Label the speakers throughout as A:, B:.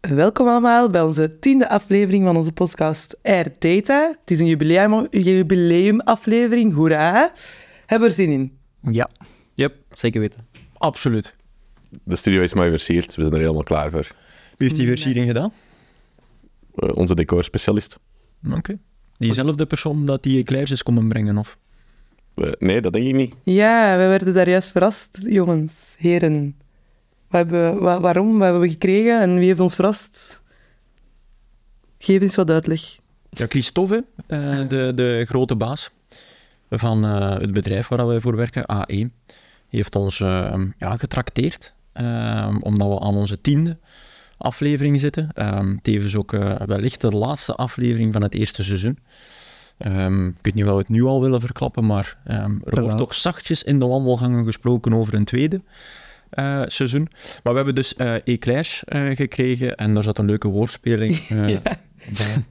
A: welkom allemaal bij onze tiende aflevering van onze podcast Air Data. Het is een jubileum, jubileumaflevering, hoera. Hebben we er zin in?
B: Ja,
C: Yep, zeker weten.
B: absoluut.
D: De studio is mooi versierd, we zijn er helemaal klaar voor.
C: Wie heeft die versiering gedaan?
D: Eh, onze decorspecialist.
C: Oké. Diezelfde persoon dat die eclairs is komen brengen, of?
D: Eh, nee, dat denk ik niet.
A: Ja, we werden daar juist verrast, jongens, heren. Wat hebben we, wa- waarom, wat hebben we gekregen en wie heeft ons verrast? Geef eens wat uitleg.
C: Ja, Christophe, eh, de, de grote baas van eh, het bedrijf waar wij voor werken, AE, heeft ons eh, ja, getrakteerd, eh, omdat we aan onze tiende aflevering zitten. Eh, tevens ook eh, wellicht de laatste aflevering van het eerste seizoen. Ehm, ik weet niet of we het nu al willen verklappen, maar ehm, er
B: laat.
C: wordt toch zachtjes in de wandelgangen gesproken over een tweede eh, seizoen. Maar we hebben dus eh eclairs eh, gekregen en daar zat een leuke woordspeling eh,
A: Ja.
C: bij.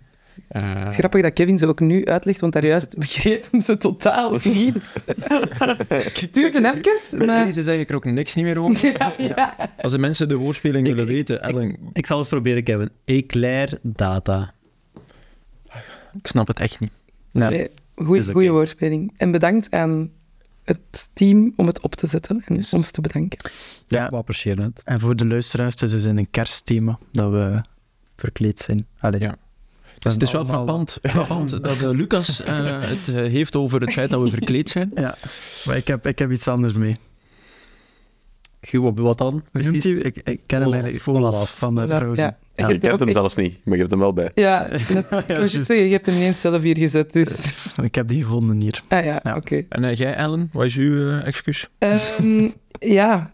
C: Eh,
A: Het is grappig dat Kevin ze ook nu uitlegt, want daar juist begreep hem ze totaal niet. Het duurde even,
C: Maar...
A: maar...
C: Deze zeg ik er ook niks niet meer over.
A: Ja, ja.
C: Als de mensen de woordspeling willen weten, Ellen, ik,
E: Ik zal het proberen, Kevin. Eclair data.
C: snap het echt niet. Nee.
A: Nee,
E: het
A: goeie,
E: is
A: goeie
E: oké.
A: woordspeling. En bedankt aan het team om het op te zetten en ons te bedanken.
E: Ja. We appreciëren het.
B: En voor de luisteraars, het is dus in een kerstthema dat we verkleed zijn. Allee.
C: Ja. Dus het is wel frappant, frappant dat eh, Lucas eh, het eh, heeft over het feit dat we verkleed zijn.
B: Ja, maar ik heb, ik heb iets anders mee.
E: Guw, wat dan?
B: Hoe noemt hij? Ik, ik ken hem
E: Olaf.
B: eigenlijk Olaf van de
A: Ja,
B: Frozen.
A: ja. Ik
E: Ja,
A: heb
D: Je
A: er
D: kent
A: ook
D: hem
A: echt-
D: zelfs niet, maar je hebt hem wel bij.
A: Ja, dat- ik wou
B: juist.
A: juist zeggen, je hebt hem ineens zelf hier gezet, dus...
B: Ik heb die gevonden hier.
A: Ah ja,
B: Ja.
A: oké.
C: En eh, jij, Ellen, wat is uw eh, excuus?
A: Ehm, ja,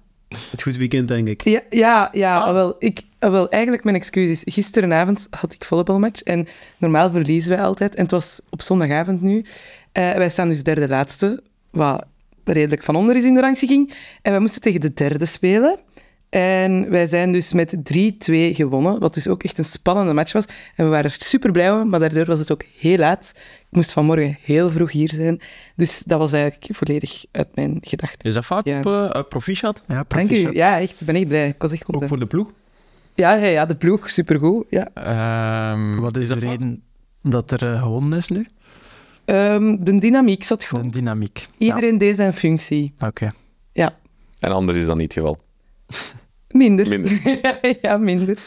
E: Het goed weekend, denk ik.
A: Ja, ja, ja wel, ik, ah, wel, eigenlijk mijn excuus is, gisterenavond had ik volleybalmatch en normaal verliezen wij altijd. En het was op zondagavond nu. Eh, wij staan dus derde laatste, wat redelijk van onder is in de rangschikking. En wij moesten tegen de derde spelen. En wij zijn dus met 3-2 gewonnen, wat dus ook echt een spannende match was. En we waren super blij om, maar daardoor was het ook heel laat. Ik moest vanmorgen heel vroeg hier zijn. Dus dat was eigenlijk volledig uit mijn gedachten.
C: Is dat vaak
A: Ja.
C: op eh, eh, proficiat?
B: Ja,
A: Dank u.
B: proficiat.
A: Ja, echt. Ik ben echt blij. Ik was echt content.
C: Ook voor de ploeg?
A: Ja, ja, ja, de ploeg, supergoed. Ja.
C: Ehm,
B: Wat is de
C: vaak?
B: reden dat er eh, gewonnen is nu?
A: Ehm, de dynamiek zat
B: De
A: goed.
B: dynamiek.
A: Iedereen deed zijn functie.
B: Ja, Oké.
A: Ja,
D: En anders is dat niet het geval.
A: minder.
D: Minder.
A: ja, minder.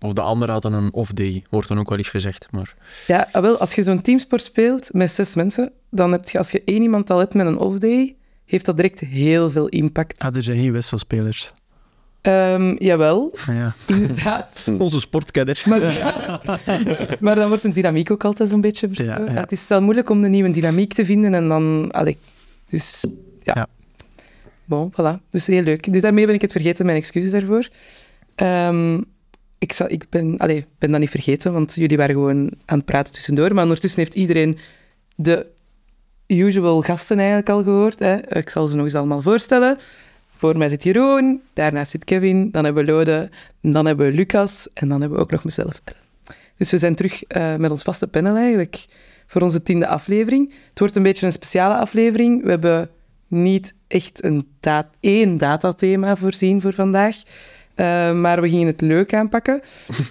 C: Of de ander had dan een off-day, wordt dan ook wel eens gezegd. Maar
A: Ja, ah, wel, als je zo'n teamsport speelt met zes mensen, dan heb je, als je één iemand al hebt met een off-day, heeft dat direct heel veel impact.
B: Ah, er zijn geen wisselspelers.
A: Ehm, jawel,
B: Ah, ja.
A: inderdaad.
C: onze sportkenner.
A: Maar dan wordt een dynamiek ook altijd zo'n beetje verstoord.
B: Ja, ja.
A: Het is wel moeilijk om de nieuwe dynamiek te vinden en dan... Allee, dus, ja.
B: Ja.
A: Bon, voilà. Dus heel leuk. Dus daarmee ben ik het vergeten, mijn excuses daarvoor. Ehm, ik, zal, ik ben, allee, ben dat niet vergeten, want jullie waren gewoon aan het praten tussendoor. Maar ondertussen heeft iedereen de usual gasten eigenlijk al gehoord. Hè. Ik zal ze nog eens allemaal voorstellen. Voor mij zit Jeroen, daarnaast zit Kevin, dan hebben we Lode, dan hebben we Lucas en dan hebben we ook nog mezelf. Ellen. Dus we zijn terug eh, met ons vaste panel eigenlijk voor onze tiende aflevering. Het wordt een beetje een speciale aflevering. We hebben niet echt een da één datathema voorzien voor vandaag, Eh, maar we gingen het leuk aanpakken.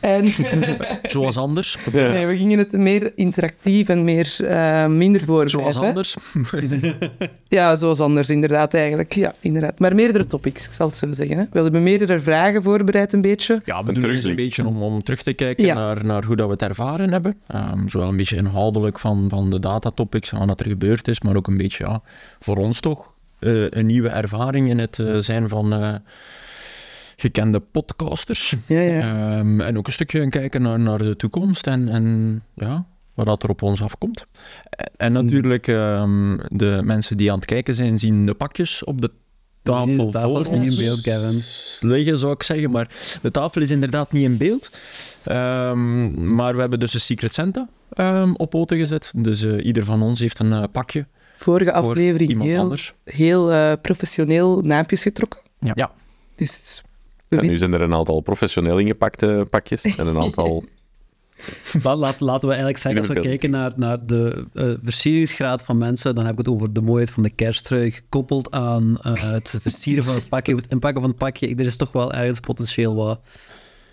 A: En
C: Zoals anders.
A: nee, we gingen het meer interactief en meer, eh, minder voorbereid.
C: Zoals
A: hè.
C: anders.
A: Ja, zoals anders, inderdaad, eigenlijk. Ja, inderdaad. Maar meerdere topics, ik zal het zo zeggen. Hè. We hebben meerdere vragen voorbereid, een beetje.
C: Ja, we
D: Een
C: doen dus een
D: terugblik.
C: beetje om, om terug te kijken
A: Ja.
C: naar, naar hoe dat we het ervaren hebben. Ehm, zowel een beetje inhoudelijk van, van de datatopics, aan wat er gebeurd is, maar ook een beetje ja, voor ons toch eh, een nieuwe ervaring in het eh, zijn van eh, gekende podcasters.
A: Ja, ja.
C: Ehm, en ook een stukje een kijken naar, naar de toekomst en, en ja, wat dat er op ons afkomt. En, en natuurlijk, ehm, de mensen die aan het kijken zijn, zien de pakjes op de tafel.
E: Nee, de tafel is
C: voor
E: niet in
C: ons
E: beeld, Kevin.
C: liggen, zou ik zeggen. Maar de tafel is inderdaad niet in beeld. Ehm, maar we hebben dus een Secret Santa ehm, op poten gezet. Dus eh, ieder van ons heeft een eh, pakje
A: Vorige
C: voor
A: aflevering
C: iemand
A: heel,
C: anders.
A: heel eh, professioneel naampjes getrokken.
B: Ja.
C: Ja.
A: Dus we
D: En
A: weten-
D: nu zijn er een aantal professioneel ingepakte pakjes en een aantal...
E: Maar laat, laten we eigenlijk zeggen, als we
D: Liverpool.
E: kijken naar, naar de eh versieringsgraad van mensen, dan heb ik het over de mooiheid van de kersttrui, gekoppeld aan eh, het versieren van het pakje, het inpakken van het pakje. Er is toch wel ergens potentieel wat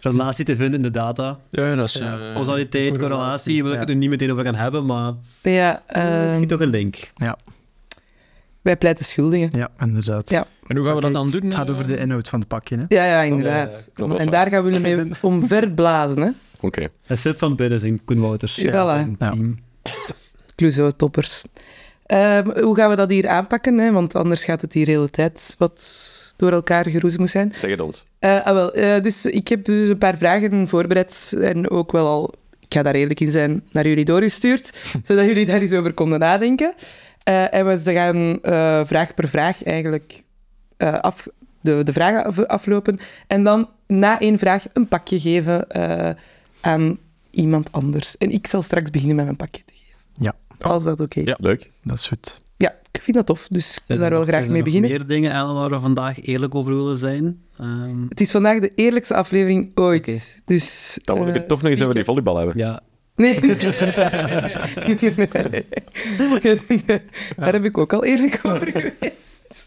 E: relatie te vinden in de data.
C: Ja, dat is... eh,
E: Causaliteit, correlatie, wil ik het er niet meteen over gaan hebben, maar
A: Ja,
E: het
A: ehm,
E: giet ook een link.
A: wij pleiten schuldigen.
B: Ja, inderdaad.
A: Ja.
C: En hoe gaan we dat dan doen?
B: Het gaat
C: eh?
B: over de inhoud van het pakje, hè?
A: Ja, ja, inderdaad.
E: Ja,
D: klopt, dat is
A: en daar gaan we mee omver blazen, hè.
D: Oké.
E: Een flip van Bidden zijn Koen Wouters.
A: Ja, voilà.
E: een team.
A: Clouseau-toppers. Ehm, hoe gaan we dat hier aanpakken, hè? Want anders gaat het hier de hele tijd wat door elkaar geroezen moet zijn.
D: Zeg het ons.
A: Eh, ah, wel, eh, dus ik heb dus een paar vragen voorbereid en ook wel al, ik ga daar eerlijk in zijn, naar jullie doorgestuurd, zodat jullie daar eens over konden nadenken. Eh, en we ze gaan eh, vraag per vraag eigenlijk eh, af, de, de vragen af- aflopen en dan na één vraag een pakje geven eh, aan iemand anders. En ik zal straks beginnen met mijn pakje te geven.
B: Ja.
A: Als dat oké is. Ja.
C: Ja.
D: Leuk.
B: Dat is goed.
A: ik vind dat tof, dus ik wil
E: Zijn
A: daar
E: er
A: wel
E: nog-
A: graag
E: zijn
A: mee
E: er nog
A: beginnen.
E: meer dingen, Ellen, waar we vandaag eerlijk over willen zijn. Ehm,
A: Het is vandaag de eerlijkste aflevering ooit.
E: Oké.
A: Dus,
D: Dan moet ik
A: eh,
D: het toch nog eens over die volleybal hebben.
E: ja,
A: Nee. Daar heb ik ook al eerlijk over geweest.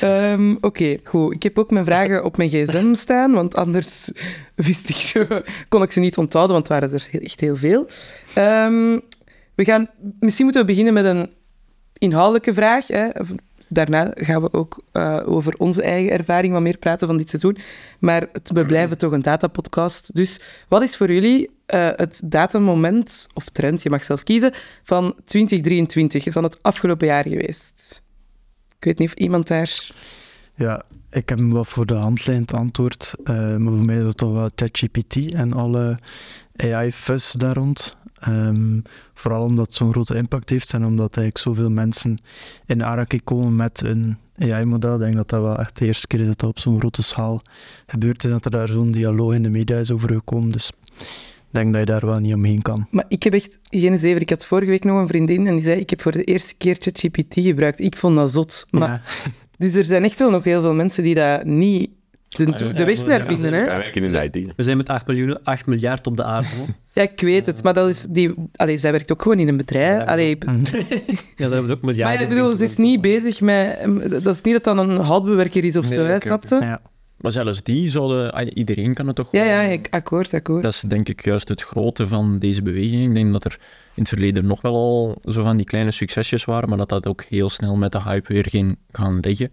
A: Ehm, Oké, goed. Ik heb ook mijn vragen op mijn gsm staan, want anders wist ik zo, kon ik ze niet onthouden, want het waren er heel- echt heel veel. Ehm, we gaan, misschien moeten we beginnen met een inhoudelijke vraag. Hè. Daarna gaan we ook eh, over onze eigen ervaring wat meer praten van dit seizoen. Maar het, we blijven toch een datapodcast. Dus wat is voor jullie eh, het datummoment, of trend, je mag zelf kiezen, van 2023, van het afgelopen jaar geweest? Ik weet niet of iemand daar...
B: Ja, ik heb hem wel voor de hand liggend antwoord. eh, maar voor mij is dat toch wel ChatGPT en alle AI-fuzz daar rond. Ehm, vooral omdat het zo'n grote impact heeft en omdat eigenlijk zoveel mensen in aanraking komen met een AI-model. Ik denk dat dat wel echt de eerste keer is dat dat op zo'n grote schaal gebeurd is. Dat er daar zo'n dialoog in de media is over gekomen. Dus ik denk dat je daar wel niet omheen kan.
A: Maar ik heb echt geen zever. Ik had vorige week nog een vriendin en die zei, ik heb voor de eerste keer ChatGPT gebruikt. Ik vond dat zot. Maar,
B: Ja.
A: Dus er zijn echt veel, nog heel veel mensen die dat niet
C: Ah, ja,
A: de, de weg
C: ja,
A: naar
C: ja,
A: vinden. Hè?
D: Wij werken in de IT.
E: we zijn met 8, miljoen, 8 miljard op de aarde. hoor.
A: Ja, ik weet het. Maar dat is die... Allee, zij werkt ook gewoon in een bedrijf.
E: Ja.
A: Allee,
E: ja, daar hebben we ook miljarden.
A: maar ik bedoel, ze is niet bezig met... Dat is niet dat dat een houtbewerker is of
C: Nee,
A: zo, hè,
C: oké, oké.
A: snapte?
B: Ja.
C: Maar zelfs die zouden... ah, Iedereen kan het toch
A: Ja, ja,
C: gewoon-
A: ik- akkoord, akkoord.
C: Dat is denk ik juist het grote van deze beweging. Ik denk dat er in het verleden nog wel al zo van die kleine succesjes waren, maar dat dat ook heel snel met de hype weer ging gaan liggen.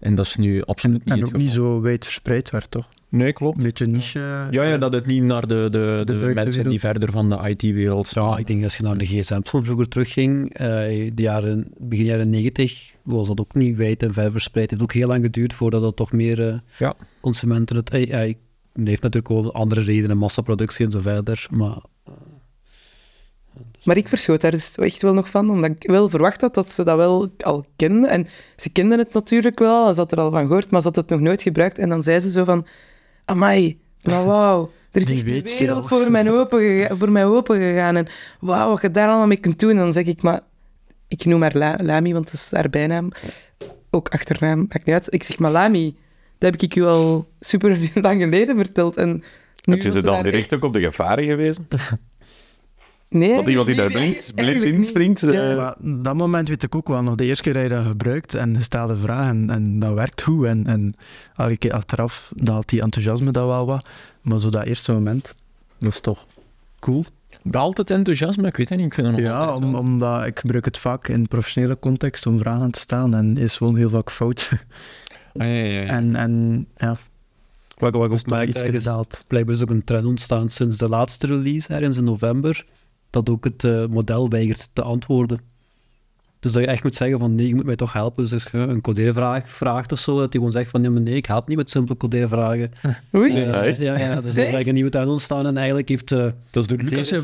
C: En dat is nu
B: En,
C: absoluut niet
B: en
C: het
B: ook niet
C: geval.
B: zo wijd verspreid werd, toch?
C: Nee,
B: Een
C: klopt.
B: beetje niche.
C: Ja, ja, dat het niet naar de, de, de,
B: buitenwereld.
C: mensen die verder van de IT-wereld
E: Ja, ik denk dat als je naar de gsm van vroeger terugging, eh, de jaren, begin jaren 90, was dat ook niet wijd en ver verspreid. Het heeft ook heel lang geduurd voordat dat toch meer eh,
C: Ja.
E: consumenten het... eh, ja, ik- het heeft natuurlijk ook andere redenen, massaproductie en zo verder, maar...
A: Maar ik verschoot daar dus echt wel nog van, omdat ik wel verwacht had dat ze dat wel al kenden. En ze kenden het natuurlijk wel, ze had er al van gehoord, maar ze had het nog nooit gebruikt. En dan zei ze zo van, amai, nou wauw, er is
B: Die
A: echt
B: weet
A: een wereld
B: veel."
A: voor mij, open gega- voor mij open gegaan. En wauw, wat je daar allemaal mee kunt doen. En dan zeg ik, maar ik noem haar La- Lami, want dat is haar bijnaam. Ook achternaam, maakt niet uit. Ik zeg, maar Lami, dat heb ik u al super lang geleden verteld. En nu
D: Heb je
A: wil
D: ze dan
A: daar
D: direct ook op de gevaren geweest?
A: Nee.
D: Dat iemand die daar
A: eigenlijk
D: blind, blind
A: eigenlijk niet.
D: inspringt? eh,
B: Maar dat moment weet ik ook wel nog. De eerste keer dat je dat gebruikt en je stelt een vraag en, en dat werkt goed. En, en elke keer achteraf daalt die enthousiasme dat wel wat. Maar zo dat eerste moment, dat is toch cool.
C: daalt het enthousiasme. Ik weet het niet, ik vind het nog
B: Ja,
C: altijd
B: om,
C: wel.
B: omdat ik gebruik het vaak in professionele context om vragen te stellen en is gewoon heel vaak fout.
C: Ah, ja, ja, ja.
B: En, en ja,
E: Wat, wat ik
B: is
E: ook
B: toch
E: merk,
B: iets
E: eh, is dat blijkbaar is ook een trend ontstaan sinds de laatste release ergens in november, dat ook het eh, model weigert te antwoorden. Dus dat je echt moet zeggen van nee, je moet mij toch helpen. Dus als je een codeervraag vraagt of zo, dat hij gewoon zegt van nee, maar nee, ik help niet met simpele codeervragen.
A: Oei.
E: Eh,
D: Ja, echt?
E: ja, ja, dus dat is eigenlijk een nieuwe trend ontstaan en eigenlijk heeft... eh
C: Dat is door Lucas
E: zeer
C: zijn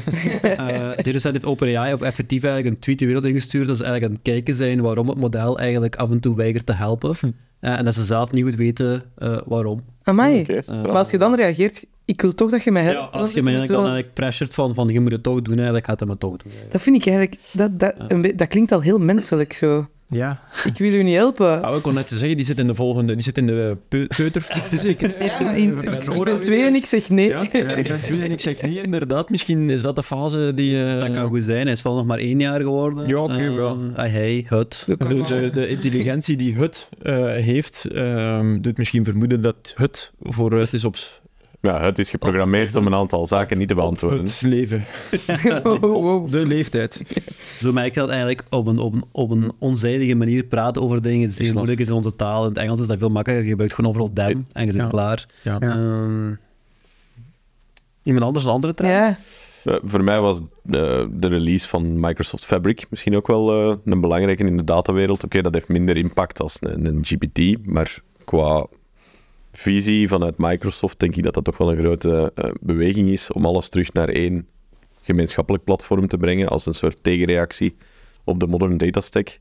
C: vragen.
E: eh, eh, zeer recent heeft OpenAI of effectief eigenlijk een tweet de wereld ingestuurd dat ze eigenlijk aan het kijken zijn waarom het model eigenlijk af en toe weigert te helpen. Eh, en dat ze zelf niet goed weten eh, waarom.
A: Amai.
D: oké, straf.
A: Maar als je dan reageert, ik wil toch dat je mij helpt.
E: Ja, als
A: anders
E: je mij
A: moet
E: eigenlijk
A: wel-
E: dan eigenlijk pressured van, van je moet het toch doen, eigenlijk gaat hij het toch doen.
A: Dat vind ik eigenlijk... Dat, dat, een be- dat klinkt al heel menselijk, zo.
B: ja.
A: Ik wil u niet helpen.
C: Ah, ik kon net zeggen, die zit in de volgende, die zit in
E: eh,
C: de peu- peuterfase zeker.
A: Ja, maar in,
C: ben
A: ik
C: horen
A: ben
C: weer.
A: twee en ik zeg nee.
C: Ja, ik ben twee en ik zeg niet, inderdaad. Misschien is dat de fase die... eh,
E: Dat kan goed zijn, hij is wel nog maar één jaar geworden.
C: Ja, oké,
E: Eh,
C: wel.
E: ah, hij, het.
A: Zo kan
C: De,
A: wel.
C: de, de intelligentie die het eh, heeft, ehm, doet misschien vermoeden dat het vooruit is op s-
D: Ja, het is geprogrammeerd om een aantal zaken niet te beantwoorden.
C: Het leven. eh,
A: Wow, wow.
C: De leeftijd.
E: Zo merk je dat eigenlijk op een, op een, op een onzijdige manier praten over dingen
C: Is
E: zeer moeilijk is in onze taal. In het Engels is dat veel makkelijker. Je gebruikt gewoon overal them en je zit
C: Ja.
E: klaar.
C: Ja.
E: Ehm, iemand anders een andere trend?
A: Ja,
D: Eh, voor mij was eh, de release van Microsoft Fabric misschien ook wel eh, een belangrijke in de datawereld. Oké, dat heeft minder impact als een, een GPT, maar qua visie vanuit Microsoft denk ik dat dat toch wel een grote eh, beweging is om alles terug naar één gemeenschappelijk platform te brengen als een soort tegenreactie op de modern data stack.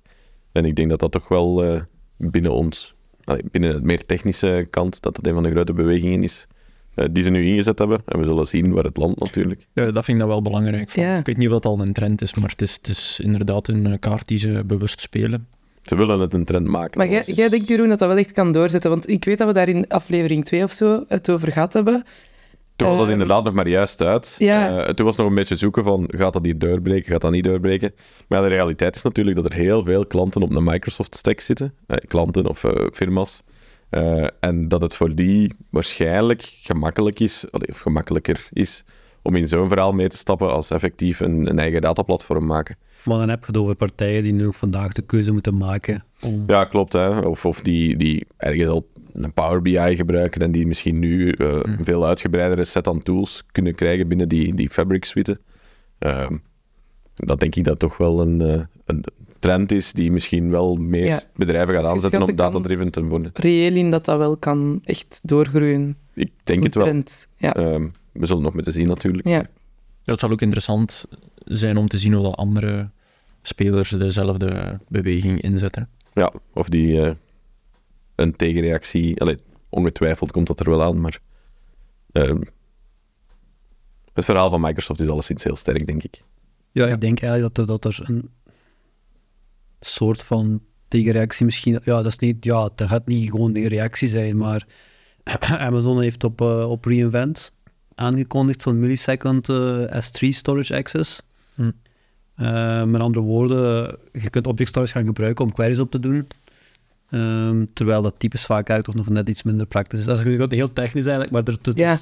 D: En ik denk dat dat toch wel eh, binnen ons, allee, binnen het meer technische kant, dat dat een van de grote bewegingen is eh, die ze nu ingezet hebben. En we zullen zien waar het landt natuurlijk.
C: Ja, dat vind ik dan wel belangrijk.
A: Ja.
C: Ik weet niet of dat al een trend is, maar het is, het is inderdaad een eh, kaart die ze bewust spelen.
D: Ze willen het een trend maken.
A: maar jij,
D: Dat is-
A: jij denkt, Jeroen, dat dat wel echt kan doorzetten. Want ik weet dat we daar in aflevering 2 of zo het over gehad hebben.
D: Toen was dat
A: Ehm,
D: inderdaad nog maar juist uit.
A: ja.
D: Eh, toen was nog een beetje zoeken van, gaat dat hier doorbreken, gaat dat niet doorbreken? Maar ja, de realiteit is natuurlijk dat er heel veel klanten op een Microsoft-stack zitten. Eh, klanten of eh, firma's. Eh, en dat het voor die waarschijnlijk gemakkelijk is, allee, of gemakkelijker is, om in zo'n verhaal mee te stappen als effectief een, een eigen dataplatform maken.
E: Maar dan heb je het over partijen die nu ook vandaag de keuze moeten maken om...
D: Ja, klopt. Hè? Of, of die, die ergens al een Power BI gebruiken en die misschien nu eh,
A: Mm.
D: een veel uitgebreidere set aan tools kunnen krijgen binnen die, die Fabric suite. Ehm, dat denk ik dat toch wel een, eh, een trend is die misschien wel meer
A: Ja.
D: bedrijven gaat
A: Dus je
D: aanzetten
A: schat
D: om
A: de kans-
D: data-driven te worden.
A: Reëel in dat dat wel kan echt doorgroeien.
D: Ik denk het
A: Goed
D: wel.
A: trend.
C: Eh,
A: Ja.
D: Ehm, we zullen nog moeten zien natuurlijk.
A: ja.
C: Ja, het zal ook interessant zijn om te zien hoe dat andere spelers dezelfde beweging inzetten.
D: Ja, of die eh, een tegenreactie. Allee, ongetwijfeld komt dat er wel aan, maar. ehm, het verhaal van Microsoft is alleszins heel sterk, denk ik.
E: Ja, ik denk eigenlijk dat er, dat er een soort van tegenreactie misschien... Ja, dat is niet... Ja, dat gaat niet gewoon een reactie zijn, maar Amazon heeft op, eh, op reInvent aangekondigd van millisecond eh, S3 storage access.
C: Hm.
E: Eh, met andere woorden, je kunt object storage gaan gebruiken om queries op te doen. Ehm, terwijl dat typisch vaak uit of nog net iets minder praktisch is. Dat is natuurlijk heel technisch eigenlijk, maar... Er, dat is-
C: dus
A: Ja.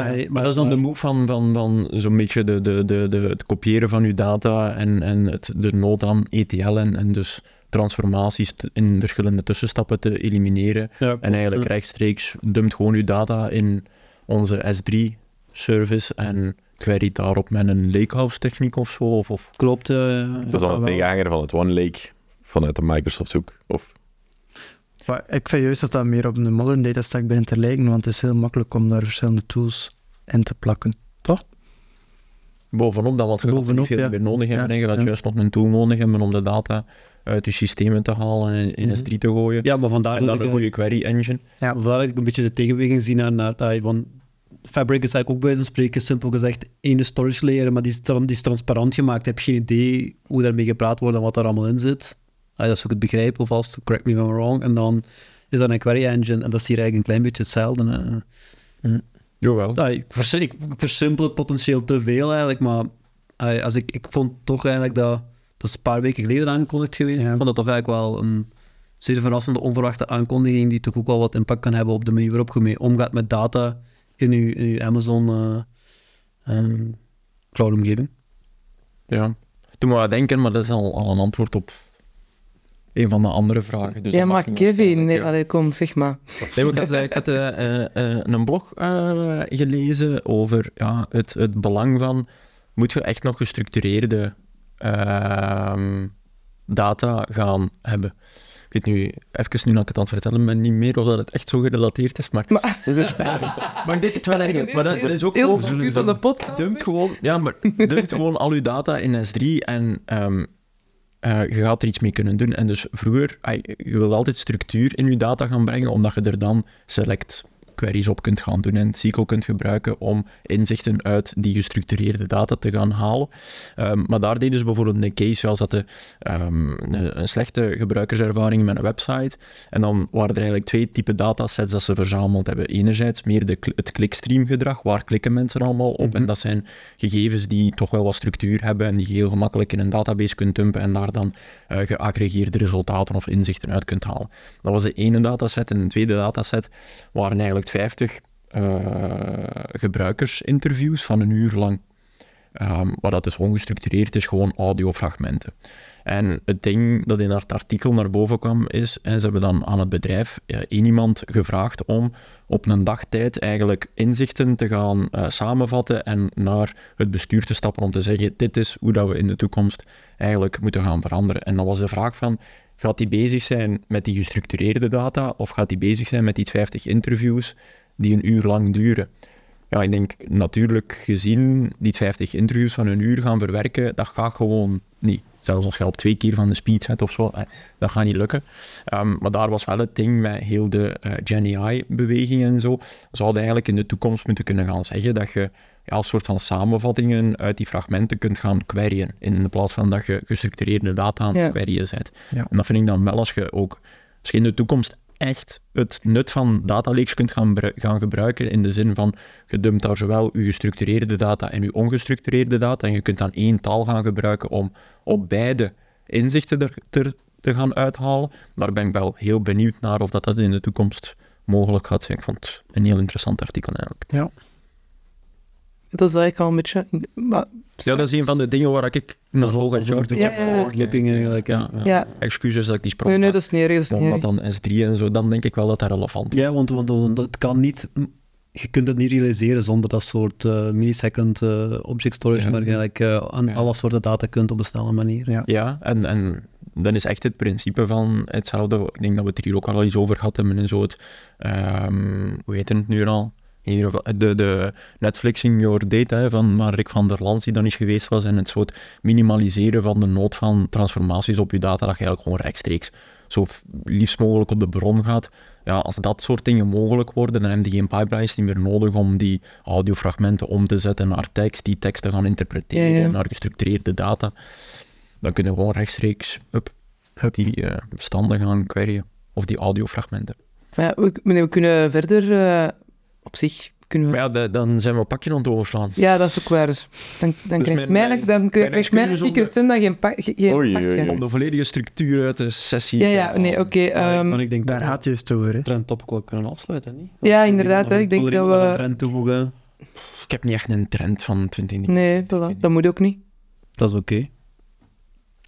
E: Ah, eh,
C: Maar dat is dan de move van, van, van zo'n beetje de, de, de, de, het kopiëren van uw data en, en het, de nood aan ETL en, en dus transformaties t- in verschillende tussenstappen te elimineren.
E: Ja,
C: En eigenlijk rechtstreeks dumpt gewoon uw data in onze S3-service en queryt daarop met een lakehouse-techniek of zo. Of, of
E: Klopt. eh,
D: Dat is dan
E: wel.
D: een tegenhanger van het One Lake vanuit de Microsoft-hoek. Of
B: Maar ik vind juist dat dat meer op een modern data stack begint te lijken, want het is heel makkelijk om daar verschillende tools in te plakken. Toch?
C: bovenop dan, want je gaat niet
B: Bovenop,
C: veel
B: ja.
C: meer nodig hebben.
B: Ja,
C: en Je gaat
B: ja.
C: juist nog een tool nodig hebben om de data uit je systemen te halen en
B: Mhm.
C: in S3 te gooien.
E: Ja, maar vandaar
C: En
E: dat
C: dan
E: ik,
C: een
E: eh,
C: goede query engine.
B: Ja.
E: vandaar dat ik een beetje de tegenweging zie naar, naar dat je van Fabric is eigenlijk ook bij wijze van spreken simpel gezegd één storage layer, maar die is, tran- die is transparant gemaakt. Je hebt geen idee hoe daarmee gepraat wordt en wat daar allemaal in zit. Ah, dat is ook het begrijp, of als correct me if I'm wrong. En dan is dat een query engine en dat is hier eigenlijk een klein beetje hetzelfde. hè.
C: Jawel.
E: Ja, ik, vers- ik versimpel het potentieel te veel eigenlijk, maar ah, als ik, ik vond toch eigenlijk dat, dat is een paar weken geleden aangekondigd geweest,
B: Ja.
E: ik vond dat toch eigenlijk wel een zeer verrassende, onverwachte aankondiging die toch ook wel wat impact kan hebben op de manier waarop je mee omgaat met data in je, in uw Amazon eh, ehm, cloud-omgeving.
C: Ja. Toen we aan denken, maar dat is al, al een antwoord op een van de andere vragen. Dus
A: ja,
C: dat mag
A: maar
C: je
A: Kevin, nee,
C: waarschijnlijk, ja.
A: allee, kom, zeg maar.
C: Nee, maar ik had, ik had eh, eh, eh, een blog eh, gelezen over ja, het, het belang van... Moet je echt nog gestructureerde ehm, data gaan hebben? Ik weet nu, even nu dat ik het aan het vertellen ben, niet meer of dat het echt zo gerelateerd is, maar...
A: Maar-
C: Dat is pijnlijk. Maar ik denk het wel eigenlijk. Maar dat, dat is ook
A: heel
C: over-
A: focussen van de podcast.
C: dumpt gewoon, ja, maar dumpt gewoon al uw data in S3 en ehm, eh, je gaat er iets mee kunnen doen. En dus vroeger, ai, je wil altijd structuur in je data gaan brengen, omdat je er dan select queries op kunt gaan doen en SQL kunt gebruiken om inzichten uit die gestructureerde data te gaan halen. Ehm, maar daar deden ze bijvoorbeeld een case zoals dat de, ehm, een, een slechte gebruikerservaring met een website. En dan waren er eigenlijk twee typen datasets dat ze verzameld hebben. Enerzijds meer de, kl- het clickstream gedrag, waar klikken mensen allemaal op. En dat zijn gegevens die toch wel wat structuur hebben en die je heel gemakkelijk in een database kunt dumpen en daar dan eh, geaggregeerde resultaten of inzichten uit kunt halen. Dat was de ene dataset. En de tweede dataset waren eigenlijk 50 eh, gebruikersinterviews van een uur lang. Ehm, waar dat dus ongestructureerd is, gewoon audiofragmenten. En het ding dat in dat artikel naar boven kwam is, en ze hebben dan aan het bedrijf eh, één iemand gevraagd om op een dagtijd eigenlijk inzichten te gaan eh, samenvatten en naar het bestuur te stappen om te zeggen, dit is hoe dat we in de toekomst eigenlijk moeten gaan veranderen. En dan was de vraag van, gaat die bezig zijn met die gestructureerde data of gaat die bezig zijn met die 50 interviews die een uur lang duren? Ja, ik denk natuurlijk gezien die 50 interviews van een uur gaan verwerken, dat gaat gewoon niet. Zelfs als je op twee keer van de speed zet of zo, eh, dat gaat niet lukken. Ehm, maar daar was wel het ding met heel de eh Gen AI-beweging en zo. Zouden eigenlijk in de toekomst moeten kunnen gaan zeggen dat je ja, een soort van samenvattingen uit die fragmenten kunt gaan queryen. In plaats van dat je gestructureerde data aan het
A: Ja.
C: queryen bent.
B: Ja.
C: En dat vind ik dan wel als je ook als je in de toekomst echt het nut van data leaks kunt gaan, bru- gaan gebruiken in de zin van je dumpt daar zowel je gestructureerde data en je ongestructureerde data en je kunt dan één taal gaan gebruiken om op beide inzichten er, ter- te gaan uithalen. Daar ben ik wel heel benieuwd naar of dat, dat in de toekomst mogelijk gaat zijn. Ik vond het een heel interessant artikel eigenlijk.
A: Dat is eigenlijk al een beetje... maar-
C: Ja, dat is een van de dingen waar ik naar volgend jaar...
A: beetje Ja, ja, ja.
E: voortlipping eigenlijk, ja.
A: ja,
C: Excuses dat ik die sprong
A: nee, nee,
C: maak.
A: dat is niet erg, dat is niet
C: Omdat
A: erg.
C: dan S3 en zo, dan denk ik wel dat dat relevant is.
E: Ja, want, want, want het kan niet... Je kunt het niet realiseren zonder dat soort eh, millisecond eh, object storage,
C: Ja.
E: waar je eigenlijk eh, aan
C: Ja.
E: alle soorten data kunt op een snelle manier.
B: Ja.
C: Ja, en, en dan is echt het principe van hetzelfde. Ik denk dat we het er hier ook al eens over gehad hebben en zo. Het, ehm, hoe heet het nu al? In ieder geval, de, de Netflixing Your Data hè, van maar Rick van der Lans, die dan eens geweest was. En het soort minimaliseren van de nood van transformaties op je data, dat je eigenlijk gewoon rechtstreeks zo f- liefst mogelijk op de bron gaat. Ja, als dat soort dingen mogelijk worden, dan heb je geen pipelines niet meer nodig om die audiofragmenten om te zetten naar tekst, die tekst te gaan interpreteren,
A: Ja, ja.
C: naar gestructureerde data dan kunnen we gewoon rechtstreeks up,
B: Hup.
C: die eh, bestanden gaan queryen. Of die audiofragmenten.
A: Maar ja, we, nee, we kunnen verder... eh, op zich kunnen we...
C: Maar ja, da- dan zijn we een pakje aan het overslaan.
A: Ja, dat is ook waar. Dus dan, dan
C: Dus
A: krijgt
C: mijn-
A: mijn, dan krijgt
C: mijn
A: mijn
C: excuses om
A: Secret Santa geen, pak, ge- geen
D: Oei,
A: pakje.
D: oei, oei.
C: Om de volledige structuur uit de sessie
A: Ja,
C: eh, te
A: ja,
C: halen.
A: nee, oké.
E: Maar ik-
A: ehm,
E: maar ik denk
B: Daar
E: dat
B: gaat juist over, hè.
E: we trendtopic wel kunnen afsluiten, niet?
A: Ja, inderdaad, hè.
E: Of-
A: Ik denk
E: wil er
A: dat
E: iemand nog
A: we-
E: een trend toevoegen?
C: Ik heb niet echt een trend van 2019.
A: nee, voilà, dat moet ook niet.
E: Dat is oké.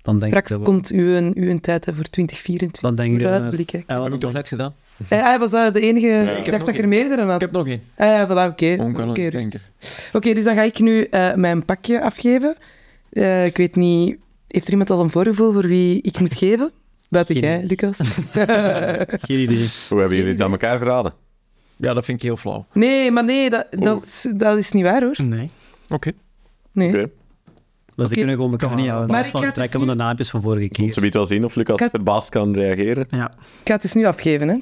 E: Dan denk ik
A: Straks
E: dat we-
A: komt uw, uw tijd hè, voor 2024.
E: Dan denk ik dat we-
A: Vooruitblik, hè.
E: Ja,
C: Dat heb
E: want
C: ik toch net gedaan?
A: Eh, ah, was dat de enige? ik
C: nog
A: dacht dat je er
C: één.
A: meerdere
C: Ik
A: had.
C: heb nog één.
A: Ah, ja, voilà, oké.
C: Gewoon kan
A: Oké,
C: okay,
A: dus-
C: denken.
A: Oké, dus dan ga ik nu eh, mijn pakje afgeven. Eh, ik weet niet, heeft er iemand al een voorgevoel voor wie ik moet geven? Buiten
C: Geen
A: jij, Lucas.
E: Geen idee.
D: Hoe hebben jullie dus. het aan elkaar verraden?
C: Ja, dat vind ik heel flauw.
A: nee, maar nee, dat, dat, is, dat is niet waar hoor.
B: Nee.
C: Oké.
A: Nee.
D: Oké.
E: Dus
A: Oké.
E: die kunnen gewoon elkaar
B: Kan niet
E: niet aan
B: aan.
E: de
A: Maar
E: baas
A: ik
E: van
A: ga dus
E: trekken van de
A: nu-
E: naampjes van vorige
D: Ze
E: keer.
D: weet wel zien of Lucas
A: Kat-
D: verbaasd kan reageren.
B: Ja.
A: Ik ga het dus nu afgeven. Hè.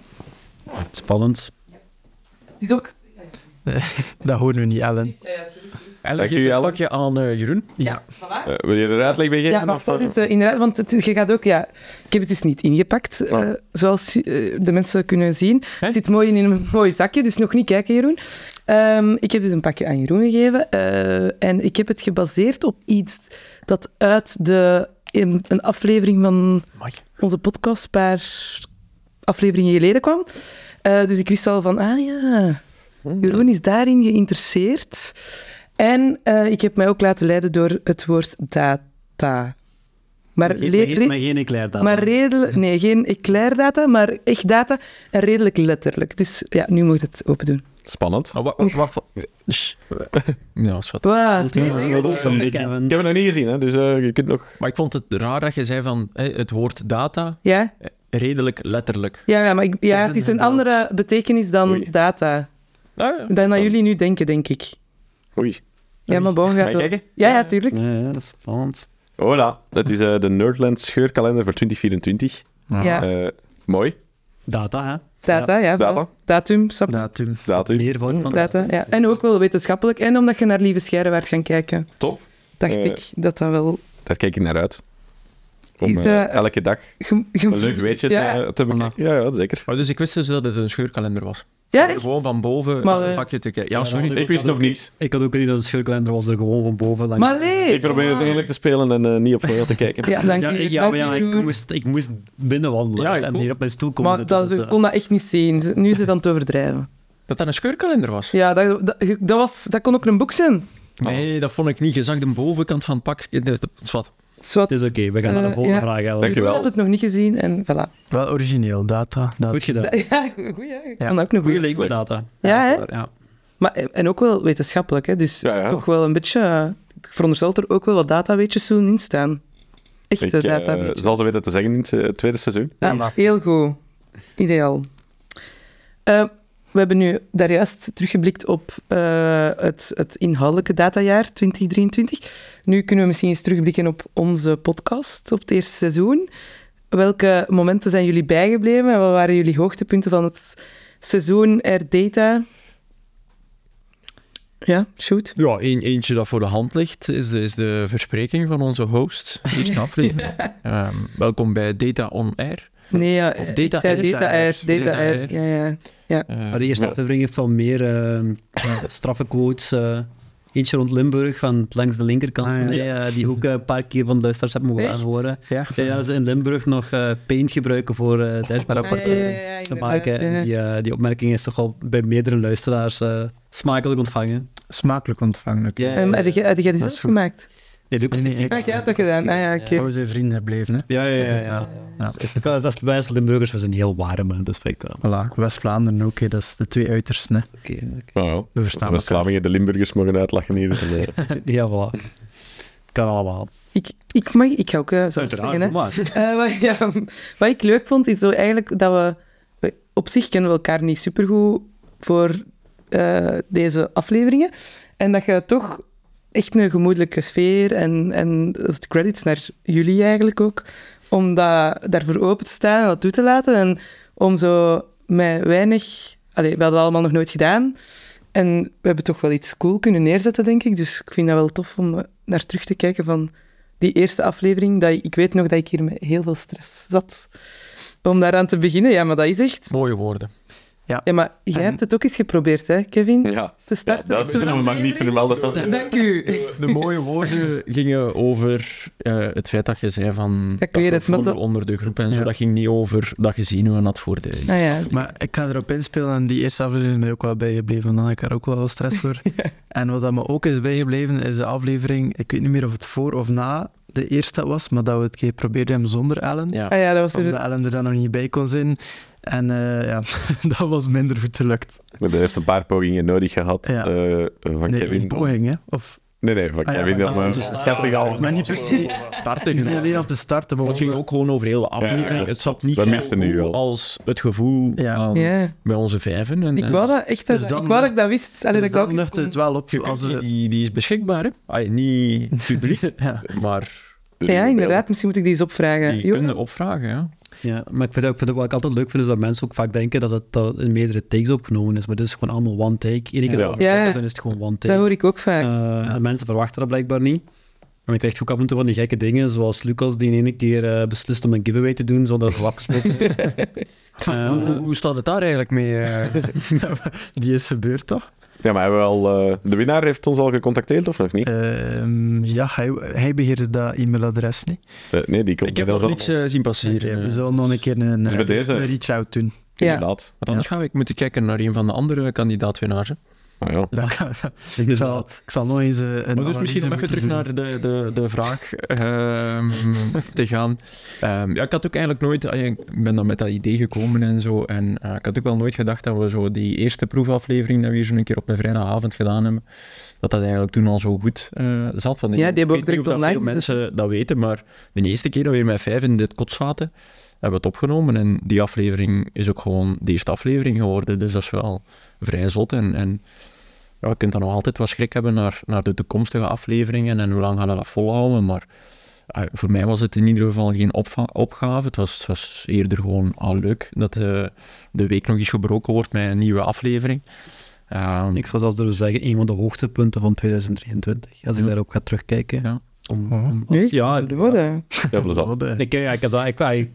E: Spannend.
A: Het is ook...
B: Dat horen we niet, Ellen.
C: Eigenlijk
D: Dank
C: geef je
D: jullie,
C: een
D: Ellen.
C: pakje aan eh, Jeroen.
B: Ja.
D: Eh, wil je er uitleg bij geven?
A: Ja, maar
D: Of,
A: dat
D: eh,
A: is eh, inderdaad, want het, je gaat ook, ja, ik heb het dus niet ingepakt, eh,
D: Ah.
A: zoals eh, de mensen kunnen zien.
C: Hè?
A: Het zit mooi in een mooi zakje, dus nog niet kijken, Jeroen. Ehm, ik heb dus een pakje aan Jeroen gegeven eh, en ik heb het gebaseerd op iets dat uit de, in een aflevering van
C: Amai.
A: onze podcast een paar afleveringen geleden kwam. Eh, dus ik wist al van, ah ja, Jeroen is daarin geïnteresseerd. En eh, ik heb mij ook laten leiden door het woord data. Maar,
E: Geen-
A: le-
E: maar
A: re-
E: geen- Maar geen eclair dan.
A: maar redelijk... Nee, geen eclair data, maar echt data. En redelijk letterlijk. Dus ja, nu moet je het open doen.
D: Spannend.
C: Oh, wa- wa- wa- wa- Sst. Ja, schat.
A: Wow.
D: Ik heb het nog niet gezien, hè? dus eh, je kunt nog...
C: Maar ik vond het raar dat je zei van eh, het woord data
A: Ja?
C: eh, redelijk letterlijk.
A: Ja, ja, maar ik, ja, het is een andere betekenis dan
D: Oei. Oh.
A: data.
C: Ah, ja.
A: Dan dat jullie nu denken, denk ik.
D: Oei.
A: Ja, maar boven
D: Ga
A: gaat
D: je
A: wel-
D: kijken?
A: Ja, ja, tuurlijk.
E: Ja, ja, dat is spannend.
D: Hola, dat is eh, de Nerdland scheurkalender voor 2024.
A: Ja,
D: Eh, mooi,
E: Data, hè?
A: data, ja.
D: Data.
A: voilà. Datum, snap je?
B: Datum.
D: datum.
E: Meer voor van
A: Data, ja. En ook wel wetenschappelijk. En omdat je naar Lieve Scheire werd gaan kijken,
D: Top.
A: dacht
D: Eh,
A: ik dat dat wel...
D: Daar kijk ik naar uit. Om
A: Is,
D: eh,
A: eh,
D: elke dag
A: ge- ge-
D: een leuk weetje
A: ja.
D: te, te bekijken. Ja, ja, zeker.
C: Oh, dus ik wist dus dat het een scheurkalender was.
A: Ja, echt?
C: Gewoon van boven
A: Maar,
C: maar,
A: eh,
C: pakje te kijken. Ja,
E: ja,
C: sorry.
E: want
D: Ik wist nog niets.
E: Ik had ook niet dat een scheurkalender was er gewoon van boven. langs-
A: Maar nee!
D: Ik probeer het eerlijk te spelen en eh, niet op voorbeeld te kijken.
A: Ja, dank
E: ja,
A: je.
E: ik, ja,
A: dank
E: maar ja,
A: je,
E: ik
A: Jeroen.
E: moest, ik moest binnenwandelen
C: Ja, ik
E: en
C: ook.
E: hier op mijn stoel komen
A: Maar
E: zitten.
A: dat,
E: dus,
A: ik
E: eh,
A: kon dat echt niet zien. Nu is het aan het overdrijven.
C: Dat dat een scheurkalender was.
A: Ja, dat, dat, dat was, dat kon ook een boek zijn. Ah.
C: Nee, dat vond ik niet. Je zag de bovenkant van het pak. Eh, dat- dat is wat.
A: Zwat,
E: Het is oké, we gaan
A: Eh,
E: naar de volgende
A: ja.
E: vraag. Ellen.
D: Dank
A: ik
D: je wel.
A: had het nog niet gezien en voilà.
B: Wel origineel, data. data.
E: Goed gedaan.
A: Ja, goed, ja. Ik
B: Ja.
A: kan dat ook nog
E: Goeie
A: goed.
E: link met data.
A: Ja,
E: dat
A: hè?
E: is waar, ja.
A: Maar, eh, en ook wel wetenschappelijk, hè? dus
D: Ja, ja.
A: toch wel een beetje... eh, Ik veronderstel dat er ook wel wat dataweetjes zullen in staan.
D: Ik
A: Echte
D: eh,
A: dataweetjes.
D: zal ze weten te zeggen in het eh, tweede seizoen.
A: Ah, heel goed. Ideaal. Eh, we hebben nu daarjuist teruggeblikt op eh, het, het inhoudelijke datajaar 2023. Nu kunnen we misschien eens terugblikken op onze podcast, op het eerste seizoen. Welke momenten zijn jullie bijgebleven en wat waren jullie hoogtepunten van het seizoen Air Data? Ja, shoot.
C: Ja, een, eentje dat voor de hand ligt, is de, is de verspreking van onze host. Eerste aflevering. Ehm, welkom bij Data On Air.
A: Nee, ja,
C: Of
A: ik
C: data
A: zei
C: air.
A: data air, data
C: Data air.
A: air. Ja, ja.
C: Eh,
E: Maar de eerste
D: Ja.
E: aflevering heeft wel meer eh, straffe quotes. eh, eentje rond Limburg, van langs de linkerkant.
B: Ah, ja.
E: Nee, eh, die ook eh, een paar keer van de luisteraars hebben mogen
A: Echt?
E: aanhoren.
C: ja.
E: Ja, ja, dat ze in Limburg nog eh, paint gebruiken voor eh dashboardapparatuur
A: Ah, Ja, ja, ja, ja,
E: te
A: inderdaad,
E: maken. En
A: ja.
E: die, eh, die opmerking is toch al bij meerdere luisteraars eh, smakelijk ontvangen.
B: Smakelijk ontvangen. oké.
E: Ja, ja.
A: Ehm, Heb je heb je dit zelf
B: goed.
A: gemaakt?
E: Nee, Lucas.
B: Nee, nee, ik-
A: Ah, jij hebt dat gedaan. Ah, ja, oké.
B: Ik wou zijn vrienden blijven, hè.
E: Ja, ja, ja. ja.
B: Ja.
E: Ik kan- dat is- Wij als Limburgers we zijn heel warm, dus vind ik wel.
B: Voilà, West-Vlaanderen ook, hè. dat is de twee uitersten. Hè.
E: Oké, oké.
D: Nou, ja.
B: We
D: Als de
B: verstaan elkaar.
D: West-Vlamingen de Limburgers mogen uitlachen hier. dan, eh,
E: Ja, voilà. Kan allemaal.
A: Ik, ik, mag, ik ga ook eh, zelf zeggen, hè.
E: doe maar.
A: Eh, wat, ja, wat ik leuk vond, is zo eigenlijk dat we... we- Op zich kennen we elkaar niet supergoed voor eh, deze afleveringen. En dat je toch echt een gemoedelijke sfeer... En, en het credits naar jullie eigenlijk ook. Om dat, daarvoor open te staan en dat toe te laten. En om zo met weinig... Allee, we hadden dat allemaal nog nooit gedaan. En we hebben toch wel iets cool kunnen neerzetten, denk ik. Dus ik vind dat wel tof om eh, naar terug te kijken van die eerste aflevering, dat ik, ik weet nog dat ik hier met heel veel stress zat om daaraan te beginnen. Ja, maar dat is echt...
C: mooie woorden.
A: Ja, maar jij hebt het ook eens geprobeerd, hè, Kevin?
D: ja.
A: Te
D: ja,
A: starten.
D: dat
A: met
D: is
A: zo'n
D: mag niet
A: aflevering.
D: vermelden. Van,
A: Dank u.
C: De mooie woorden gingen over eh, het feit dat je zei van...
A: ik weet
C: je
A: het, maar
C: voelde
A: dat-
C: onder de groep en zo.
B: Ja.
C: Dat ging niet over dat je zenuwen had voor de...
A: Ah ja.
B: Maar ik ga erop inspelen en die eerste aflevering is mij ook wel bijgebleven, want dan had ik er ook wel wat stress voor. En wat dat me ook is bijgebleven, is de aflevering, ik weet niet meer of het voor of na de eerste was, maar dat we het keer probeerden hem zonder Ellen.
C: Ja.
A: Ah ja, dat was...
B: Omdat Ellen er dan nog niet bij kon zijn. En eh, ja, dat was minder goed gelukt.
D: Maar hij heeft een paar pogingen nodig gehad
B: Ja.
D: eh, van
B: Nee,
D: Kevin.
B: één poging, hè? Of
D: Nee, nee, van
B: Ah, ja,
D: Kevin.
B: maar-
D: dat maar-
B: dus-
C: ik al.
B: maar niet per se
C: Starten.
B: nee, nee, op de start.
C: Maar het ging ook gewoon over heel de aflevering.
D: klopt.
C: het zat niet
D: Dat miste nu
C: zo
D: wel.
C: als het gevoel
B: Ja.
C: aan-
A: Ja.
C: bij onze vijven. En,
A: Ik
C: en-
A: wou dat echt...
B: dus
A: ik
B: dan-
A: wou dat ik dat wist. Allee, dat
B: Dus dan
A: ik dat ook
B: lucht
A: eens
B: het wel op.
C: Je kunt
B: Als
C: die-
B: we,
C: die, die is beschikbaar, hè? Ay, niet publiek,
B: ja.
C: maar
A: kon- Ja, inderdaad. Misschien moet ik die eens opvragen.
C: die
A: Jo.
C: kunnen opvragen. Ja.
E: Ja, maar ik vind, ook- ik vind ook- wat ik altijd leuk vind, is dat mensen ook vaak denken dat het, dat het in meerdere takes opgenomen is. Maar dit is gewoon allemaal one take. Iedere keer
D: Ja.
E: dat we vertrokken
A: Ja.
E: zijn, is het gewoon one
A: Dat
E: take.
A: hoor ik ook vaak.
E: Eh, en mensen verwachten dat blijkbaar niet. En je krijgt ook af en toe van die gekke dingen, zoals Lucas die in ene keer eh, beslist om een giveaway te doen zonder dat het afgesproken is. Eh,
C: Hoe, hoe staat het daar eigenlijk mee? eh?
B: Die is gebeurd, toch?
D: Ja, maar hebben we al, eh, de winnaar heeft ons al gecontacteerd of nog niet?
B: Ehm, ja, hij, hij beheerde dat e-mailadres niet.
D: Eh, nee, die komt
C: ik heb
D: er
C: nog
D: wel
C: niks eh, zien passeren.
B: We
C: eh.
B: zullen nog een keer een,
D: Dus bij
B: eh,
D: deze-
B: een reach-out doen.
A: ja.
D: Inderdaad.
C: Want anders ga ik moeten kijken naar een van de andere kandidaat-winnaars. hè.
D: Ah, ja.
B: Dat kan- ik,
E: dus
B: zal,
E: dat-
B: ik zal nog eens eh, een
C: Maar dus misschien om even terug naar de, de, de vraag ehm, te gaan. Ehm, ja, ik had ook eigenlijk nooit, ah, ja, ik ben dan met dat idee gekomen en zo. En eh, ik had ook wel nooit gedacht dat we zo die eerste proefaflevering, dat we hier zo'n keer op een vrijdagavond gedaan hebben, dat dat eigenlijk toen al zo goed eh, zat. Want ik-
A: Ja, die hebben ook
C: ik weet niet
A: direct
C: of dat
A: online
C: veel mensen dat weten, maar de eerste keer dat we hier met vijf in dit kot zaten, hebben we het opgenomen. En die aflevering is ook gewoon de eerste aflevering geworden. Dus dat is wel vrij zot. En, en ja, je kunt dan nog altijd wat schrik hebben naar, naar de toekomstige afleveringen en hoe lang gaan we dat volhouden. Maar eh, voor mij was het in ieder geval geen opva- opgave. Het was, het was eerder gewoon al leuk dat eh, de week nog eens gebroken wordt met een nieuwe aflevering. Ehm,
E: ik zou zelfs durven zeggen, een van de hoogtepunten van 2023, als ik
C: Ja.
E: daarop ga terugkijken.
C: Ja.
E: Om,
B: Oh.
E: om-
A: Nee,
E: ja,
A: dat worden.
D: Ja, plezant.
B: eh,
E: Ik, ja, ik heb dat, ik, ik,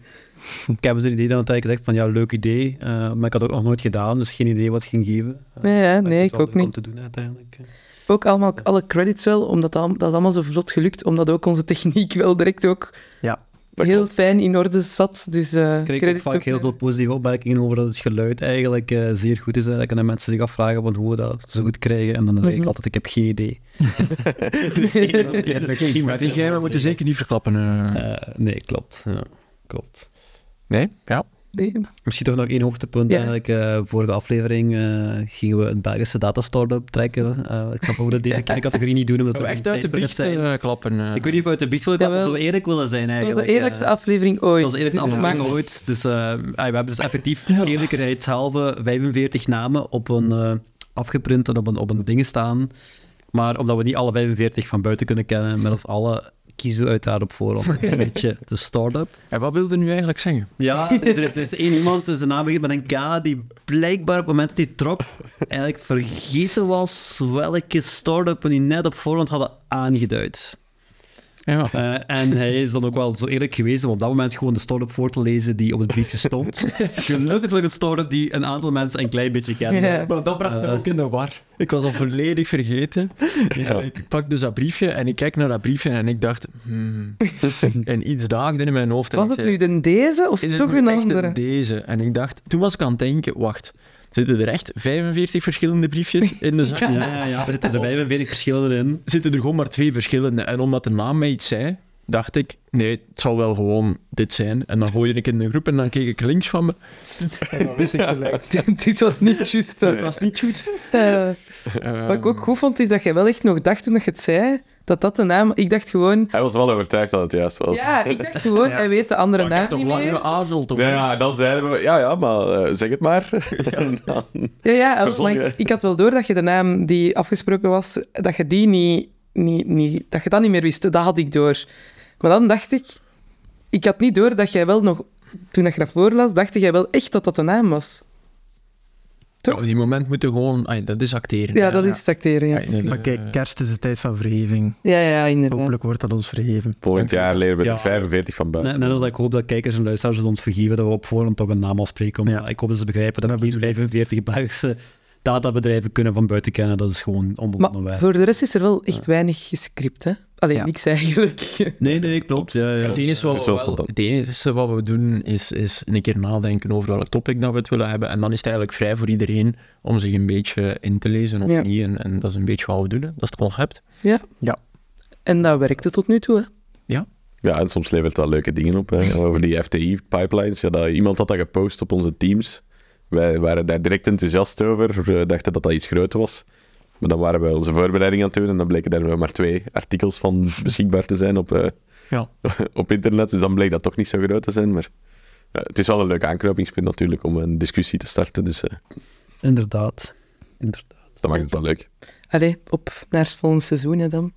E: ik heb zo'n idee dan uiteindelijk gezegd van ja, leuk idee, eh, maar ik had het ook nog nooit gedaan, dus geen idee wat het ging geven. Eh,
A: Nee, ja,
E: maar
A: nee,
E: vind het
A: ik
E: wel
A: ook
E: leuk
A: niet.
E: Om te doen uiteindelijk. eh.
A: Ook allemaal alle credits wel, omdat dat, dat is allemaal zo vlot gelukt, omdat ook onze techniek wel direct ook
B: Ja.
D: Dat
A: heel
D: klopt.
A: fijn in orde zat. Dus eh
E: Ik kreeg ook
A: credits
E: vaak
A: ook
E: heel
A: naar-
E: veel positieve opmerkingen over dat het geluid eigenlijk eh, zeer goed is. Eigenlijk. En dat mensen zich afvragen van hoe we dat zo goed krijgen. En dan zeg ik
A: Mhm.
E: altijd, ik heb geen idee. Dus
C: Maar die geheimen moeten zeker niet verklappen. eh.
E: Eh, nee, klopt. Ja, klopt.
C: Nee? Ja.
A: Nee.
E: Misschien toch nog één hoogtepunt.
A: Ja.
E: Eigenlijk, eh, vorige aflevering eh, gingen we een Belgische datastore optrekken. Eh, ik snap ook dat deze kleine categorie niet doen, omdat
C: Zou
E: we
C: we echt uit de biecht
E: zijn.
C: eh, klappen. eh.
E: Ik weet niet of we uit de biecht willen klappen,
A: Jawel.
E: of we eerlijk willen zijn
A: Dat was
E: eigenlijk.
A: de eerlijkste
E: eh.
A: aflevering ooit.
E: Dat is eerlijk
A: Dus het
E: aflevering
A: maakt-
E: ooit. Dus eh, ah, we hebben dus effectief eerlijkheidshalve 45 namen op een eh, afgeprint en op een, op een ding staan. Maar omdat we niet alle 45 van buiten kunnen kennen, met ons allen, kiezen we uiteraard op voorhand een beetje de start-up.
C: En wat wilde nu eigenlijk zeggen?
E: Ja, er is, er is één iemand, zijn naam begint met een K, die blijkbaar op het moment dat hij trok eigenlijk vergeten was welke start-up we die net op voorhand hadden aangeduid.
C: Ja.
E: Eh, en hij is dan ook wel zo eerlijk geweest om op dat moment gewoon de start-up voor te lezen die op het briefje stond. Gelukkig een start-up die een aantal mensen een klein beetje kennen.
A: Ja.
C: Maar dat bracht me ook in de war. Eh, Ik was al volledig vergeten. Ja, ik pak dus dat briefje en ik kijk naar dat briefje en ik dacht... hmm. en iets daagde in mijn hoofd. en
A: Was
C: ik
A: het
C: zei,
A: nu de deze of
C: is het
A: toch
C: nu
A: een
C: echt
A: andere?
C: deze? En ik dacht... Toen was ik aan het denken, wacht. Zitten er echt 45 verschillende briefjes in de zak?
E: Ja, ja, ja, er zitten er 45 verschillen in.
C: Zitten er gewoon maar twee verschillende. En omdat de naam mij iets zei, dacht ik... Nee, het zal wel gewoon dit zijn. En dan gooide ik in de groep en dan keek ik links van me. En dan wist ik gelijk.
A: Dit was niet juist.
C: Het was niet goed.
A: Eh, wat ik ook goed vond, is dat jij wel echt nog dacht toen dat je het zei, dat dat de naam... Ik dacht gewoon...
D: Hij was wel overtuigd dat het juist was.
A: Ja, ik dacht gewoon, hij weet de andere
C: Maar ik heb
A: naam
C: toch
A: niet
C: lang
A: meer.
C: geazeld? of
D: Ja,
C: niet?
D: ja, dan zeiden we, ja, ja, maar eh, zeg het maar. En dan-
A: Ja, ja,
D: Verzon
A: maar
D: je.
A: ik, ik had wel door dat je de naam die afgesproken was, dat je die niet, niet, niet, dat je dat niet meer wist. Dat had ik door. Maar dan dacht ik, ik had niet door dat jij wel nog, toen dat je dat voorlas, dacht jij wel echt dat dat de naam was.
C: Ja, op die moment moeten gewoon... ai, dat is acteren.
A: Ja, dat is tracteren, ja.
C: Ai, nee,
B: Maar
C: eh,
B: kijk, kerst is de tijd van verheving.
A: Ja, ja, inderdaad.
B: Hopelijk wordt dat ons verheven.
D: Volgend jaar leren we
E: Ja.
D: er 45 van buiten.
E: Net, net als dat ik hoop dat kijkers en luisteraars het ons vergeven dat we op voorhand toch een naam afspreken. Omdat
B: Ja.
E: Ik hoop dat ze begrijpen dat
B: Dat
E: we die 45 Belgische databedrijven kunnen van buiten kennen. Dat is gewoon onbegonnen
A: Maar
E: werk.
A: voor de rest is er wel echt weinig gescript, hè? Alleen
B: Ja.
A: niks eigenlijk.
E: Nee, nee, klopt. Ja, ja.
C: Het enige, wat we
D: Het is wel
C: wel-
D: spontaan.
C: het enige wat we doen is, is een keer nadenken over welk topic dat we het willen hebben. En dan is het eigenlijk vrij voor iedereen om zich een beetje in te lezen of
A: Ja.
C: niet. En, en dat is een beetje wat we doen. hè. Dat is het concept.
A: En dat werkte tot nu toe, hè?
D: Ja, en soms levert dat leuke dingen op. Hè. Over die FTI-pipelines. Ja, dat, iemand had dat gepost op onze teams. Wij waren daar direct enthousiast over. We dachten dat dat iets groter was. Maar dan waren we onze voorbereiding aan het doen. En dan bleken er maar twee artikels van beschikbaar te zijn op, eh,
C: Ja.
D: op internet. Dus dan bleek dat toch niet zo groot te zijn. Maar ja, het is wel een leuk aanknopingspunt natuurlijk om een discussie te starten. Dus eh,
E: Inderdaad. Inderdaad.
D: dat maakt het wel leuk.
A: Allee, op naar het volgende seizoen hè, dan.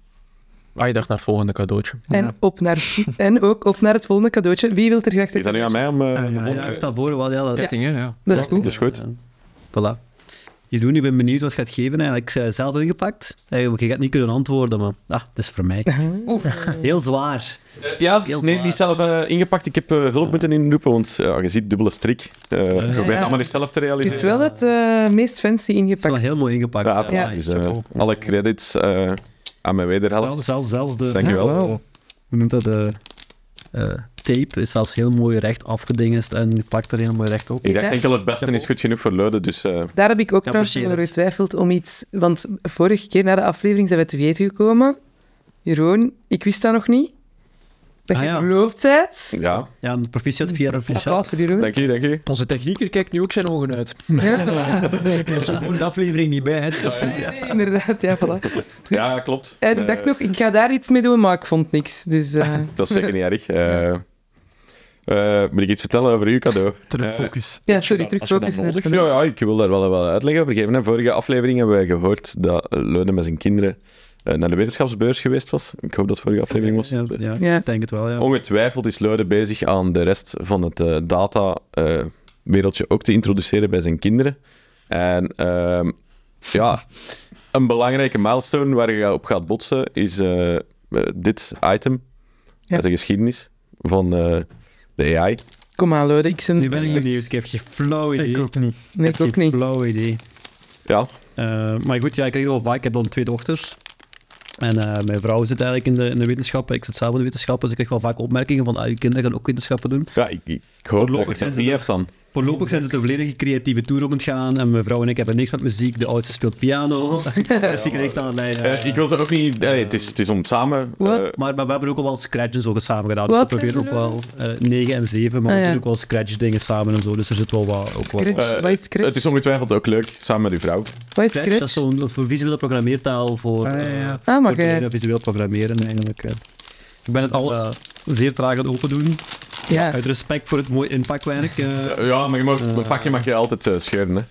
C: Ah, je dacht naar het volgende cadeautje.
A: En, op naar, en ook op naar het volgende cadeautje. Wie wil er graag...
D: Is dat nu aan mij om... eh,
B: Eh, ja,
E: Ja, ik sta voor wel. Ja, dat-
C: Ketting, hè? Ja.
A: Dat is goed.
D: Dat is goed.
E: Ja. Voilà. Jeroen, ik ben benieuwd wat je gaat geven. Eigenlijk eh, zelf ingepakt. Eigenlijk, je gaat niet kunnen antwoorden, maar ah, het is voor mij. Heel zwaar.
D: Ja,
E: Heel
D: nee,
E: zwaar.
D: die is zelf eh, ingepakt. Ik heb eh, hulp moeten inroepen, want ja, je ziet dubbele strik. Eh je probeert
A: ja.
D: allemaal niet zelf te
A: Het
D: realiseren.
A: is wel het eh, meest fancy
E: Wel
A: ingepakt.
E: heel mooi ingepakt.
D: Ja,
E: Ja,
D: voilà.
E: ja.
D: Dus, eh, alle credits eh, aan mijn wederhelft.
A: dus
E: Zelfs, zelfs, zelfs de,
D: Dankjewel.
E: hoe noemt dat, de eh, tape is zelfs heel mooi recht afgedingest en pakt er heel mooi recht op.
D: Ik dacht
A: Ja.
D: enkel het beste is goed genoeg voor Leuden, dus eh,
A: Daar heb ik ook trouwens
E: apprecieer
A: over
E: het.
A: getwijfeld om iets... Want vorige keer na de aflevering zijn we te weten gekomen. Jeroen, ik wist dat nog niet. Dat
E: Ah,
A: je
E: ja.
A: verloofd bent.
D: ja.
E: Ja, een proficiat via
A: Applaus
E: proficiat.
A: voor Jeroen.
D: Dank u, dank u.
C: Onze technieker kijkt nu ook zijn ogen uit. Er zit gewoon de aflevering niet bij. Hè.
A: Nee, nee, inderdaad, ja, voilà.
D: Ja, klopt.
A: En ik dacht
D: Eh,
A: nog, ik ga daar iets mee doen, maar ik vond niks. Dus eh,
D: Dat is zeker niet erg. Eh, eh, moet ik iets vertellen over uw cadeau?
B: Terug
D: Eh,
B: focus.
A: ja, sorry,
C: Als je
A: terug
C: dat
A: focus
C: nodig
A: naar
D: Ja, ja, ik wil daar wel, wel uitleg over geven. In vorige aflevering hebben wij gehoord dat Leuden met zijn kinderen eh, naar de wetenschapsbeurs geweest was. Ik hoop dat het vorige aflevering was.
E: Ja, ja,
A: Ja.
E: ik denk het wel,
D: Oh,
E: ja.
D: Ongetwijfeld is Leuden bezig aan de rest van het eh, data datawereldje ook te introduceren bij zijn kinderen. En ehm, ja, een belangrijke milestone waar je op gaat botsen is eh, eh, dit item
A: Ja.
D: uit de geschiedenis van eh, de AI.
A: Kom aan, Lode, ik zin...
E: Nu ben ik benieuwd, ik heb geen flauw idee.
B: Ik ook niet.
A: Nee, ik ook niet.
E: flauw idee.
D: Ja,
E: Eh, maar goed, ja, ik kreeg het al vaak. Ik heb dan twee dochters. En eh, mijn vrouw zit eigenlijk in de, in de wetenschappen, ik zit zelf in de wetenschappen, dus ik krijg wel vaak opmerkingen van, ah, je kinderen gaan ook wetenschappen doen.
D: Ja, ik, ik hoor dat
E: Voorlopig
D: ik
E: zijn
D: dat
E: ze
D: niet
E: nog-
D: heb dan.
E: Voorlopig zijn ze de volledige creatieve tour op het gaan en mijn vrouw en ik hebben niks met muziek, de oudste speelt piano, dus die krijgt aan het leiden.
D: Eh, ik wil er ook niet... eh, het, is, het is om samen...
A: Wat?
D: eh,
E: Maar, maar we hebben ook al wel scratches ook eens samen gedaan. Dus we
A: Wat?
E: proberen ook wel eh 9 en 7, maar
A: Ah,
E: we
A: ja.
E: doen ook wel scratch dingen samen en zo. Dus er zit wel wat. Ook wat
A: Scratch?
D: eh,
A: Wat is Scratch?
D: het is ongetwijfeld ook leuk, samen met uw vrouw.
A: Wat is
E: Scratch, dat
A: Scratch?
E: is zo'n voor visuele programmeertaal voor,
B: Ah, ja,
E: eh,
B: ja.
A: Ah,
E: voor
A: maar jij-
E: leren visueel programmeren eigenlijk. eh. Ik ben het alles zeer traag aan het open doen.
A: Ja.
E: Uit respect voor het mooie inpakwerk. eh.
D: Ja, maar je mag, een pakje mag je altijd eh, scheuren, hè.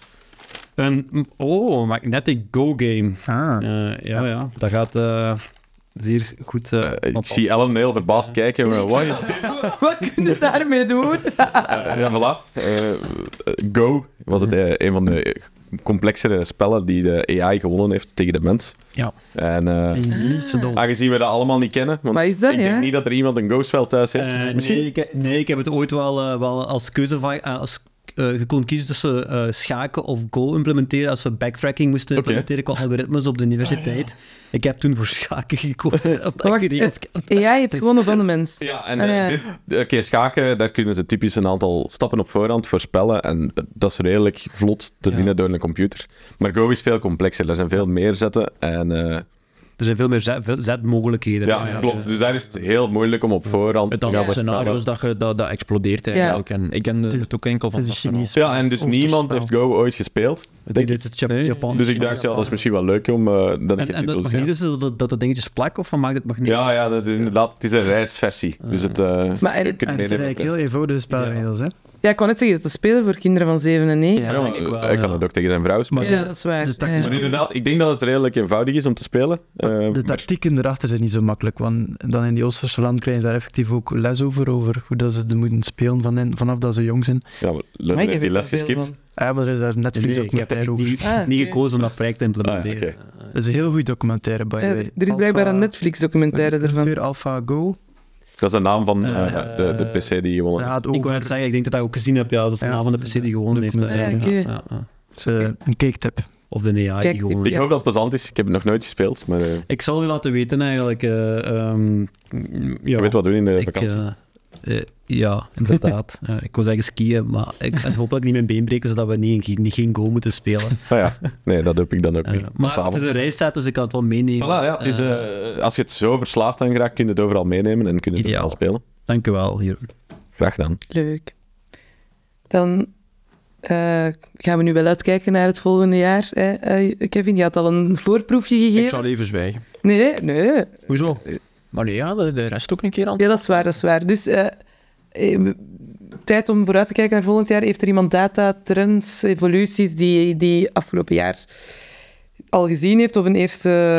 E: En, mm, oh, Magnetic Go Game.
B: Ah,
E: Eh, ja, ja, dat gaat eh, zeer goed. eh,
D: Eh, ik
E: want-
D: zie Ellen heel verbaasd kijken. maar Wat is dit?
A: Wat kun je daarmee doen?
D: Eh, ja, voilà. Eh, eh, Go was het, eh, een van de complexere spellen die de AI gewonnen heeft tegen de mens.
E: Ja.
D: En eh,
B: niet zo dom.
D: aangezien we dat allemaal niet kennen, want
A: Wat is dat,
D: ik denk
A: ja?
D: niet dat er iemand een Go-spel thuis heeft.
E: Eh,
D: Misschien
E: nee, ik, he- nee, ik heb het ooit wel, eh, wel als keuze van. eh, als, eh, je kon kiezen tussen eh, schaken of Go implementeren als we backtracking moesten
D: Oké.
E: implementeren qua algoritmes op de universiteit. Ik heb toen voor schaken gekozen. omdat ik
A: Wacht,
E: die regels ken.
A: AI heeft gewonnen van de mens.
D: Ja, en
A: Ah,
D: eh,
A: ja.
D: dit, oké, schaken, daar kunnen ze typisch een aantal stappen op voorhand voorspellen. En eh, dat is redelijk vlot te winnen door een computer. Maar Go is veel complexer, daar zijn veel meer zetten. En, eh,
E: Er zijn veel meer zet- veel zetmogelijkheden.
D: ja, klopt. Dus daar is het heel moeilijk om op voorhand
C: Het
D: te gaan
C: aantal
D: voorspellen.
E: dus
C: scenario's dat, je- dat, dat explodeert eigenlijk. En ik ken de-
B: is-
C: het ook enkel van
B: Het is een
C: dat
B: Chinees.
D: Ja, en dus
B: Of
D: niemand
B: spel.
D: heeft Go ooit gespeeld.
E: Die deed het Jap- Japan.
D: Dus ik dacht, ja, dat is misschien wel leuk om eh, dat ik het
E: En, en dat
D: titel
E: mag niet dus dat, dat de dingetjes plakken of van maakt het mag niet.
D: Ja, ja, dat is inderdaad, het is een reisversie. Dus het, eh
A: Maar en-
D: je kunt
B: En het
D: meenemen
B: zijn
D: op
B: eigenlijk heel
D: reis.
B: eenvoudige spelregels, hè?
A: Ja, ik kon net zeggen, dat is spelen voor kinderen van 7 en 9.
E: Ja,
A: Ja,
D: Ja,
E: denk ik wel,
D: maar Hij kan
E: ja.
D: het ook tegen zijn vrouw spelen.
B: Maar
A: dat
B: de,
A: is waar.
B: de
A: Ja,
B: tactische-
A: ja.
D: Maar inderdaad, ik denk dat het redelijk eenvoudig is om te spelen. Eh,
E: dus Ehm,
B: de tactieken erachter zijn niet zo makkelijk, want dan in die Oosterse land krijgen ze daar effectief ook les over, over hoe dat ze het moeten spelen van in- vanaf dat ze jong zijn.
D: Ja, maar Luther
A: Maar ik
D: heeft
A: heb
D: die
A: er
D: les
A: veel
D: geskipt.
A: van.
B: Ja, maar er is daar Netflix
E: Nee,
B: ook
E: ik heb
B: documentaire
E: echt
B: over.
E: niet,
A: Ah,
E: niet
A: oké.
E: gekozen om dat project te implementeren.
D: Ah,
B: Dat is een heel goed documentaire, by the
A: Ja,
B: way.
A: Eh, er is blijkbaar
B: Alpha-
A: een Netflix-documentaire
B: Dat is
A: ervan.
B: Weer AlphaGo.
D: Dat is de naam van eh,
E: Eh,
D: de, de PC die
B: Dat
D: gewonnen heeft.
B: gaat
E: Ik wou
B: over
E: net zeggen, ik denk dat dat ook gezien heb. Ja, dat is de
B: Ja.
E: naam van de PC die gewonnen heeft.
B: Documentaire.
E: uiteindelijk.
A: Ja,
E: Ja, ja, ja.
B: eh, een caketip.
E: Of de AI
A: Kijk,
E: die gewonnen
D: Ik
E: heeft.
D: hoop dat het plezant is. Ik heb het nog nooit gespeeld, maar eh,
E: Ik zal je laten weten eigenlijk. eh, ehm, mm, ja,
D: je weet wat doen in de
E: ik,
D: vakantie.
E: eh, eh, ja, inderdaad. Eh, ik wil zeggen skiën, maar ik en hoop dat ik niet mijn been breek, zodat we niet, geen- niet geen go moeten spelen.
D: Ah ja, nee, dat doe ik dan ook
E: Eh,
D: niet.
E: maar het is
D: S'avonds.
E: een reis staat, dus ik kan het wel meenemen.
D: Voilà, ja, het is,
E: Eh,
D: eh, als je het zo verslaafd aan raakt, kun je het overal meenemen en kun je het
E: Ideaal.
D: overal spelen.
E: Dank u wel, hier.
D: Graag gedaan.
A: Leuk. Dan eh, gaan we nu wel uitkijken naar het volgende jaar. Hè? Eh, Kevin, je had al een voorproefje
C: Ik
A: gegeven.
C: zal even zwijgen.
A: Nee, nee, nee.
C: Hoezo? Maar nee, ja, de, de rest ook een keer aan.
A: Ja, dat is waar, dat is waar. Dus eh, eh, tijd om vooruit te kijken naar volgend jaar. Heeft er iemand data, trends, evoluties die, die afgelopen jaar al gezien heeft of een eerste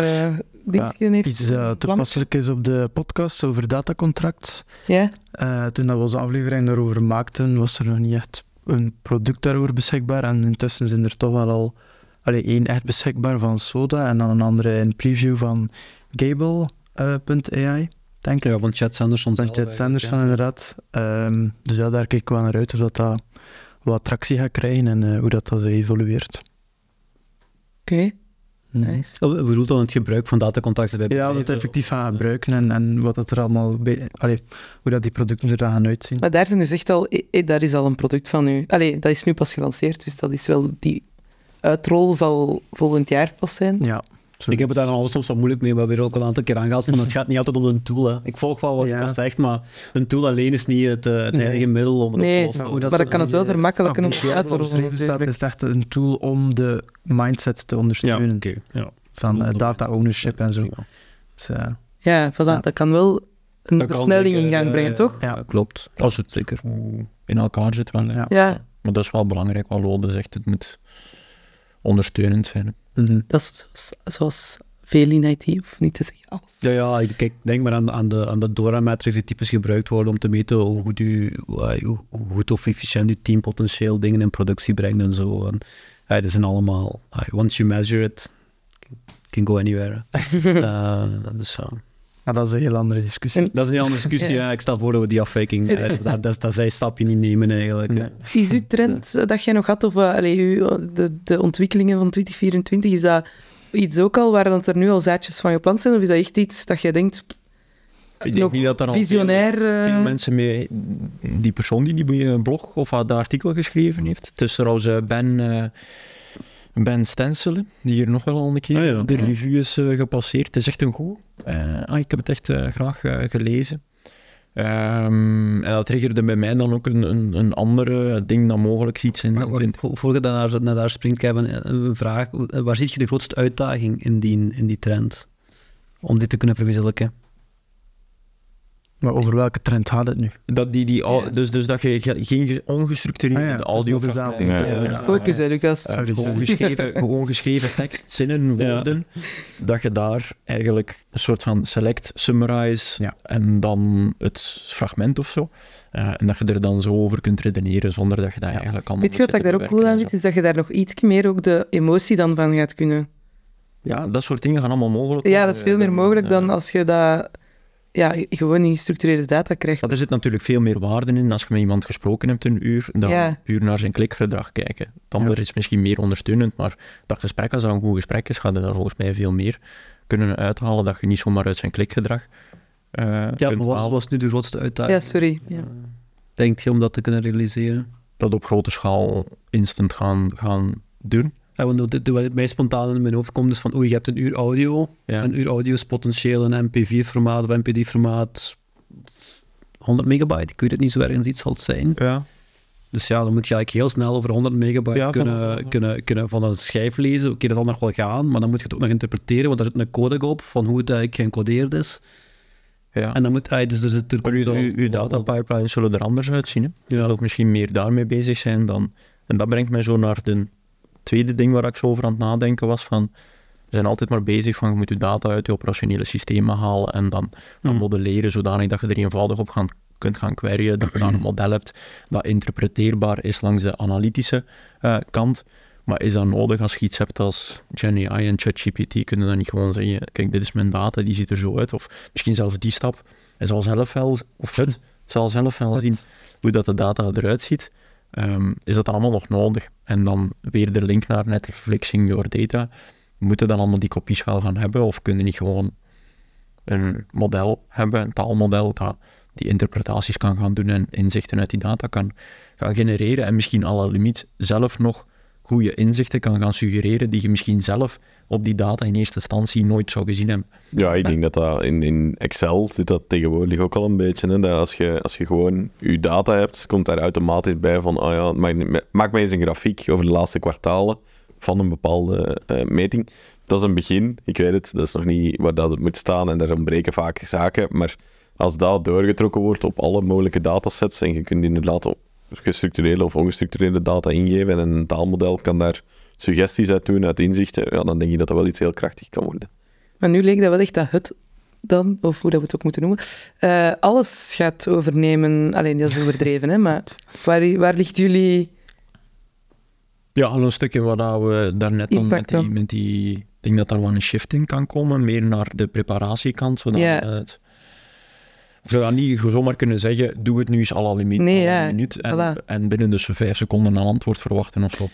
A: ding heeft?
B: Iets eh,
A: Plan?
B: toepasselijk is op de podcast over datacontracts.
A: Ja,
B: Eh, toen dat we onze aflevering daarover maakten, was er nog niet echt een product daarover beschikbaar. En intussen zijn er toch wel al allee, één echt beschikbaar van Soda en dan een andere in preview van eh, Gable.ai. denk ik.
E: Ja, van Chad Sanderson.
B: Dan
E: zelf
B: Jet
E: eigenlijk,
B: Sanders
E: ja.
B: dan inderdaad. Ehm, dus ja, daar kijk ik wel naar uit of dat, dat wat tractie gaat krijgen en eh, hoe dat, dat evolueert.
A: oké.
B: Mhm.
A: Nice.
E: Oh, bedoel dan het gebruik van datacontacten bij
B: Ja, dat
E: bedrijven?
B: effectief gaan gebruiken en, en wat dat er allemaal bij, allee, hoe dat die producten er dan gaan uitzien.
A: Maar daar zijn dus echt al, eh, eh, daar is al een product van nu. Allee, dat is nu pas gelanceerd, dus dat is wel die uitrol zal volgend jaar pas zijn.
B: Ja, zoiets.
E: Ik heb het daar dan al soms wat moeilijk mee, wat we er ook al een aantal keer aangehaald hebben. Het gaat niet altijd om een tool. Hè. Ik volg wel wat
B: Ja.
E: je zegt, maar een tool alleen is niet het, eh, het
B: Nee.
E: enige middel om het op
A: Nee,
E: te lossen.
B: maar hoe
A: Maar dat kan het wel
B: die, eh,
A: vermakkelijken om
B: op die
A: uit te
B: Gable
A: rollen.
B: omschreven staat, is het echt een tool om de mindset te
E: ja,
B: ondersteunen
E: oké, ja.
B: van eh, data ownership en zo.
E: Ja.
B: Dus, eh,
A: Ja, voilà,
B: Ja.
A: dat kan wel een
E: Dat kan
A: versnelling in
E: zeker,
A: gang
E: eh,
A: brengen, toch?
B: ja.
E: Klopt.
C: Als het zeker goed in elkaar zit wel. hè.
B: Ja.
A: Ja,
C: Maar dat is wel belangrijk wat Lode zegt. Het moet ondersteunend zijn. hè.
B: mhm.
A: Dat is z- zoals veel in IT, of niet te zeggen alles.
E: Ja, ja ik- kijk, denk maar aan, aan de, aan de DORA-matrix die typisch gebruikt worden om te meten hoe goed, u, eh, hoe, hoe goed of efficiënt uw team potentieel dingen in productie brengt en zo. En, ja, dat zijn allemaal, ah, once you measure it, can go anywhere. Eh, dat is zo.
B: Maar Ah, dat is een heel andere discussie.
E: Dat is een heel andere discussie.
A: Ja.
E: ja. Ik stel voor dat we die afwijking, eh, dat, dat, dat zij stapje niet nemen eigenlijk.
B: Nee.
A: Is uw trend eh, dat jij nog had, of eh, allee, uw, eh, de, de ontwikkelingen van 2024, is dat iets ook al waar dat er nu al zaadjes van geplant zijn? Of is dat echt iets dat jij denkt,
C: Ik
A: nog
C: denk niet dat er al
A: visionair... eh,
C: veel mensen mee, die persoon die die blog of dat artikel geschreven heeft. Het is trouwens eh, Ben, eh ben Stenselen, die hier nog wel al een keer
E: Ah, ja.
C: de
E: Ja.
C: review is eh, gepasseerd. Het is echt een goed. Eh, ah, ik heb het echt eh, graag eh, gelezen. Ehm, en dat triggerde bij mij dan ook een, een, een andere ding dan mogelijk iets in.
E: Maar wacht, vo- voor je daarnaar, naar daar springt, Kevin, eh, een vraag. Eh, Waar zie je de grootste uitdaging in die, in die trend? Om dit te kunnen verwezenlijken.
B: Maar over welke trend gaat het nu?
C: dat die, die, au-
A: Ja.
C: dus, dus dat je ge- geen ge- ongestructureerde
B: Ah ja, het is
C: audio
B: nog verzameld.
D: Ja.
A: Focus, hè, Lucas.
C: Eh,
B: Sorry,
C: gewoon,
B: sorry.
C: geschreven, gewoon geschreven tekst, zinnen,
E: Oh, dus, Ja.
C: woorden. Dat je daar eigenlijk een soort van select, summarize
B: Ja.
C: en dan het fragment of zo. Eh, en dat je er dan zo over kunt redeneren zonder dat je dat eigenlijk allemaal
A: Weet je wat
C: moet
A: ik daar ook
C: zitten
A: cool aan
C: bewerken
A: vind? Is dat je daar nog iets meer ook de emotie dan van gaat kunnen.
C: en zo. Ja, dat soort dingen gaan allemaal mogelijk.
A: Ja,
C: worden.
A: dat is veel meer mogelijk dan
C: eh,
A: als je dat ja, gewoon in gestructureerde data krijgt.
C: Want er zit natuurlijk veel meer waarde in als je met iemand gesproken hebt een uur, dan
A: Ja.
C: puur naar zijn klikgedrag kijken. Het ander is misschien meer ondersteunend, maar dat gesprek, als dat een goed gesprek is, gaat er daar volgens mij veel meer kunnen uithalen dat je niet zomaar uit zijn klikgedrag eh
E: Ja,
C: kunt
E: maar wat
C: halen.
E: was nu de grootste uitdaging?
A: Ja, sorry. Ja.
E: Denk je om dat te kunnen realiseren?
C: Dat op grote schaal instant gaan, gaan doen.
E: Ja, want de, de- wat mij spontaan in mijn hoofd komt is van, oei, je hebt een uur audio.
C: Ja.
E: Een uur audio is potentieel een MP4-formaat of MP3-formaat 100 megabyte. Ik weet het niet zo ergens iets zal het zijn.
C: Ja.
E: Dus ja, dan moet je eigenlijk heel snel over 100 megabyte
C: Ja,
E: kunnen,
C: vanaf-
E: kunnen, kunnen van een schijf lezen. Oké, dat zal nog wel gaan, maar dan moet je het ook nog interpreteren, want daar zit een codec op van hoe het eigenlijk geencodeerd is.
C: ja.
E: En dan moet hij dus... dus het, er
C: Maar uw,
E: komt wel-
C: uw, uw datapipelines zullen er anders uitzien. Hè? Je zal ook misschien meer daarmee bezig zijn dan... En dat brengt mij zo naar de tweede ding waar ik zo over aan het nadenken was van... We zijn altijd maar bezig van, je moet je data uit je operationele systemen halen en dan gaan
E: Hmm.
C: modelleren zodanig dat je er eenvoudig op gaan, kunt gaan queryen, dat je dan een model hebt dat interpreteerbaar is langs de analytische eh, kant. Maar is dat nodig als je iets hebt als GenAI en ChatGPT? Kunnen dan niet gewoon zeggen, kijk, dit is mijn data, die ziet er zo uit. Of misschien zelfs die stap. Hij zal zelf wel, of het, zal zelf wel zien hoe dat de data eruit ziet. Ehm, is dat allemaal nog nodig? En dan weer de link naar net flexing your data. Moeten dan allemaal die kopies wel gaan hebben? Of kunnen niet gewoon een model hebben, een taalmodel, dat die interpretaties kan gaan doen en inzichten uit die data kan gaan genereren en misschien alle limiet zelf nog goede inzichten kan gaan suggereren die je misschien zelf op die data in eerste instantie nooit zou gezien hebben.
D: Ja, ik denk dat dat in, in Excel zit dat tegenwoordig ook al een beetje. Hè? Dat als, je, als je gewoon je data hebt, komt daar automatisch bij van, oh ja, maak, niet- maak mij eens een grafiek over de laatste kwartalen van een bepaalde eh, meting. Dat is een begin, ik weet het, dat is nog niet waar dat het moet staan en daar ontbreken vaak zaken. Maar als dat doorgetrokken wordt op alle mogelijke datasets en je kunt inderdaad op gestructureerde of ongestructureerde data ingeven en een taalmodel kan daar suggesties uit doen, uit inzichten, ja, dan denk ik dat dat wel iets heel krachtig kan worden.
A: Maar nu leek dat wel echt dat het dan, of hoe dat we het ook moeten noemen, eh, alles gaat overnemen. Alleen dat is overdreven, hè, maar waar, waar ligt jullie...
C: Ja, al een stukje wat dat we daarnet dan met
A: Impact
C: die,
A: dan.
C: met die... Ik denk dat daar wel een shift in kan komen, meer naar de preparatiekant, zodat eh,
A: Ja.
C: het... Je gaat niet zomaar kunnen zeggen, doe het nu eens à la limiet,
A: Nee,
C: à la
A: ja,
C: minuut, en,
A: voilà.
C: en binnen dus vijf seconden een antwoord verwachten of zo.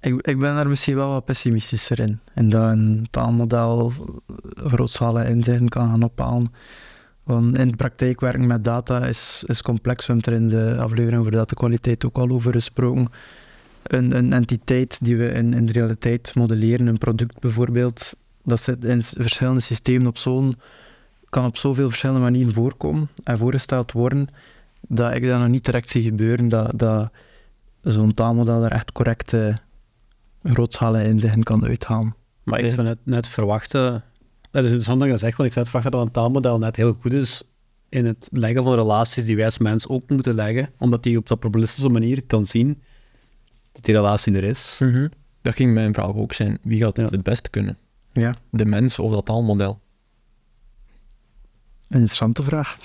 B: Ik, ik ben daar misschien wel wat pessimistischer in. En dat een taalmodel grootschalen inzichten kan gaan ophalen. Want in de praktijk werken met data is, is complex. We hebben er in de aflevering over datakwaliteit ook al over gesproken. Een, een entiteit die we in, in de realiteit modelleren, een product bijvoorbeeld, dat zit in s- verschillende systemen op zo'n, kan op zoveel verschillende manieren voorkomen en voorgesteld worden, dat ik dat nog niet direct zie gebeuren, dat, dat zo'n taalmodel er echt correct eh, grootschalen inzichten kan uithalen.
E: Maar ik zou net, net verwachten... Dat is interessant dat je dat zegt, want ik zou verwachten dat een taalmodel net heel goed is in het leggen van relaties die wij als mens ook moeten leggen, omdat die op zo'n probabilistische manier kan zien dat die relatie er is.
B: Mhm,
C: Dat ging mijn vraag ook zijn. Wie gaat dit
E: Ja.
C: het best kunnen?
B: Ja,
C: De mens of dat taalmodel?
B: een interessante vraag.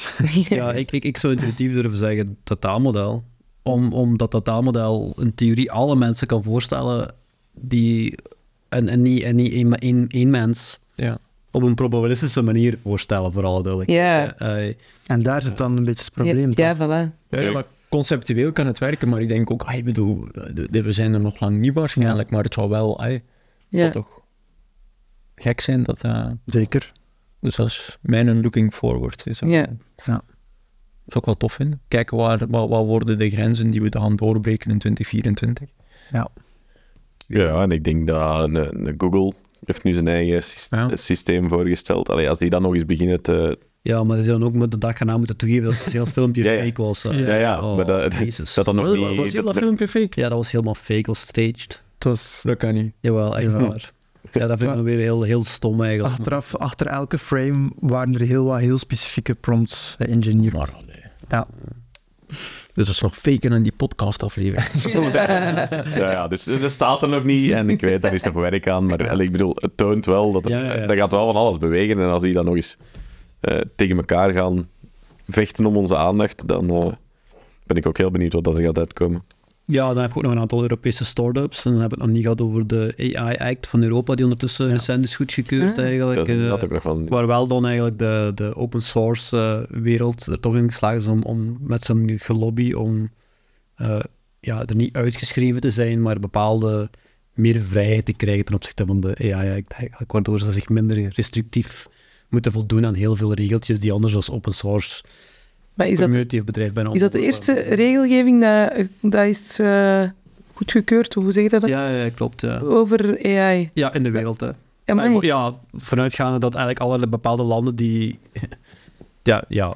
E: Ja, ik, ik, ik zou intuïtief durven zeggen dat taalmodel. Om, omdat dat taalmodel in theorie alle mensen kan voorstellen die... En, en niet, en niet één, ma- één, één mens
C: Ja.
E: op een probabilistische manier voorstellen, voor alle duidelijkheid.
A: Ja.
E: Eh, eh,
B: En daar zit dan een beetje het probleem.
A: ja,
B: toch?
A: ja, voilà.
C: Ja, maar conceptueel kan het werken, maar ik denk ook, ah, ik bedoel, eh, de- de- we zijn er nog lang niet waarschijnlijk, maar het zou wel, ah, het zou
A: Ja.
C: toch gek zijn. Dat, eh,
B: Zeker.
C: dus dat is mijn een looking forward. Is dat.
A: Ja.
C: ja. Dat is ook wel tof in. Kijken waar, wat, wat worden de grenzen die we gaan doorbreken in 2024.
D: Ja, en ik denk dat een- een Google heeft nu zijn eigen sys-
C: Ja.
D: systeem voorgesteld. Allee, als die dan nog eens beginnen te...
E: Ja, maar dat is dan ook met de dag erna moeten toegeven dat het heel filmpje
D: Ja, ja.
E: fake was.
D: Ja,
E: eh.
D: ja,
E: Oh,
D: maar dat,
E: Jezus.
D: dat dan nog niet... dat-
C: filmpje fake?
E: Ja, dat was helemaal fake, was staged.
B: Het was
C: Dat kan niet.
E: Jawel, echt
B: Jawel.
E: waar. Ja, dat vind ik dan weer heel, heel stom eigenlijk.
B: achteraf, achter elke frame waren er heel wat heel specifieke prompts engineer.
C: Maar allee.
B: Ja.
C: Dus dat is nog faken in die podcast aflevering.
D: ja, ja, dus dat staat er nog niet. En ik weet, daar is nog werk aan. Maar allee, ik bedoel, het toont wel dat... er-
E: Ja, ja, ja.
D: Dat gaat wel van alles bewegen. En als die dan nog eens eh, tegen elkaar gaan vechten om onze aandacht, dan eh, ben ik ook heel benieuwd wat dat er gaat uitkomen.
E: Ja, dan heb ik ook nog een aantal Europese start-ups. En dan heb ik het nog niet gehad over de AI Act van Europa, die ondertussen recent is goedgekeurd
A: Ah.
E: eigenlijk.
D: Dat, is-
E: eh,
D: dat heb ik nog van...
E: Waar wel dan eigenlijk de, de open source eh, wereld er toch in geslaagd is om, om met zijn gelobby om eh, ja, er niet uitgeschreven te zijn, maar bepaalde meer vrijheid te krijgen ten opzichte van de AI Act. Eigenlijk waardoor ze zich minder restrictief moeten voldoen aan heel veel regeltjes die anders als open source
A: Maar is dat,
E: community of bedrijf bijna
A: is dat de eerste regelgeving dat, dat is eh, goedgekeurd, of hoe zeg je dat?
E: Ja, ja, klopt. Ja,
A: Over AI.
E: ja in de wereld. Hè.
A: Ja,
E: Maar
A: maar
E: ik- Ah, ja, vanuitgaande dat eigenlijk alle bepaalde landen die. Ja, ja.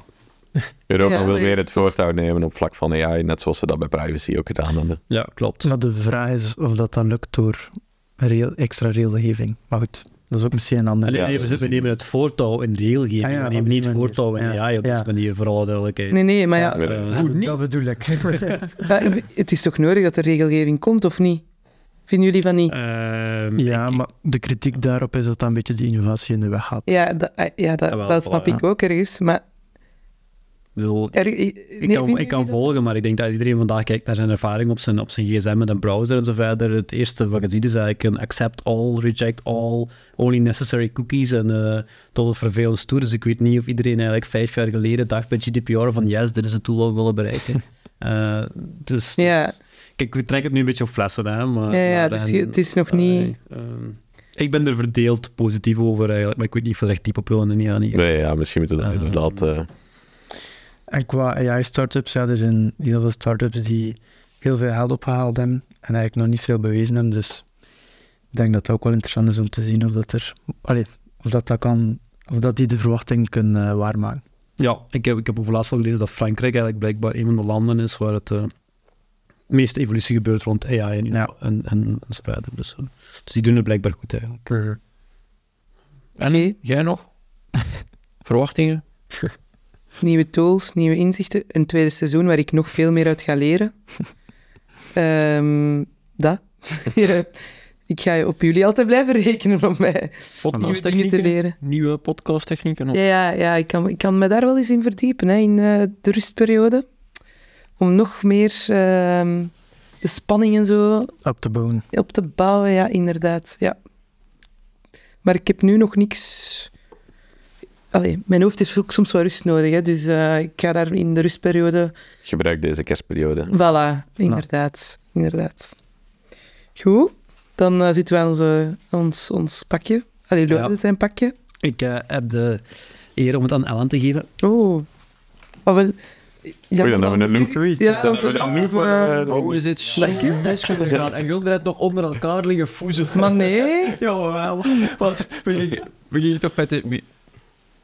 D: Europa
A: Ja,
D: wil
A: maar-
D: weer het voortouw nemen op vlak van AI, net zoals ze dat bij privacy ook gedaan hebben.
E: ja klopt.
B: Maar de vraag is of dat dan lukt door regel- extra regelgeving. Maar goed, dat is ook misschien een ander.
E: En
D: Ja,
E: nee, we, we nemen het voortouw in regelgeving.
B: Ah ja,
E: we
B: op
E: nemen
B: die
E: niet het
B: manier.
E: voortouw in
B: Ja.
E: AI op
B: Ja.
E: deze manier, voor alle duidelijkheid.
A: nee, nee, maar ja,
D: Nee,
E: Eh,
B: Ja, Dat bedoel ik.
A: maar het is toch nodig dat er regelgeving komt, of niet? Vinden jullie van niet?
E: ehm,
B: ja, maar de kritiek daarop is dat dat een beetje de innovatie in de weg gaat.
A: Ja, dat, eh, ja, dat,
E: Ja, wel,
A: dat snap
E: voilà,
A: ik ook ergens, maar...
E: ik bedoel,
A: Er,
E: ik kan, ik kan volgen, maar ik denk dat iedereen vandaag kijkt naar zijn ervaring op zijn, op zijn gsm met een browser en zo verder. Het eerste wat je ziet is eigenlijk een accept all, reject all, only necessary cookies en eh, tot het vervelend toe. Dus ik weet niet of iedereen eigenlijk vijf jaar geleden dacht bij GDPR van yes, dit is het doel wat we willen bereiken. Eh, dus
A: Ja,
E: kijk, we trekken het nu een beetje op flessen, hè. Maar,
A: ja, ja
E: maar
A: dus
E: en-
A: je- het is nog niet...
E: Allee, ehm, ik ben er verdeeld positief over eigenlijk, maar ik weet niet of we er echt diep op willen en niet aan hier.
D: Nee, ja, misschien moeten we dat
E: Ah.
D: inderdaad... eh,
B: En qua AI-startups, ja, er zijn heel veel startups die heel veel geld opgehaald hebben en eigenlijk nog niet veel bewezen hebben. Dus ik denk dat het ook wel interessant is om te zien of dat er, allee, of dat, dat kan, of dat die de verwachting kunnen eh, waarmaken.
E: Ja, ik heb, ik heb over laatst wel gelezen dat Frankrijk eigenlijk blijkbaar een van de landen is waar het eh, meeste evolutie gebeurt rond AI en,
B: Ja.
E: en, en, en zo verder. Dus, eh, dus die doen het blijkbaar goed eigenlijk.
A: Oké.
C: Jij nog? Verwachtingen?
A: Nieuwe tools, nieuwe inzichten. Een tweede seizoen waar ik nog veel meer uit ga leren. Ehm, dat. Ja, ik ga je op jullie altijd blijven rekenen om mij nieuwe dingen te leren.
C: Nieuwe podcasttechnieken?
A: Ja, ja, ja ik, kan, ik kan me daar wel eens in verdiepen, hè, in eh, de rustperiode. Om nog meer ehm, de spanning en zo
B: Op te bouwen.
A: op te bouwen, ja, inderdaad. Ja. Maar ik heb nu nog niks... Allee, mijn hoofd is ook soms wel rust nodig, hè, dus eh, ik ga daar in de rustperiode...
D: gebruik deze kerstperiode.
A: Voilà, inderdaad. inderdaad. Goed, dan eh, zitten we aan onze, ons, ons pakje. Allee,
E: Ja.
A: Lotte zijn pakje.
E: Ik eh, heb de eer om het aan Ellen te geven.
A: Oh. Oh, wel... Ja,
D: Oei, dan hebben we een look.
A: Ja,
D: Dan hebben we een look voor... eh, de-
C: Oh, is het slecht gedaan? En wil er het nog onder elkaar liggen voezen?
A: Maar nee.
C: Jawel. Wat? We gingen- we gingen toch met de... Wie,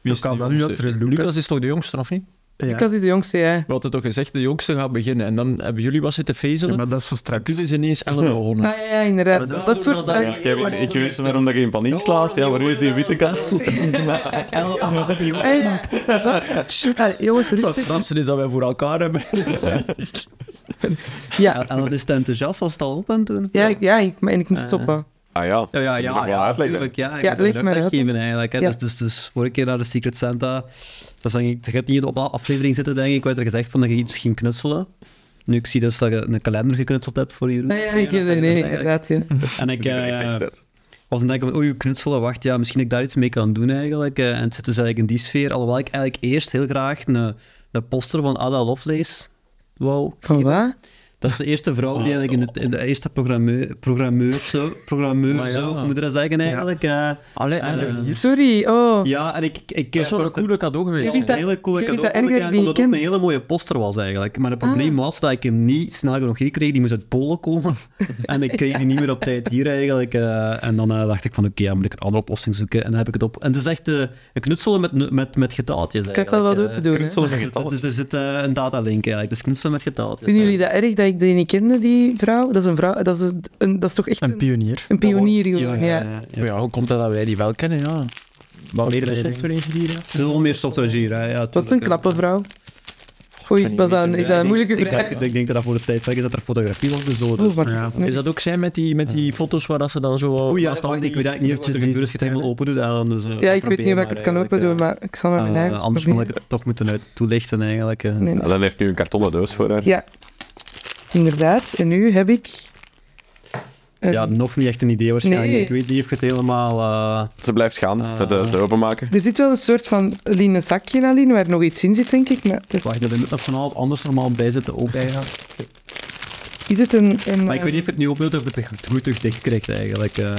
C: wie is
B: kan
C: de
B: dat nu
C: jongste?
B: dat er Lucas-
C: Lucas is toch de jongste, of niet?
A: Ik was niet de jongste, ja.
C: We hadden toch gezegd, de jongste gaat beginnen. En dan hebben jullie wat zitten vezelen.
B: maar dat is voor straks.
C: Toen is ineens Ellen begonnen.
A: Ah, ja, ja, inderdaad. Dat, soort
D: Ja, ik, heb, ik wist waarom dat je in paniek slaat. Ja, maar nu is die witte kat.
A: Ah, ja. Wat? Ah, jongens,
C: Het
A: rustig.
C: grappigste is dat wij voor elkaar hebben.
A: Ja,
E: Ellen is te enthousiast als het al op en doen.
A: ja, ik, ja ik, en ik moest stoppen.
D: Ah ja.
E: Ja, ja,
D: Moet ik
E: ja,
D: nog wel
E: ja,
D: uitleggen?
E: natuurlijk. Ja, ik
A: Ja,
E: moet
A: leg
E: een
A: maar
E: uitleg
A: uit.
E: geven eigenlijk. Hè.
A: Ja.
E: Dus, dus, dus vorige keer naar de Secret Santa, dat is denk ik, je gaat niet in de aflevering zitten, denk ik. Ik werd er gezegd van dat je iets ging knutselen. Nu, ik zie dus dat je een kalender geknutseld hebt voor je
A: Ah, ja, ik, nee, inderdaad. ja.
E: En ik
D: Ziet er echt
E: eh,
D: slecht uit.
E: was aan het denken van, oei, knutselen, wacht, ja, misschien dat ik daar iets mee kan doen eigenlijk. Eh, en het zit dus eigenlijk in die sfeer, alhoewel ik eh, eigenlijk eerst heel graag een, een poster van Ada Lovelace wou
A: Van wat?
E: dat Dat is de eerste vrouw
C: Ah.
E: die eigenlijk in het- in de, eerste programmeur, programmeur, zo, programmeur
C: Maar ja.
E: zo, hoe moet je dat zeggen eigenlijk? Ja,
C: Allee,
E: Eigenlijk
C: eh,
E: niet.
A: Sorry, oh.
E: ja en ik, ik, ik eh,
C: dat is wel een coole cadeau
A: Je
C: geweest.
A: vindt
E: een
A: dat-
E: hele coole
A: je vindt
E: cadeau
A: dat erg dat
E: gekregen,
A: ik die Ah.
E: omdat het
A: ken?
E: een hele mooie poster was eigenlijk. Maar het probleem was dat ik hem niet snel genoeg hier kreeg. Die moest uit Polen komen. en ik kreeg die niet meer op tijd hier eigenlijk. eh, en dan eh, dacht ik van, oké, ja, moet ik een andere oplossing zoeken. En dan heb ik het op... En het is echt eh, een knutselen met, met, met getaaltjes
A: Ik heb wel
E: eigenlijk.
A: wat open
E: eh.
A: doen. hè.
D: knutselen met
E: Dat-
D: getallen.
E: Dus er zit eh, een datalink eigenlijk. Dus knutselen met getaaltjes.
A: Vinden jullie dat erg dat ik die niet kende, die vrouw? Dat is een vrouw, dat is, een, dat is toch echt
B: Een
A: een,
B: pionier.
A: een pionier gewoon, ja.
E: ja.
C: Ja, hoe komt dat dat wij die wel kennen, ja? Wat meer de software engineer,
E: Veel meer software hier, hè. Ja,
A: Dat is een knappe vrouw. Oei, was dat, een- is dat een moeilijke
E: ik,
A: vraag?
E: denk- ik denk dat dat voor de tijdvak is dat er fotografie was dus zo.
A: Oeh, maar-
C: Is dat ook zij met die, met die foto's waar dat ze dan zo...
E: Oeh, ja,
C: naast al
E: wacht,
C: die-
E: ik weet eigenlijk niet of je de deur schiet helemaal open doet. Alan, Dus, eh,
A: Ja, ik weet
E: probeer
A: niet of ik
E: maar
A: het kan open doen,
E: eigenlijk,
A: maar ik zal maar mijn
E: eh,
A: eigen
E: eh, anders moet ik het toch moeten uit toelichten eigenlijk. eh.
A: Nee, nee.
D: Ja, dan Ah, heeft nu een kartonnen doos voor haar.
A: Ja, inderdaad. En nu heb ik... eh, een-
E: Ja, nog niet echt een idee waarschijnlijk.
A: Nee.
E: Ik weet niet of je het helemaal... eh,
D: Ze blijft gaan met het eh, openmaken.
A: Er zit wel een soort van linnen zakje alleen, waar nog iets in zit, denk ik. Maar er-
E: wacht, er moet nog van alles anders normaal bij zitten ook eigenlijk.
A: is het een... een
E: Maar ik weet
A: eh,
E: niet of je het nu opneemt of je het goed- goed terug dicht krijgt eigenlijk. eh.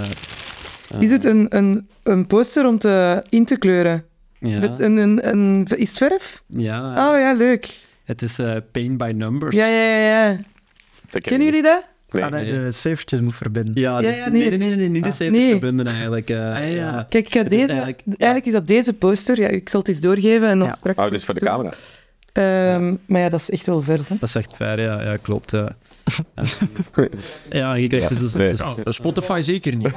E: Eh,
A: Is het een, een, een poster om te in te kleuren?
E: ja.
A: Met een, een, een, is het verf?
E: Ja,
A: Oh ja, leuk.
E: het is eh Paint by Numbers.
A: Ja, ja, ja. ja.
D: Dat ken ik
A: Kennen
D: niet.
A: jullie dat?
D: Nee.
B: Ah, nee,
E: nee.
B: de cijfertjes moet verbinden.
E: Ja,
A: Ja,
E: dus,
A: ja, nee. Ah.
E: nee, nee, nee, nee, niet de cijfers
A: Nee.
E: verbinden eigenlijk. eh, ja.
A: Kijk, ik ga
E: Het is
A: deze, eigenlijk,
E: eigenlijk-
A: is dat deze poster. Ja, ik zal het eens doorgeven en dan
B: Ja.
A: straks...
D: Oh, het is voor de camera.
A: Ehm, Maar ja, dat is echt wel ver. Hè?
E: Dat is echt ver, ja, ja klopt. Ja, ja je krijgt
D: Ja,
E: dus...
D: nee.
E: dus-
C: Oh, Spotify zeker niet.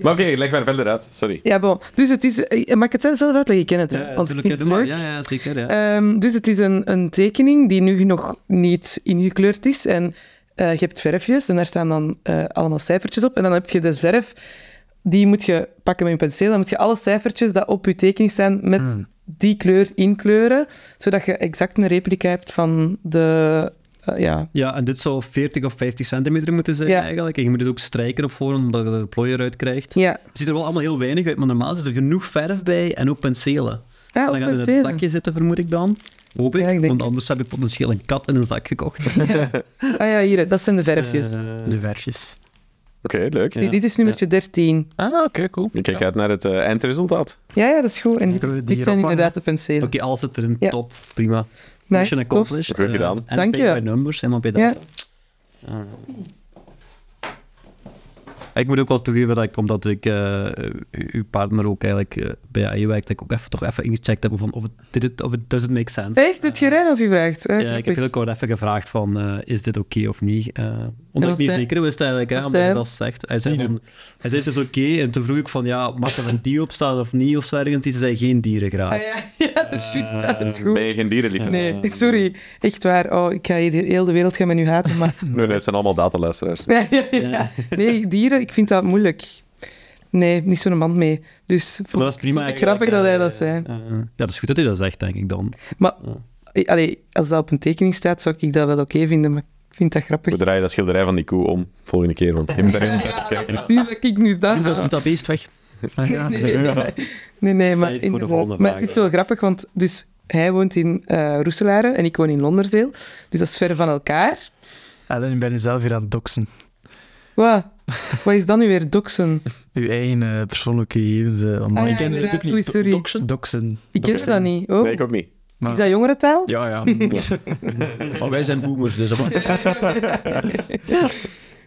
D: Maar oké, leg maar verder uit. Sorry.
A: Ja, bon. Dus het is... eh, Mag ik het zelf uitleggen? Ik ken het, hè?
E: ja,
A: want ik vind
E: tuurlijk, ja,
A: het
E: doe maar.
A: leuk.
E: Ja, ja, zeker, ja.
A: Ehm, dus het is een, een tekening die nu nog niet ingekleurd is. En eh, je hebt verfjes en daar staan dan eh, allemaal cijfertjes op. En dan heb je dus verf, die moet je pakken met je penseel. Dan moet je alle cijfertjes dat op je tekening staan met
D: Hmm.
A: die kleur inkleuren. Zodat je exact een replica hebt van de... eh, ja,
E: Ja, en dit zou 40 of 50 centimeter moeten zijn
A: Ja.
E: eigenlijk. En je moet het ook strijken op voorhand, omdat je er de plooi eruit krijgt.
A: ja.
E: Het ziet er wel allemaal heel weinig uit, maar normaal zit er genoeg verf bij en ook penselen.
A: Ah, op
E: en dan gaat
A: mijn
E: het in
A: zeden.
E: het zakje zitten, vermoed ik dan. Hoop ik,
A: Ja, ik denk
E: want
A: het.
E: anders heb ik potentieel een kat in een zak gekocht.
A: Ah ja, hier, dat zijn de verfjes.
E: Eh,
B: eh, De versjes.
D: Oké, leuk.
A: Hier, dit is nummertje 13.
C: Ah, oké, cool.
D: Ik kijk uit naar het eh, eindresultaat.
A: Ja, ja, dat is goed. En dit,
B: Kunnen we die
A: dit
B: hier
A: zijn
B: ophangen?
A: inderdaad de penselen.
E: Oké, alles zit erin.
A: Ja.
E: Top, prima.
A: Nice,
E: Mission
A: tof.
E: accomplished.
D: Goed
E: Eh,
D: gedaan.
E: en
A: Dank
E: paint
A: je.
E: by numbers, helemaal bij
A: Ja.
E: data. Ah. Ik moet ook wel toegeven dat ik, omdat ik eh, u- uw partner ook eigenlijk eh, bij AI werkt, dat ik ook even, toch even ingecheckt heb van of het, did it, of it doesn't make sense.
A: Echt, dat je Rijn als u vraagt. Eh,
E: Ja, ik heb heel kort even gevraagd van, eh, is dit oké of niet? Eh, omdat
A: wat
E: ik niet
A: zei-
E: zeker wist eigenlijk, hè,
A: wat
E: omdat
A: zei hij?
E: hij dat zegt. Hij zei, van, hij zei het is oké, en toen vroeg ik van, ja, mag er een die op staan of niet, of zo ergens, die zei geen dierengraaf.
A: Ah, ja, ja, dat is juist, dat
E: Eh,
A: is goed.
D: Eh, Ben je geen dierenliefhebber? Nee.
A: Nee, sorry. Echt waar. Oh, ik ga hier heel de wereld gaan met u haten, maar...
D: nee, het zijn allemaal dataluisteraars.
A: Ja, ja, ja. Nee, dieren, ik vind dat moeilijk. Nee, niet zo'n man mee. Dus
E: Maar dat is prima.
A: Vond ik
E: eigenlijk,
A: grappig dat
E: eh,
A: hij dat zei.
E: eh, ja, dat is goed dat hij dat zegt, denk ik dan.
A: eh, Allee, als dat op een tekening staat, zou ik dat wel oké vinden, maar ik vind dat grappig.
D: We draaien dat schilderij van die koe om volgende keer, want ik ben erin.
A: Nu dat ik nu dat...
E: Dat moet dat beest weg.
A: Nee, nee, maar,
E: Nee, voor de
A: inderdaad.
E: volgende
A: maar
E: vraag
A: het is
E: dan.
A: wel grappig, want dus hij woont in eh Roeselare en ik woon in Londersdeel. Dus dat is ver van elkaar.
B: Ellen, ik ben je zelf weer aan het doxen.
A: Wat? Wat is dan nu weer doxen?
B: Uw eigen eh, persoonlijke gegevens eh, online.
A: Ah, ja,
C: Ken je dit
A: inderdaad.
C: ook niet?
A: Oei, sorry.
C: Doxen?
B: Doxen.
A: Ik ken dat niet. Oh,
D: Nee, ik ook niet.
A: is dat jongerentaal?
C: Ja, ja. Maar wij zijn boomers, dus... dat mag-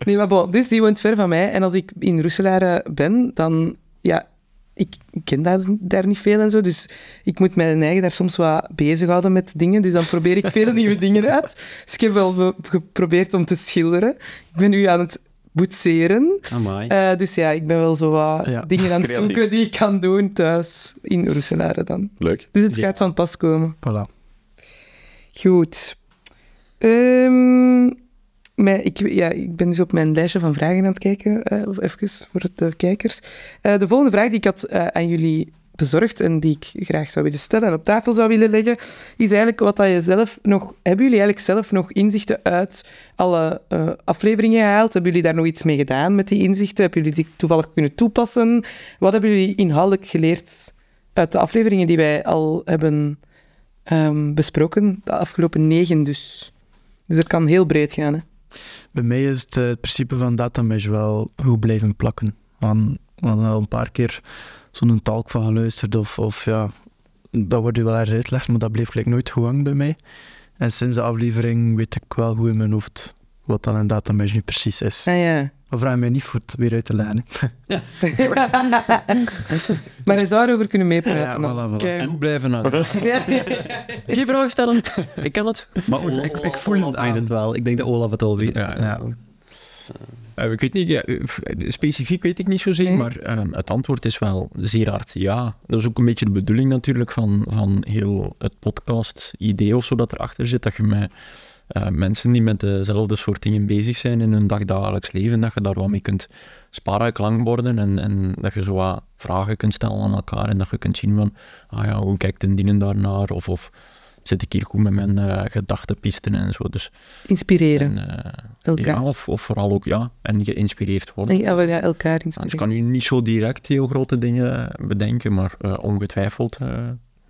A: Nee, maar bon, dus die woont ver van mij. En als ik in Roeselare ben, dan... Ja, ik ken daar, daar niet veel en zo. Dus ik moet mijn eigen daar soms wat bezighouden met dingen. Dus dan probeer ik veel nieuwe dingen uit. Dus ik heb wel be- geprobeerd om te schilderen. Ik ben nu aan het boetseren.
E: Amai.
A: Eh, dus ja, ik ben wel zo wat
B: Ja.
A: dingen aan het
D: Creatief.
A: zoeken die ik kan doen thuis in Roeselare dan.
D: Leuk.
A: Dus het
E: Ja.
A: gaat van pas komen.
B: Voilà.
A: Goed. Ehm, mijn- ik, ja, ik ben dus op mijn lijstje van vragen aan het kijken, eh, of even voor de kijkers. Eh, de volgende vraag die ik had eh, aan jullie bezorgd en die ik graag zou willen stellen en op tafel zou willen leggen, is eigenlijk wat dat je zelf nog... Hebben jullie eigenlijk zelf nog inzichten uit alle eh, afleveringen gehaald? Hebben jullie daar nog iets mee gedaan met die inzichten? Hebben jullie die toevallig kunnen toepassen? Wat hebben jullie inhoudelijk geleerd uit de afleveringen die wij al hebben ehm, besproken, de afgelopen negen dus. Dus dat kan heel breed gaan. Hè.
B: Bij mij is het, eh, het principe van data mesh wel goed blijven plakken. Want we hadden al een paar keer zo'n talk van geluisterd of, of ja, dat wordt je wel ergens uitgelegd, maar dat bleef gelijk nooit goed hangen bij mij. En sinds de aflevering weet ik wel goed in mijn hoofd wat dan een data mesh nu precies is.
A: Ah, ja.
B: Maar vraag mij niet voor het weer uit te leggen. hè.
A: maar je zou erover kunnen
B: Ja,
A: meepraten. dan.
B: voilà, voilà.
A: Kijk.
C: Goed blijven naar.
A: Ja, ja.
E: Geen vragen stellen. Ik kan het. Maar
C: Olaf-
E: ik, ik voel het
C: Olaf
E: aan.
C: aan.
E: het wel. Ik denk dat Olaf het al weet.
C: Ja,
B: Ja.
C: Eh, ik weet niet, ja, eh, specifiek weet ik niet zozeer,
A: Nee.
C: maar eh, het antwoord is wel zeer hard ja. Dat is ook een beetje de bedoeling natuurlijk van, van heel het podcast-idee of zo dat erachter zit, dat je met eh, mensen die met dezelfde soort dingen bezig zijn in hun dagdagelijks leven, dat je daar wat mee kunt sparen, klankborden en, en dat je zo wat vragen kunt stellen aan elkaar en dat je kunt zien van, ah ja, hoe kijkt een dienen daarnaar of, of zit ik hier goed met mijn eh, gedachtenpisten en zo. Dus,
A: Inspireren.
C: en, eh, ja,
A: Elkaar.
C: of, of vooral ook ja, en geïnspireerd worden.
A: Ja, wel, ja, elkaar
C: Anders
A: inspireren.
C: kan u niet zo direct heel grote dingen bedenken, maar eh, ongetwijfeld. eh,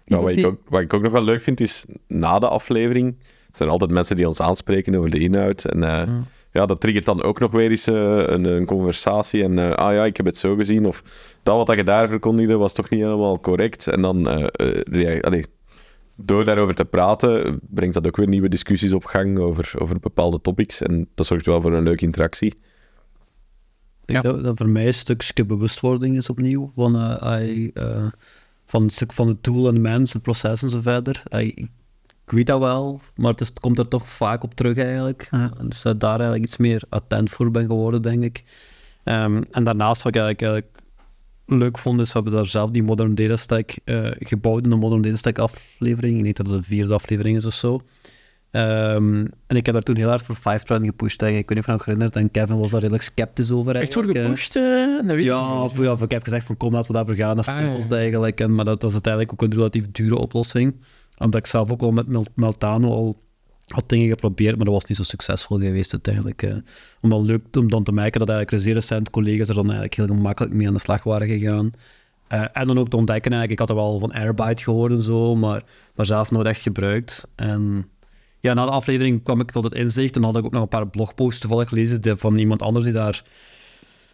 D: Nou, wat, ik
A: Iemand
D: ook, wat ik ook nog wel leuk vind, is na de aflevering... Het zijn altijd mensen die ons aanspreken over de inhoud. En eh,
C: Ja.
D: ja, dat triggert dan ook nog weer eens eh, een, een conversatie. En eh, ah ja, ik heb het zo gezien. Of dat wat dat je daar verkondigde was toch niet helemaal correct. En dan, eh, eh, rea- allee, door daarover te praten, eh, brengt dat ook weer nieuwe discussies op gang over, over bepaalde topics. En dat zorgt wel voor een leuke interactie.
E: Ik denk dat, dat voor mij een stukje bewustwording is opnieuw. Van, eh, I, eh, van het stuk van het doel en de mens, het proces en zo verder. I- ik weet dat wel, maar het, is- het komt er toch vaak op terug eigenlijk.
B: Ja.
E: En Dus dat ik daar eigenlijk iets meer attent voor ben geworden, denk ik. Ehm, en daarnaast wat ik eigenlijk, eigenlijk leuk vond, is dat we daar zelf die Modern Data Stack eh, gebouwd in de Modern Data Stack aflevering. Ik denk dat het de vierde aflevering is of zo. Ehm, en ik heb daar toen heel hard voor Fivetran gepusht. eigenlijk. Ik weet niet of je nog herinnert, en Kevin was daar redelijk sceptisch over.
C: Echt voor
E: eigenlijk, eh.
C: gepusht? eh, dat weet ik
E: Ja,
C: niet.
E: of- ja, of ik heb gezegd van kom, laten we daarvoor gaan. Dat
C: Ah,
E: stelt
C: ja.
E: ons eigenlijk. En, maar dat, dat is uiteindelijk ook een relatief dure oplossing. Omdat ik zelf ook al met Mel- Meltano al had dingen geprobeerd, maar dat was niet zo succesvol geweest uiteindelijk. eh. Om dan leuk om dan te merken dat eigenlijk zeer recent collega's er dan eigenlijk heel gemakkelijk mee aan de slag waren gegaan. Eh, en dan ook te ontdekken eigenlijk, ik had er wel van Airbyte gehoord en zo, maar, maar zelf nooit echt gebruikt. En ja, na de aflevering kwam ik tot het inzicht en had ik ook nog een paar blogposts toevallig gelezen die- van iemand anders die daar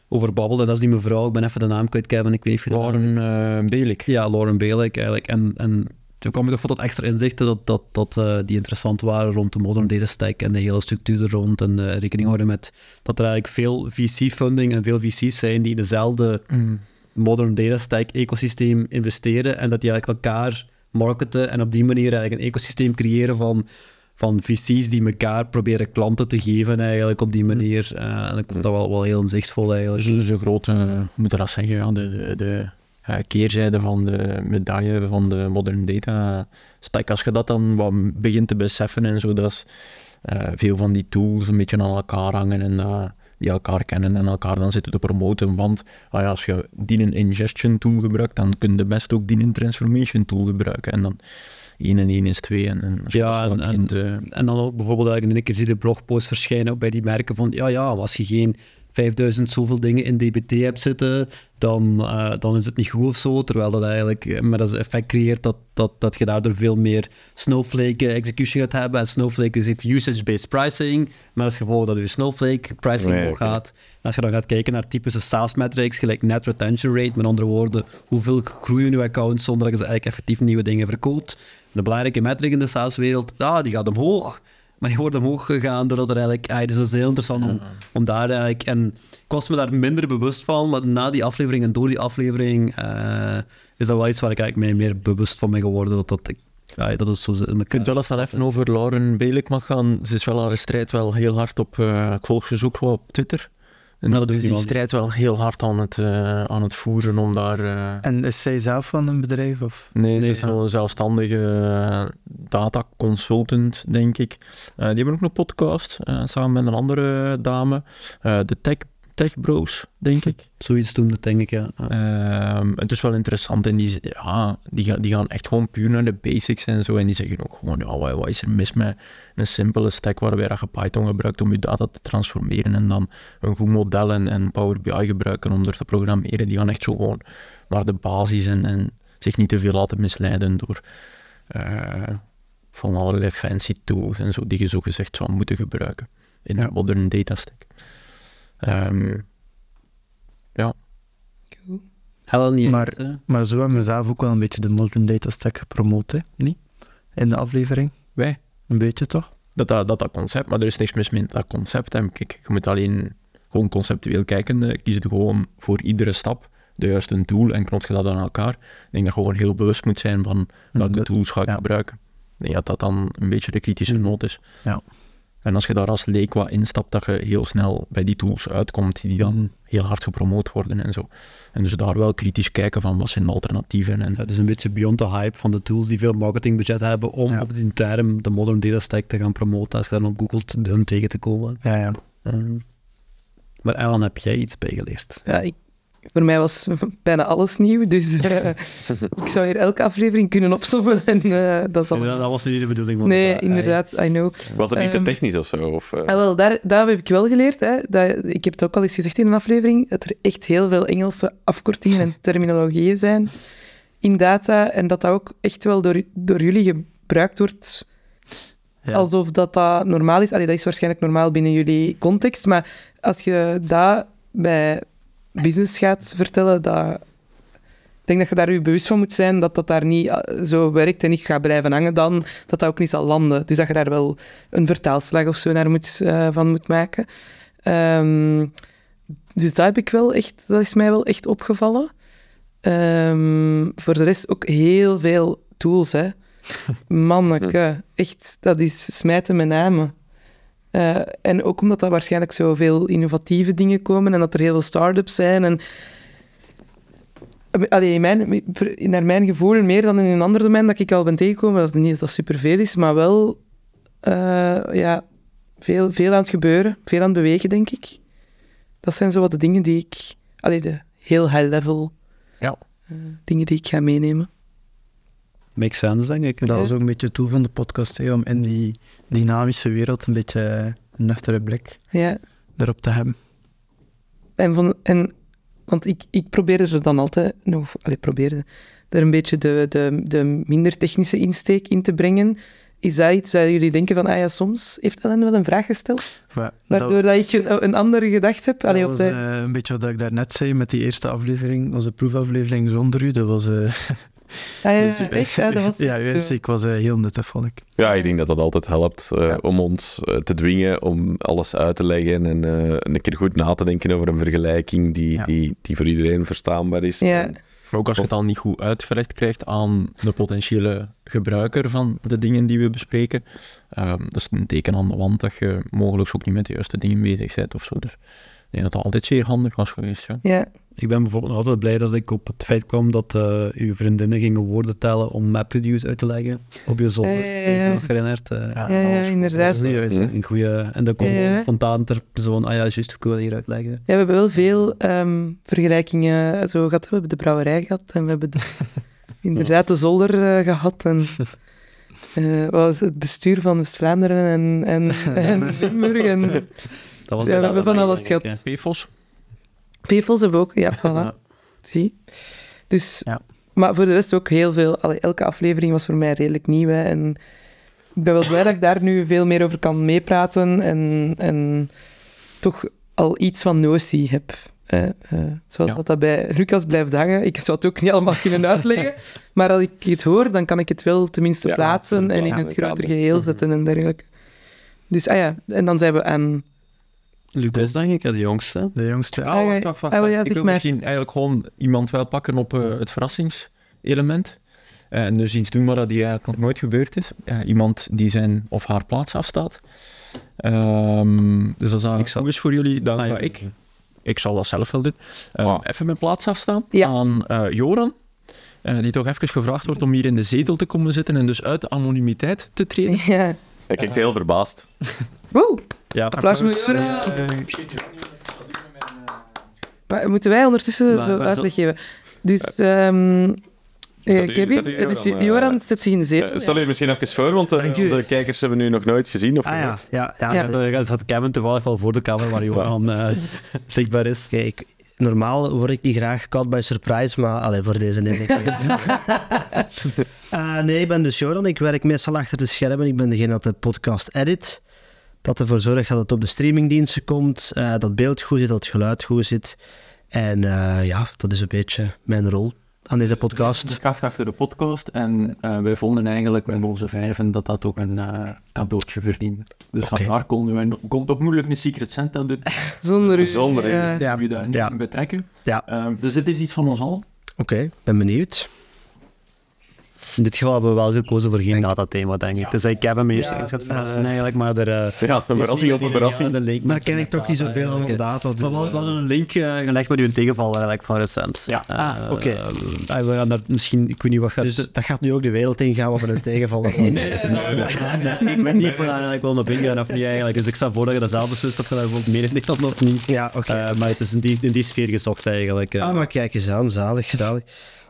E: over babbelde. Dat is die mevrouw, ik ben even de naam kwijt, Kevin, ik weet niet of je de naam
C: Lauren eh, Belik.
E: ja, Lauren Balik eigenlijk. En, en toen kwam ik toch wel tot extra inzichten dat, dat, dat, eh, die interessant waren rond de modern data stack en de hele structuur er rond. En eh, rekening houden met dat er eigenlijk veel VC-funding en veel VC's zijn die in dezelfde
C: Mm.
E: modern data stack ecosysteem investeren en dat die eigenlijk elkaar marketen en op die manier eigenlijk een ecosysteem creëren van, van VC's die elkaar proberen klanten te geven eigenlijk op die manier. Eh, en ik vond dat wel, wel heel inzichtvol eigenlijk.
C: Dus dus een grote, hoe moet je dat zeggen, ja, de, de, de eh, keerzijde van de medaille van de modern data stack. Als je dat dan wat begint te beseffen en zo, dat is, eh, veel van die tools een beetje aan elkaar hangen en dat die elkaar kennen en elkaar dan zitten te promoten. Want ah ja, als je die een ingestion tool gebruikt, dan kun je best ook die een transformation tool gebruiken. En dan 1 en 1 is 2. En, en als je
E: Ja,
C: dat
E: en-
C: begint, eh,
E: En dan ook bijvoorbeeld eigenlijk in een keer zie je de blogpost verschijnen ook bij die merken van ja, ja, als je geen 5000 zoveel dingen in DBT hebt zitten, dan, eh, dan is het niet goed of zo. Terwijl dat eigenlijk eh, maar dat is effect creëert dat, dat, dat je daardoor veel meer Snowflake eh, execution gaat hebben. En Snowflake is heeft usage-based pricing, maar als gevolg dat je Snowflake pricing
D: Nee,
E: omhoog
D: oké.
E: gaat. En als je dan gaat kijken naar typische SaaS-metrics, gelijk net retention rate, met andere woorden, hoeveel groeien uw accounts zonder dat je ze eigenlijk effectief nieuwe dingen verkoopt. De belangrijke metric in de SaaS-wereld, ah, die gaat omhoog. Maar die wordt omhoog gegaan doordat er eigenlijk... Ah, dus dat is heel interessant om,
C: Mm-hmm.
E: om daar eigenlijk... En ik was me daar minder bewust van, maar na die aflevering en door die aflevering eh, is dat wel iets waar ik eigenlijk mij meer bewust van ben geworden. Dat, dat, ik, ah, dat is zo zit
C: Je
E: in
C: kunt
E: elkaar.
C: wel eens dan even over Lauren Belik mag gaan. Ze is wel haar strijd wel heel hard op... eh ik volg ze dus ook wel op Twitter. En
E: Nou, dat doe ik
C: die
E: niet
C: strijd wel heel hard aan het, eh, aan het voeren om daar... eh,
B: En is zij zelf van een bedrijf? Of?
C: Nee, ze
E: Nee,
C: is wel een zelfstandige eh, data consultant, denk ik. Eh, die hebben ook een podcast, eh, samen met een andere dame. Eh, de Tech, Tech Bros, denk ik.
E: Zoiets doen, dat denk ik, ja. Ja.
C: Ehm, het is wel interessant en die, z- ja, die, gaan, die gaan echt gewoon puur naar de basics en zo. En die zeggen ook gewoon, ja, wat, wat is er mis met een simpele stack waarbij dat je Python gebruikt om je data te transformeren en dan een goed model en, en Power BI gebruiken om er te programmeren. Die gaan echt zo gewoon naar de basis en, en zich niet te veel laten misleiden door eh, van allerlei fancy tools en zo, die je zogezegd zou moeten gebruiken in een modern datastack. Ehm,
A: Cool.
E: Helen, niet
B: Maar-
E: echt, hè?
B: Maar zo hebben we zelf ook wel een beetje de modern data stack gepromoot, hè? Niet? In de aflevering.
C: Wij?
B: Een beetje toch?
C: dat, dat, dat dat concept, maar er is niks mis met dat concept. En kijk, je moet alleen gewoon conceptueel kijken. eh, Kies je gewoon voor iedere stap de juiste tool en knop je dat aan elkaar. Ik denk dat je gewoon heel bewust moet zijn van welke
B: Dat-
C: tools ga ik
B: Mm-hmm. ja. Mm-hmm.
C: gebruiken. Ik denk dat dat dan een beetje de kritische noot is.
B: Ja.
C: En als je daar als leek wat instapt, dat je heel snel bij die tools uitkomt die
B: Mm-hmm.
C: dan heel hard gepromoot worden en zo. En dus daar wel kritisch kijken van wat zijn de alternatieven en
E: Ja, dus een beetje beyond the hype van de tools die veel marketingbudget hebben om
B: Ja.
E: op die term de modern data stack te gaan promoten als je dan op Google t- hun tegen te komen.
B: Ja, ja.
E: Ehm, maar Alan, heb jij iets bijgeleerd?
A: Ja, ik, voor mij was bijna alles nieuw, dus eh, ik zou hier elke aflevering kunnen opzommen en eh, dat is al...
E: Ja, dat was niet de bedoeling. want,
A: Nee,
E: eh,
A: inderdaad, I know.
D: Was het niet te
A: Ehm,
D: technisch of zo? Of, eh,
A: Ah, wel, daar, daar heb ik wel geleerd. Hè, dat, ik heb het ook al eens gezegd in een aflevering, dat er echt heel veel Engelse afkortingen en terminologieën zijn in data. En dat dat ook echt wel door, door jullie gebruikt wordt
B: ja.
A: alsof dat, dat normaal is. Allee, dat is waarschijnlijk normaal binnen jullie context, maar als je dat bij business gaat vertellen, dat... Ik denk dat je daar je bewust van moet zijn dat dat daar niet eh, zo werkt en niet gaat blijven hangen dan, dat dat ook niet zal landen. Dus dat je daar wel een vertaalslag of zo naar moet, eh, van moet maken. Ehm, dus dat heb ik wel echt, dat is mij wel echt opgevallen. Ehm, voor de rest ook heel veel tools, hè. Manneke, echt, dat is smijten met namen. Eh, en ook omdat er waarschijnlijk zoveel innovatieve dingen komen en dat er heel veel start-ups zijn. En... Allee, in mijn, naar mijn gevoel, meer dan in een ander domein dat ik al ben tegengekomen, dat het niet dat dat superveel is, maar wel eh, ja, veel, veel aan het gebeuren, veel aan het bewegen, denk ik. Dat zijn zo wat de dingen die ik... Allee, de heel high-level
C: Ja.
A: eh, dingen die ik ga meenemen.
E: Makes sense, denk ik.
B: Dat was ook een beetje het doel van de podcast, hè, om in die dynamische wereld een beetje een nuchtere blik
A: Ja.
B: erop te hebben.
A: En, van, en want ik, ik probeerde ze dan altijd, of allee, probeerde er een beetje de, de, de minder technische insteek in te brengen. Is dat iets dat jullie denken van, ah ja, soms heeft Ellen wel een vraag gesteld,
B: Maar eh, dat-
A: waardoor dat, ik een, een andere gedacht heb? Allee,
B: dat
A: op
B: was
A: de,
B: eh, een beetje wat ik daarnet zei met die eerste aflevering, onze proefaflevering zonder u. Dat was, eh,
A: ah ja,
B: super.
A: echt, ah, dat was
B: ja,
A: echt
B: u
A: zo.
B: ik was eh, heel nuttig, vond ik.
D: Ja, ik denk dat dat altijd helpt eh, om ons eh, te dwingen om alles uit te leggen en eh, een keer goed na te denken over een vergelijking die,
B: Ja.
D: die, die voor iedereen verstaanbaar is.
A: Ja.
D: En-
C: Maar ook als je het al niet goed uitgelegd krijgt aan de potentiële gebruiker van de dingen die we bespreken, ehm, dat is een teken aan de wand dat je mogelijk ook niet met de juiste dingen bezig bent of zo. Dus ik denk dat dat altijd zeer handig was geweest. Ja.
A: Ja,
E: Ik ben bijvoorbeeld altijd blij dat ik op het feit kwam dat eh, uw vriendinnen gingen woorden tellen om MapReduce uit te leggen op je zolder.
A: Ja, ja, ja, ja.
E: Heb je nog herinnerd. eh,
B: Ja,
A: Eh, ja, Eh. ja,
E: dat is
A: inderdaad.
E: niet uit, hè.
D: Hm.
E: een goede. En dan komt
A: Ja, ja.
E: spontaan ter persoon, ah ja, juist, hoe kunnen we dat hier uitleggen?
A: Ja, we hebben wel veel ehm, vergelijkingen zo gehad. We hebben de brouwerij gehad en we hebben de- inderdaad de zolder eh, gehad. En, eh, wat was het bestuur van West-Vlaanderen en, en, en Limburg en
E: Dat was
A: Ja, we hebben van alles
E: denk ik,
A: gehad.
C: PFOS,
A: Pevels hebben we ook. Ja, voilà.
E: Ja.
A: Zie. Dus,
B: Ja.
A: maar voor de rest ook heel veel. Allee, elke aflevering was voor mij redelijk nieuw. Hè, en ik ben wel blij dat ik daar nu veel meer over kan meepraten en, en toch al iets van notie heb. hè. Eh, zoals
C: Ja.
A: dat, dat bij Lucas blijft hangen. Ik zou het ook niet allemaal kunnen uitleggen. maar als ik het hoor, dan kan ik het wel tenminste
D: Ja,
A: plaatsen
D: het is
A: en
D: een
A: in het
D: plaats-
A: groter
D: kader.
A: geheel zetten en dergelijke. Dus, ah ja, en dan zijn we aan...
E: Lucas, denk ik, hè, de jongste.
B: De jongste.
C: Oh,
A: Ah, ja. Ah, wel, ja,
C: ik
A: zeg
C: wil
A: maar.
C: misschien eigenlijk gewoon iemand wel pakken op eh, het verrassingselement. En dus iets doen waar dat die eigenlijk nog nooit gebeurd is. Eh, iemand die zijn of haar plaats afstaat. Ehm, dus als dat
E: Ik zal-
C: goed is voor jullie, dan
E: Ah, ja.
C: ga ik. Ik zal dat zelf wel doen. Ehm,
D: Wow.
C: Even mijn plaats afstaan
A: Ja.
C: aan eh, Joran. eh, die toch even gevraagd wordt om hier in de zetel te komen zitten en dus uit de anonimiteit te treden.
A: Ja.
D: Hij kijkt heel verbaasd.
A: Woe!
E: Ja,
A: Applaus voor Joran. Maar moeten wij ondertussen
E: Maar-
A: zo
E: maar zo-
A: uitleg geven? Dus, ehm eh,
D: Zet u-
A: Kevin,
D: zet u
A: eh, dus
D: Joran, eh,
A: Joran zet zich in de zetel.
D: Eh, stel je misschien even voor, want eh,
B: Dank u.
D: onze kijkers hebben nu nog nooit gezien. Of
B: Ah ja,
D: gehoord.
B: ja, ja.
A: Ja.
E: Ja, daar zat Kevin toevallig wel voor de camera waar Johan eh, zichtbaar is.
B: Kijk,
E: normaal word ik niet graag caught by surprise, maar allee, voor deze neem ik Eh, Nee, ik ben dus Joran. Ik werk meestal achter de schermen. Ik ben degene dat de podcast edit. Dat ervoor zorgt dat het op de streamingdiensten komt. eh, dat beeld goed zit, dat het geluid goed zit. En eh, ja, dat is een beetje mijn rol aan deze podcast.
C: De kracht achter de podcast. En eh, wij vonden eigenlijk met onze vijven dat dat ook een eh, cadeautje verdiende. Dus
E: Oké.
C: vandaar konden wij, komt ook moeilijk een Secret Santa doen.
E: Eh,
C: eh,
A: Zonder u.
D: Zonder u.
A: Ja.
E: Ja,
C: Wie daar niet
E: ja.
C: in betrekken.
E: Ja.
C: Eh, dus dit is iets van ons al.
E: Oké, ben benieuwd.
F: In dit geval hebben we wel gekozen voor geen datathema, denk ik. Dus ik heb hem eerst ingezet verrassen eigenlijk, maar er... eh,
D: Ja, een verrassing op een verrassing.
F: Ja, de link
E: Maar
F: met-
E: ken ik
F: met
E: toch niet
F: data,
E: zoveel
F: ja.
E: van
F: Oké.
E: data. dus-
F: Maar we we hadden een link eh, gelegd met uw tegenval eigenlijk van recent.
C: Ja.
F: Eh,
E: Ah, oké.
F: eh, we gaan daar misschien, ik weet niet wat gaat...
E: Dus dat gaat nu ook de wereld ingaan wat we een tegenvaller
F: ik weet niet of we daar eigenlijk wel op ingaan of niet eigenlijk. Dus ik stel voor dat je dat zelf beslist of je daar bijvoorbeeld mee in ligt of nog niet.
E: Ja, oké.
F: Eh, maar het is in die, in die sfeer gezocht eigenlijk. eh.
E: Ah, maar kijk eens aan, zalig, zalig.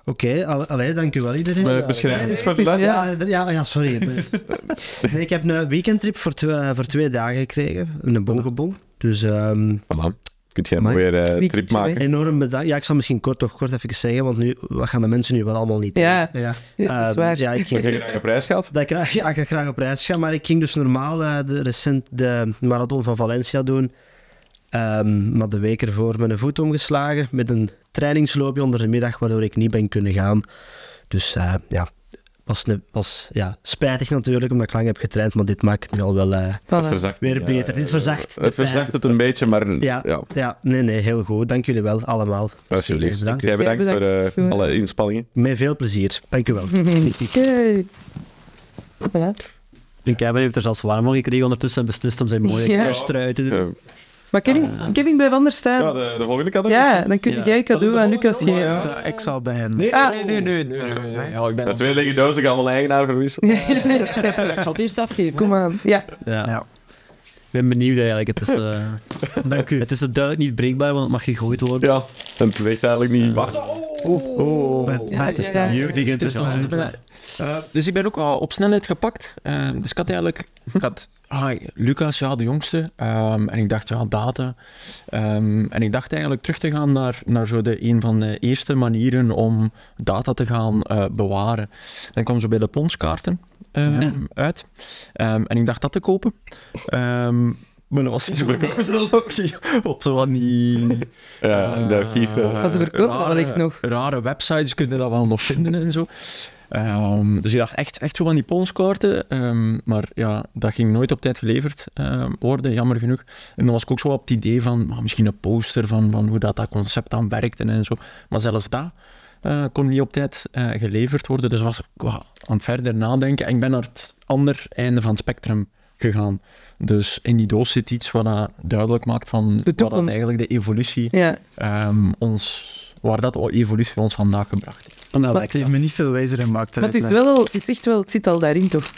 E: Oké, al- allee, dank u wel iedereen.
D: Eh, Beschrijving is voor de les.
E: Ja, ja, ja, sorry. nee, ik heb een weekendtrip voor, twe- voor twee dagen gekregen. Een bongebong. Dus ehm,
D: Voilà. Kunt jij
E: Amai.
D: weer eh,
A: Wie-
D: trip maken?
E: enorm bedankt. Ja, ik zal misschien kort toch kort even zeggen, want nu, wat gaan de mensen nu wel allemaal niet
A: Ja,
E: doen? Ja,
A: dat is
E: Ehm,
A: waar.
E: ja, ik
D: Dat je graag op reis gaat?
E: Dat ik, graag- ja, ik ga graag op reis gaan, maar ik ging dus normaal eh, de, recent de marathon van Valencia doen. Ehm, maar de week ervoor met een voet omgeslagen, met een trainingsloopje onder de middag, waardoor ik niet ben kunnen gaan. Dus eh, ja, was, ne- was ja, spijtig natuurlijk, omdat ik lang heb getraind, maar dit maakt het nu al wel eh,
D: Het
A: Voilà.
D: verzacht.
E: weer
D: Ja,
E: beter.
D: ja,
E: dit verzacht de
D: Het
E: pijn.
D: verzacht het een beetje, maar
E: Ja.
D: ja,
E: Ja, nee, nee, heel goed. Dank jullie wel, allemaal.
D: alsjeblieft.
E: Bedankt.
D: Jij bedankt
A: Ja,
D: voor
A: bedankt.
D: eh, alle inspanningen.
E: Met veel plezier. Dank u wel.
A: Yay. Voilà.
F: Kevin heeft er zelfs warm van gekregen ondertussen en beslist om zijn mooie
A: Ja.
F: kerstrui te doen.
D: Eh,
A: Maar Kevin, Kevin blijf anders
D: ja,
A: staan.
D: de, de volgende kan er
A: Ja, dan kun jij cadeau aan Lucas
B: Ik
A: geven.
B: zal- Ik zal bij hen.
A: Ah.
G: nee, nee, nee, nee, nee. Ja, ik ben
D: De twee lege dozen gaan wel eigenaar verwisselen.
A: Ik zal het eerst afgeven. Kom aan. Ja,
F: Ja.
B: Ja.
F: Ik ben benieuwd eigenlijk. Het is, eh, het is duidelijk niet breekbaar, want het mag gegooid worden.
D: Ja, en het weegt eigenlijk niet. Wacht.
B: Oh.
A: ja, ja.
F: Jeugdig enthousiasme.
G: Eh, dus ik ben ook al op snelheid gepakt. Eh, dus ik had eigenlijk... Ik had, ah, Lucas, ja, de jongste. Ehm, en ik dacht, ja, data. Ehm, en ik dacht eigenlijk terug te gaan naar, naar zo de, een van de eerste manieren om data te gaan eh, bewaren. En ik kwam zo bij de ponskaarten ehm, uit. Ehm, en ik dacht dat te kopen. Ehm, maar dat was niet zo goedkoop. Op zo van die...
D: Ja, de archief. eh.
A: Als ze verkopen,
G: rare-
A: dan wellicht nog.
G: Rare websites kunnen dat wel nog vinden en zo. Ehm, dus ik dacht echt, echt zo van die ponskaarten. ehm, maar ja, dat ging nooit op tijd geleverd ehm, worden, jammer genoeg. En dan was ik ook zo op het idee van ah, misschien een poster van, van hoe dat, dat concept dan werkte en zo. Maar zelfs dat eh, kon niet op tijd eh, geleverd worden. Dus was ik wa- aan het verder nadenken. En ik ben naar het ander einde van het spectrum gegaan. Dus in die doos zit iets wat dat duidelijk maakt van wat dat
A: toekomst.
G: eigenlijk de evolutie
A: Ja,
G: ehm, ons, waar dat o- evolutie ons vandaag gebracht heeft.
F: Dan
B: Het heeft me niet veel wijzer gemaakt.
A: maar het is wel, het is echt wel, het zit al daarin toch?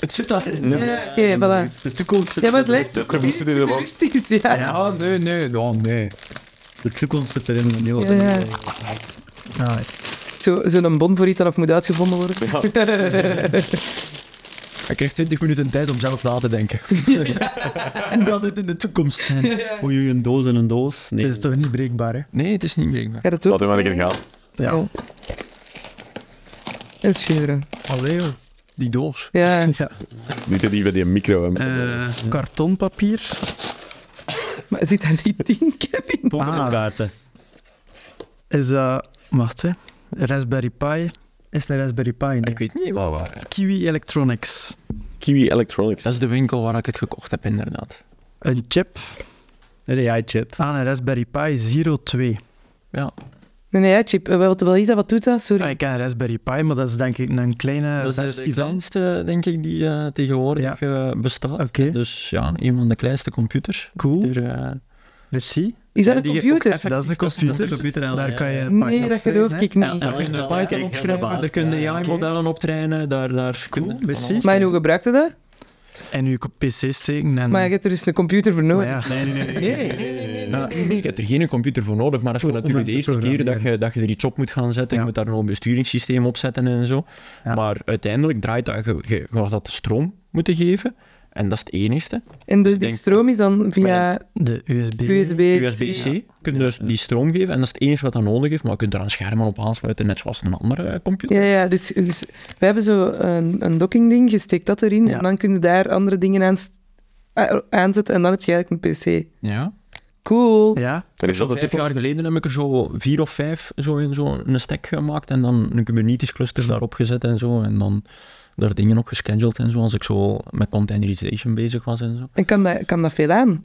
G: Het zit daar.
A: Ja, oké, voilà.
F: De toekomst.
A: Ja, maar het lijkt
D: De toekomst zit in de box.
A: futuristisch, ja.
B: Ja, nee, nee, oh, nee.
F: De toekomst zit erin. een heel-
A: Ja, ja.
B: Ah,
A: Zo- Zo'n bon voor iets dat af moet uitgevonden worden.
G: Hij krijgt 20 minuten tijd om zelf na te denken.
F: Hoe gaat dit in de toekomst zijn? Hoe je een doos in een doos?
B: Het
F: Nee.
B: is toch niet breekbaar, hè?
G: Nee, het is niet breekbaar.
A: Gaat het
D: Laat
A: ook?
D: hem maar een keer gaan.
A: Ja. En scheuren.
B: Allee, hoor.
G: Die doos.
A: Ja.
D: Niet dat die bij die micro. hè.
A: Eh.
B: Eh, Kartonpapier.
A: Maar zit daar niet in, Kevin?
E: Ah.
F: Pokémonkaarten.
B: Is dat... Wacht, hè. Raspberry Pi. Is dat Raspberry Pi? Nee.
G: Ik weet niet waar, waar.
B: Kiwi Electronics.
D: Kiwi Electronics.
G: Dat is de winkel waar ik het gekocht heb, inderdaad.
B: Een chip
F: Een AI-chip.
B: aan een Raspberry Pi 02.
A: Nee, nee, ja, Chip. eh, Wat, wat is dat? Wat doet dat?
B: Ah,
A: Sorry.
B: ik ken een Raspberry Pi, maar dat is denk ik een kleine
G: dat is de
B: versie van.
G: kleinste, denk ik, die eh, tegenwoordig eh, bestaat.
B: Oké,
G: Dus ja, een van de kleinste computers.
B: cool.
G: Die er, eh,
B: Merci.
A: Is dat
G: Ja,
A: een
G: die je ook
A: computer?
G: effectief-
B: Dat is een computer. Daar kan je Python
A: Nee, dat
B: op
A: geloof
B: schrijven,
A: ik
G: Daar
A: niet.
G: kun je
F: ja,
G: Python
F: ja,
G: op
F: ja,
G: schrijven,
F: ja,
G: daar kun je
B: ja,
G: AI-modellen op trainen, daar, daar
B: Cool,
G: kun je van
B: merci.
G: alles
A: Maar en hoe gebruikte dat?
B: hè. En je pc steken en...
A: Maar je hebt er dus een computer voor nodig.
B: Maar
F: Nee,
B: ja.
F: nee, nee. nee.
G: Nee, nee, nee, nee, nee. Je hebt er geen computer voor nodig, maar dat is
B: Om
G: natuurlijk
B: te
G: de eerste keer dat
B: programmeren.
G: je, dat je er iets op moet gaan zetten.
B: Ja.
G: Je moet daar nog een besturingssysteem op zetten en zo.
B: Ja.
G: Maar uiteindelijk draait dat, je, je, je gaat dat de stroom moeten geven. En dat is het enigste.
A: En de,
G: ik
A: die
G: denk-
A: stroom is dan via
B: De USB.
A: USB.
G: USB-C. Kun je dus die stroom geven en dat is het enige wat dat nodig heeft. Maar je kunt er aan schermen op aansluiten, net zoals een andere eh, computer.
A: Ja, ja dus, dus we hebben zo een, een docking ding, je steekt dat erin
B: Ja.
A: en dan kun je daar andere dingen aan, a- aanzetten en dan heb je eigenlijk een PC.
G: Ja.
A: Cool.
B: Ja,
D: En is dat de
G: Vijf
D: tip?
G: jaar geleden heb ik er zo vier of vijf zo in zo'n stack gemaakt en dan een Kubernetes cluster daarop gezet en zo. En dan daar dingen op gescheduled en zo, als ik zo met containerization bezig was en zo.
A: En kan dat, kan dat veel aan?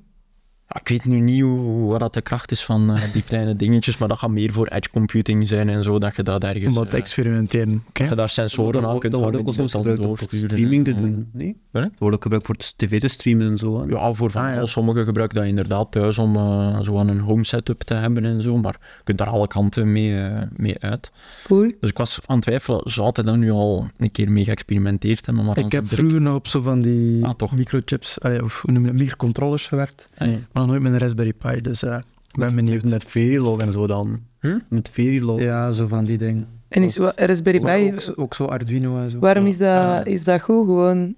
G: Ja, ik weet nu niet hoe, hoe- wat dat de kracht is van eh, die kleine dingetjes, maar dat gaat meer voor edge computing zijn en zo, dat je dat ergens...
B: om wat te
G: eh,
B: experimenteren. Oké.
G: dat je daar sensoren aan
H: Dat
G: kunt
H: wordt
G: gaan
H: ook
G: binden
H: soms
G: en
H: gebruikt
G: dan
H: om
G: doorsturen en
H: streaming te
G: zo.
H: doen, nee?
G: Wat, hè?
H: Dat wordt ook gebruikt voor t- tv te streamen en zo. hè. Ah,
G: Ja, voor van alles. Sommigen gebruiken dat inderdaad thuis om eh, zo aan een home setup te hebben en zo, maar je kunt daar alle kanten mee, eh, mee uit.
A: Cool.
G: Dus ik was aan het twijfelen, zou hij dan nu al een keer mee geëxperimenteerd hebben? Maar dan
B: Ik heb
G: direct-
B: vroeger nog op zo van die
G: Ah, toch.
B: microchips, allee, of hoe noem je dat, microcontrollers gewerkt,
G: Ah, ja.
B: maar nog nooit met een Raspberry Pi, dus ja, ik ben benieuwd.
H: Met Verilog en zo dan.
G: Hm?
H: Met Verilog.
B: Ja, zo van die dingen.
A: En is wa- Raspberry Pi,
B: Ook, zo- ook zo Arduino en zo.
A: waarom is dat, is dat goed? Gewoon,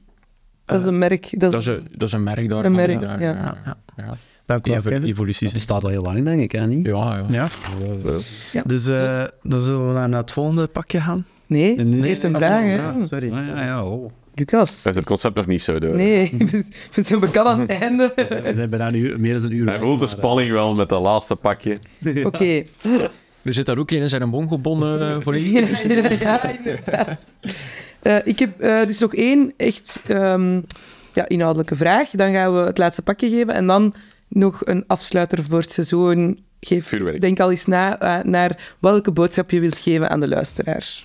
A: dat is een merk. Dat
G: Dat is,
A: is,
G: een, dat is een merk daar.
A: Een merk,
G: daar,
A: ja.
B: Ja, ja.
G: ja.
B: Dank u wel,
G: Evo-
B: Kevin.
G: evoluties.
H: Dat bestaat al heel lang, denk ik, hè, niet?
G: Ja, ja.
B: Ja.
A: Ja.
B: Dus eh, dan zullen we naar het volgende pakje gaan.
A: nee, eerst een vraag. hè.
B: sorry.
H: Ah, ja, ja, oh.
A: Lucas.
D: Hij heeft het concept nog niet zo door.
A: Nee, ik ben zo bekend aan het einde.
H: We zijn bijna een uur, meer dan een uur.
D: Hij
H: weg,
D: voelt de
H: maar,
D: spanning wel met dat laatste pakje.
A: Oké.
G: Er zit daar ook een in zijn bon gebonden eh, voor
A: ja, inderdaad. Eh, ik heb eh, dus nog één echt ehm, ja, inhoudelijke vraag. Dan gaan we het laatste pakje geven. En dan nog een afsluiter voor het seizoen. Geef,
D: Vuurwerk.
A: denk al eens na eh, naar welke boodschap je wilt geven aan de luisteraar.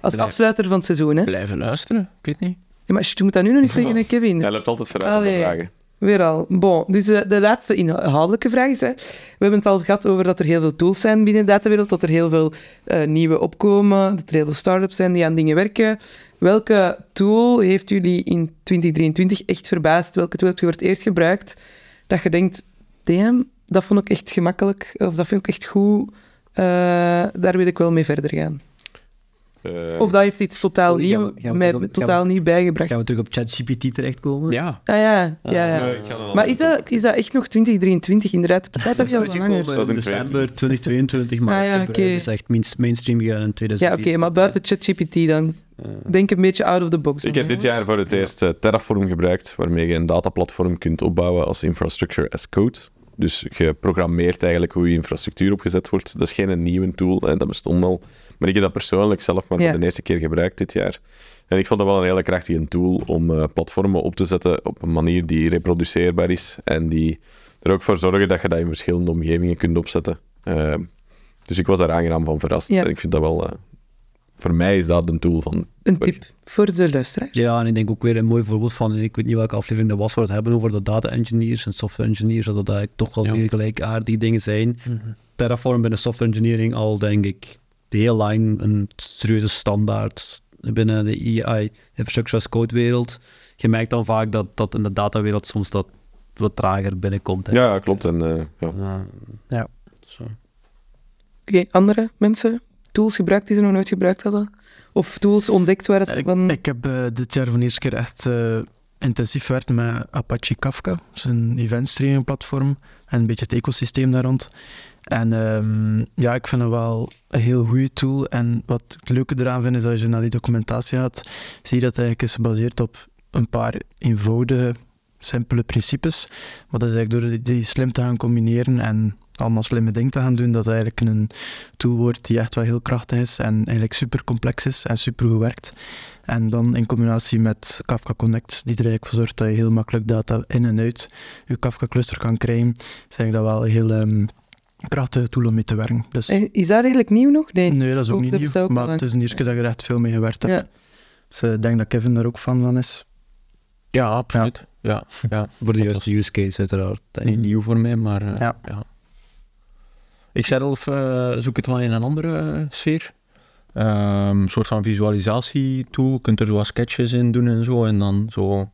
A: Als
G: Blijf.
A: afsluiter van het seizoen, hè?
G: Blijven luisteren, ik weet niet.
A: Ja, maar je moet dat nu nog niet zeggen, hè, Kevin.
D: Hij loopt altijd vooruit op de
A: Allee.
D: vragen.
A: Weer al. Bon, dus eh, de laatste inhoudelijke vraag is... Hè. We hebben het al gehad over dat er heel veel tools zijn binnen de datawereld, dat er heel veel eh, nieuwe opkomen, dat er heel veel start-ups zijn die aan dingen werken. Welke tool heeft jullie in 2023 echt verbaasd? Welke tool heb je voor het eerst gebruikt dat je denkt, damn, dat vond ik echt gemakkelijk, of dat vind ik echt goed, eh, daar wil ik wel mee verder gaan.
D: Eh,
A: Of dat heeft iets totaal,
H: Oh, gaan
A: nieuw,
H: we- gaan we
A: mij
H: terug op-
A: totaal
H: gaan
A: nieuw bijgebracht.
H: Gaan we terug op ChatGPT terechtkomen?
G: Ja.
A: Ah ja, ja, ja.
D: nee, ik ga dan
A: Maar
D: anders
A: is dat, is dat echt nog 2023 inderdaad? Dat heb je al van langer.
H: gekomen
D: Dat
H: in
D: is in
H: december 2022, maar
A: Ah, ja,
H: het gebruik
A: oké.
H: is echt minst- mainstream gegaan in
A: Ja, oké,
H: 2023.
A: maar buiten ChatGPT dan. Denk een beetje out of the box.
D: Ik heb dit jaar voor het eerst eh, Terraform gebruikt, waarmee je een dataplatform kunt opbouwen als infrastructure as code. Dus je programmeert eigenlijk hoe je infrastructuur opgezet wordt. Dat is geen nieuwe tool, hè, dat bestond al. Maar ik heb dat persoonlijk zelf maar
A: Ja.
D: voor de eerste keer gebruikt dit jaar. En ik vond dat wel een hele krachtige tool om eh, platformen op te zetten op een manier die reproduceerbaar is en die er ook voor zorgen dat je dat in verschillende omgevingen kunt opzetten. Eh, dus ik was daar aangenaam van verrast.
A: Ja.
D: En ik vind dat wel... eh, voor mij is dat een tool van...
A: Een tip voor de luisteraar.
H: Ja, en ik denk ook weer een mooi voorbeeld van, ik weet niet welke aflevering dat was, waar we het hebben over de data engineers en software engineers, dat dat eigenlijk toch wel
G: Ja.
H: weer gelijkaardige dingen zijn. Terraform binnen software engineering al, denk ik, heel lang een serieuze standaard binnen de EI, infrastructure as code wereld. Je merkt dan vaak dat, dat in de datawereld soms dat wat trager binnenkomt. hè.
D: Ja, ja, klopt. En, eh, ja.
H: Ja.
B: Ja.
H: Zo.
A: Oké, andere mensen? Tools gebruikt die ze nog nooit gebruikt hadden? Of tools ontdekt waar het
B: Ik,
A: van...
B: ik heb eh, dit jaar voor de eerste keer echt eh, intensief gewerkt met Apache Kafka, zijn event streaming platform en een beetje het ecosysteem daar rond. En ehm, ja, ik vind het wel een heel goede tool. En wat ik het leuke eraan vind is als je naar die documentatie gaat, zie je dat het eigenlijk is gebaseerd op een paar eenvoudige, simpele principes. Maar dat is eigenlijk door die- die slim te gaan combineren en allemaal slimme dingen te gaan doen, dat het eigenlijk een tool wordt die echt wel heel krachtig is en eigenlijk super complex is en super goed werkt. En dan in combinatie met Kafka Connect, die er eigenlijk voor zorgt dat je heel makkelijk data in en uit je Kafka cluster kan krijgen, vind ik dat wel een heel ehm, krachtige tool om mee te werken. Dus,
A: Eh, Is dat eigenlijk nieuw nog? Nee.
B: nee, dat is ook
A: ook,
B: niet
A: dat bestaat
B: nieuw,
A: ook
B: maar
A: al
B: het
A: lang.
B: is een eerste keer dat je er echt veel mee gewerkt hebt.
A: Ja.
B: Dus eh, ik denk dat Kevin daar ook fan van is.
G: Ja, absoluut. Ja. Ja,
H: Voor de juiste use case, uiteraard. denk ik.
G: Niet nieuw voor mij, maar eh,
B: Ja.
G: ja. Ik zelf eh, zoek het wel in een andere eh, sfeer. Ehm, een soort van visualisatietool. Je kunt er zo wat sketches in doen en zo. En dan zo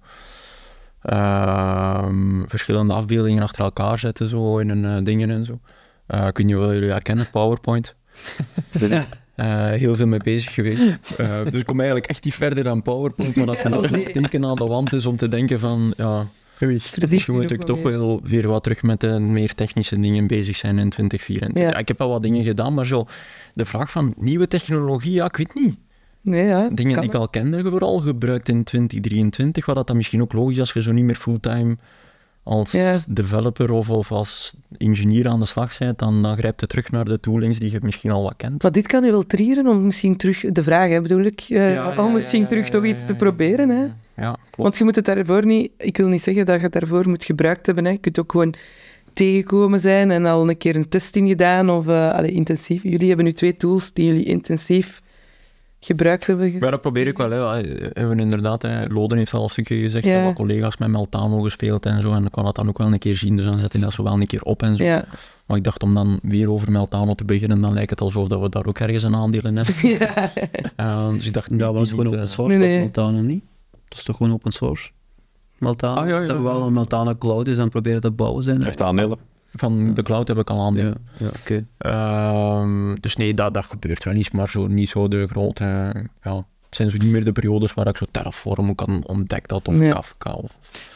G: ehm, verschillende afbeeldingen achter elkaar zetten zo in een eh, dingen en zo. Eh, ik weet niet of jullie dat kennen, PowerPoint. eh, heel veel mee bezig geweest. Eh, dus ik kom eigenlijk echt niet verder dan PowerPoint, maar dat
A: Oh,
G: een
A: nee.
G: teken aan de wand is om te denken van, ja, misschien moet ik toch wel weer wat terug met de meer technische dingen bezig zijn in 2024.
A: Ja.
G: Ja, ik heb al wat dingen gedaan, maar zo, de vraag van nieuwe technologie, ja, ik weet niet.
A: Nee, ja,
G: Dingen
A: kan
G: die ik al kende, vooral gebruikt in 2023, wat dat dan misschien ook logisch is als je zo niet meer fulltime als
A: Ja.
G: developer of, of als ingenieur aan de slag bent, dan, dan grijpt het terug naar de toolings die je misschien al wat kent.
A: Maar dit kan je wel trieren om misschien terug de vraag, hè, bedoel ik, eh, om misschien terug toch iets te proberen. Hè?
G: Ja, klopt.
A: Want je moet het daarvoor niet, ik wil niet zeggen dat je het daarvoor moet gebruikt hebben. Hè. Je kunt ook gewoon tegengekomen zijn en al een keer een test in gedaan of eh, allee, intensief. Jullie hebben nu twee tools die jullie intensief gebruikt hebben. ge-
G: Maar dat probeer ik wel. Hè. We hebben inderdaad, hè, Loden heeft al een stukje gezegd,
A: Ja.
G: dat wat collega's met Meltano gespeeld en zo, en dan kan dat dan ook wel een keer zien, dus dan zet hij dat zo wel een keer op en zo.
A: Ja.
G: Maar ik dacht om dan weer over Meltano te beginnen, dan lijkt het alsof dat we daar ook ergens een aandeel in hebben.
A: ja.
G: Eh, dus ik dacht,
H: Ja,
G: die-
H: maar dat is
G: die
H: gewoon
G: niet,
H: open
G: eh,
H: source,
A: Nee,
H: nee,
A: nee.
H: Meltano niet? Dat is toch gewoon open source? Meltano?
G: Ah, ja, ja,
H: Ze hebben
G: ja.
H: wel een Meltano Cloud, dus dan proberen te bouwen zijn.
D: Hij heeft aandelen.
G: Van de cloud heb ik al aandelen.
H: Ja, ja oké.
G: Ehm, dus nee, dat, dat gebeurt wel iets, maar zo, niet zo de grote... eh, Ja, het zijn zo niet meer de periodes waar ik zo Terraform kan ontdekt had of
A: Ja.
G: Kafka. Of...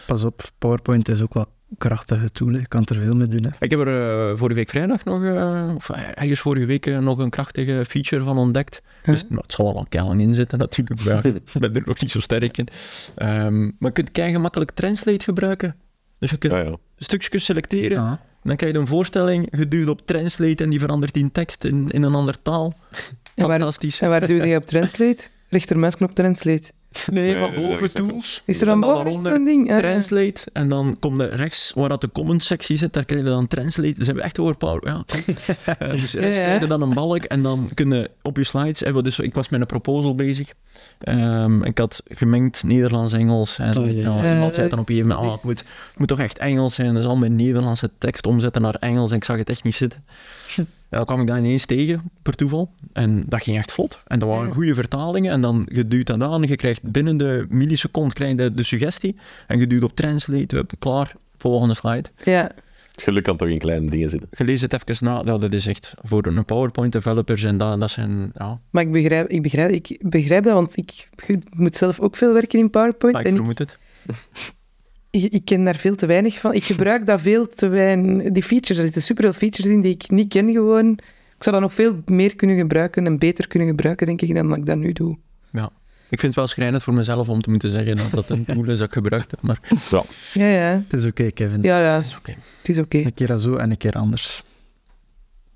B: Pas op, PowerPoint is ook wel een krachtige tool. hè. Je kan er veel mee doen. Hè.
G: Ik heb er eh, vorige week vrijdag nog, eh, of ergens vorige week eh, nog een krachtige feature van ontdekt. Dus, nou, het zal er wel keilen in zitten natuurlijk, maar ja, ik ben er nog niet zo sterk in. Ehm, maar je kunt kei gemakkelijk Translate gebruiken. Dus je kunt
D: Ja, ja.
G: stukjes selecteren,
B: Ah,
H: Ja.
G: dan krijg je een voorstelling geduwd op Translate en die verandert in tekst in, in een ander taal.
A: En waar,
G: Fantastisch.
A: en waar duwde je op Translate? Rechtermuisknop Translate.
G: Nee,
D: Nee,
G: van
D: dat is
G: boven
D: ergens
G: tools.
A: Is er dan
G: En dan
A: wel echt
G: daaronder
A: zo'n ding? Ah, Ja, ja.
G: Translate en dan komt er rechts waar dat de comment sectie zit, daar krijg je dan translate. Dus hebben we echt overpower. Ja. kijk. Eh, dus rechts
A: Ja, ja.
G: krijg je dan een balk en dan kunnen op je slides. hebben we dus, ik was met een proposal bezig. Ehm, ik had gemengd Nederlands-Engels en
H: Oh, ja, ja.
G: ja,
A: Ja,
G: iemand zei
A: dat
G: dan op een gegeven moment:
A: is-
G: ah, het, moet, het moet toch echt Engels zijn. Dus al mijn Nederlandse tekst omzetten naar Engels en ik zag het echt niet zitten. En dan kwam ik daar ineens tegen, per toeval. En dat ging echt vlot. En dat waren
A: Ja.
G: goede vertalingen. En dan je duwt dat aan. Je krijgt binnen de millisecond krijg je de, de suggestie. En je duwt op translate. Hup, klaar. Volgende slide.
A: Ja.
D: Het geluk kan toch in kleine dingen zitten.
G: Je leest het even na. Nou, dat is echt voor een PowerPoint developers. En dat, dat zijn. Ja,
A: Maar ik begrijp, ik, begrijp, ik begrijp dat, want ik moet zelf ook veel werken in PowerPoint.
G: maar ik
A: en ik-
G: vermoed het.
A: ik, ik ken daar veel te weinig van. Ik gebruik dat veel te weinig. Die features, er zitten superveel features in die ik niet ken gewoon. Ik zou dat nog veel meer kunnen gebruiken en beter kunnen gebruiken, denk ik, dan dat ik dat nu doe.
G: Ik vind het wel schrijnend voor mezelf om te moeten zeggen dat dat een tool is dat ik gebruikt heb. Maar
D: Zo.
A: Ja, ja.
B: Het is oké, Kevin.
A: Ja, ja.
G: dat is oké.
A: Het is oké.
B: Een keer zo en een keer anders.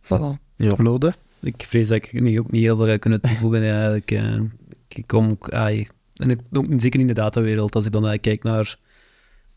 A: Voilà.
H: Ja.
B: Uploaden.
H: Ik vrees dat ik niet, ook niet heel veel ga kunnen toevoegen eigenlijk. eh. Ik kom ook, ai. en ik, ook niet- zeker in de datawereld, als ik dan eh, kijk naar...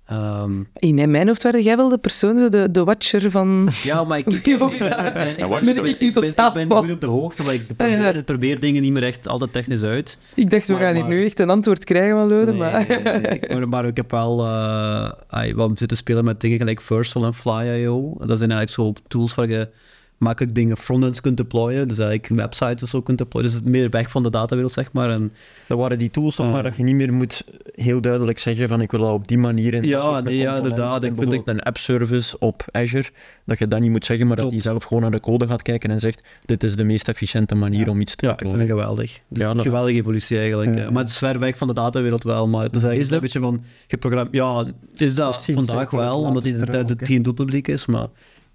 H: ehm,
A: In in mijn hoofd waren jij wel de persoon, zo de, de watcher van...
H: ja, maar ik...
A: Ja, wat is dat?
H: ik
D: watch
H: ben-
D: toch?
H: ik ben- ik
A: totaal
H: ben
A: van.
H: goed op de hoogte, maar ik
A: Ja, ja.
H: probeer, ik probeer dingen niet meer echt altijd technisch uit.
A: Ik dacht, we
H: Maar-
A: gaan hier
H: maar-
A: nu echt een antwoord krijgen van Lode,
H: Nee,
A: maar...
H: nee, nee, nee. maar, maar ik heb wel, eh ai, wel zitten spelen met dingen gelijk Versal en Fly.io. Dat zijn eigenlijk zo tools waar je makkelijk dingen frontends kunt deployen. Dus eigenlijk websites of zo kunt deployen. Dus het meer weg van de datawereld, zeg maar. En,
G: Dat waren die tools toch
H: Ah.
G: waar dat je niet meer moet heel duidelijk zeggen van ik wil dat op die manier in. dat
H: Ja,
G: soort met
H: nee, ja,
G: componenten.
H: inderdaad. Ik
G: bijvoorbeeld een app-service op Azure, dat je dat niet moet zeggen, maar dat
H: Klopt.
G: die zelf gewoon naar de code gaat kijken en zegt dit is de meest efficiënte manier om iets te
H: ja, ik vind
G: doen.
H: het geweldig. Dus
G: Ja,
H: een
G: dat-
H: geweldige evolutie eigenlijk. eh. Maar het is ver weg van de datawereld wel. Maar het is eigenlijk
G: Is dat-
H: een beetje van geprogrammeerd. Ja, is dat
B: Precies,
H: vandaag
B: ja,
H: wel, omdat het
B: later,
H: het
B: oké.
H: geen doelpubliek is. Maar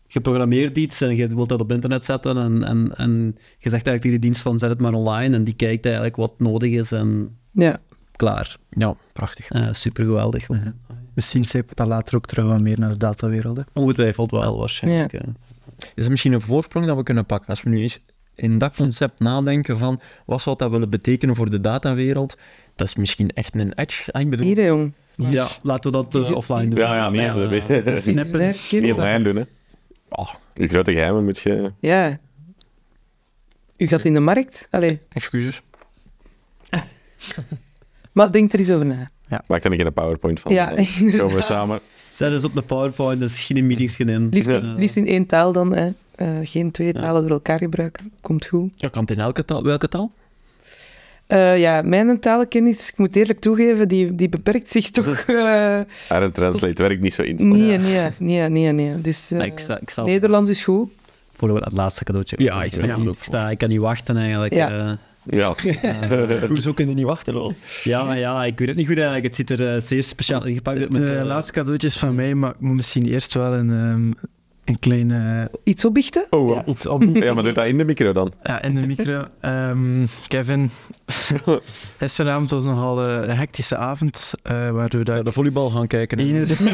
H: je programmeert iets en je wilt dat op internet zetten. En, en, en je zegt eigenlijk tegen die dienst van zet het maar online. En die kijkt eigenlijk wat nodig is en
A: Ja.
H: klaar.
G: Ja, prachtig.
H: Eh super geweldig.
B: Misschien zeep dat later ook terug wat meer naar de datawereld. hè.
H: Ongetwijfeld wel, waarschijnlijk. eh.
G: Is dat misschien een voorsprong dat we kunnen pakken als we nu eens in dat concept nadenken van wat zou dat willen betekenen voor de datawereld? Dat is misschien echt een edge. Ah, ik bedoel,
A: Hier, hè, jong.
H: Ja, laten we dat eh, offline doen.
D: Ja, ja, nee.
H: Ja,
D: nee,
H: ja.
D: nee.
A: Nee, kerel.
D: Niet lijn doen, hè.
G: Ah.
D: Je grote geheimen moet je...
A: Ja. U gaat in de markt? Allee.
G: excuses.
A: Maar denk er eens over na.
D: Maak daar een keer een PowerPoint van.
A: Ja,
D: Dan Komen we
A: inderdaad.
D: samen.
H: Zet eens op de PowerPoint, dus geen meetings, geen in.
A: Liefst,
H: Ja.
A: liefst in één taal dan, hè. Eh, geen twee talen door elkaar gebruiken. Komt goed.
G: Ja, kan het in elke taal? Welke taal?
A: Eh, ja, mijn talenkennis, ik moet eerlijk toegeven, die, die beperkt zich toch... eh,
H: Oh,
D: Aaron Translate werkt niet zo in.
A: nee, nee, nee, nee, nee. Dus eh,
H: Maar ik sta, ik sta
A: Nederlands is goed.
H: voor wel het laatste cadeautje.
G: Ja, ik snap
H: sta,
G: het
H: ik,
G: ook
H: sta, ik kan niet wachten eigenlijk.
A: Ja.
H: eh.
D: Ja,
G: Hoezo kunnen niet wachten al?
H: ja, maar ja, ik weet het niet goed eigenlijk. Het ziet er eh, zeer speciaal ingepakt uit.
B: Het
H: Met,
B: eh,
H: eh,
B: laatste cadeautje is van mij, maar ik moet misschien eerst wel een, ehm, een kleine eh,
A: Iets opbiechten?
D: oh, wow.
B: iets op
D: ja, maar doe dat in de micro dan.
B: ja, in de micro. Ehm, Kevin, gisteravond was nogal eh, een hectische avond, eh, waardoor dat
G: Naar de volleybal gaan kijken. hè.
B: Eén-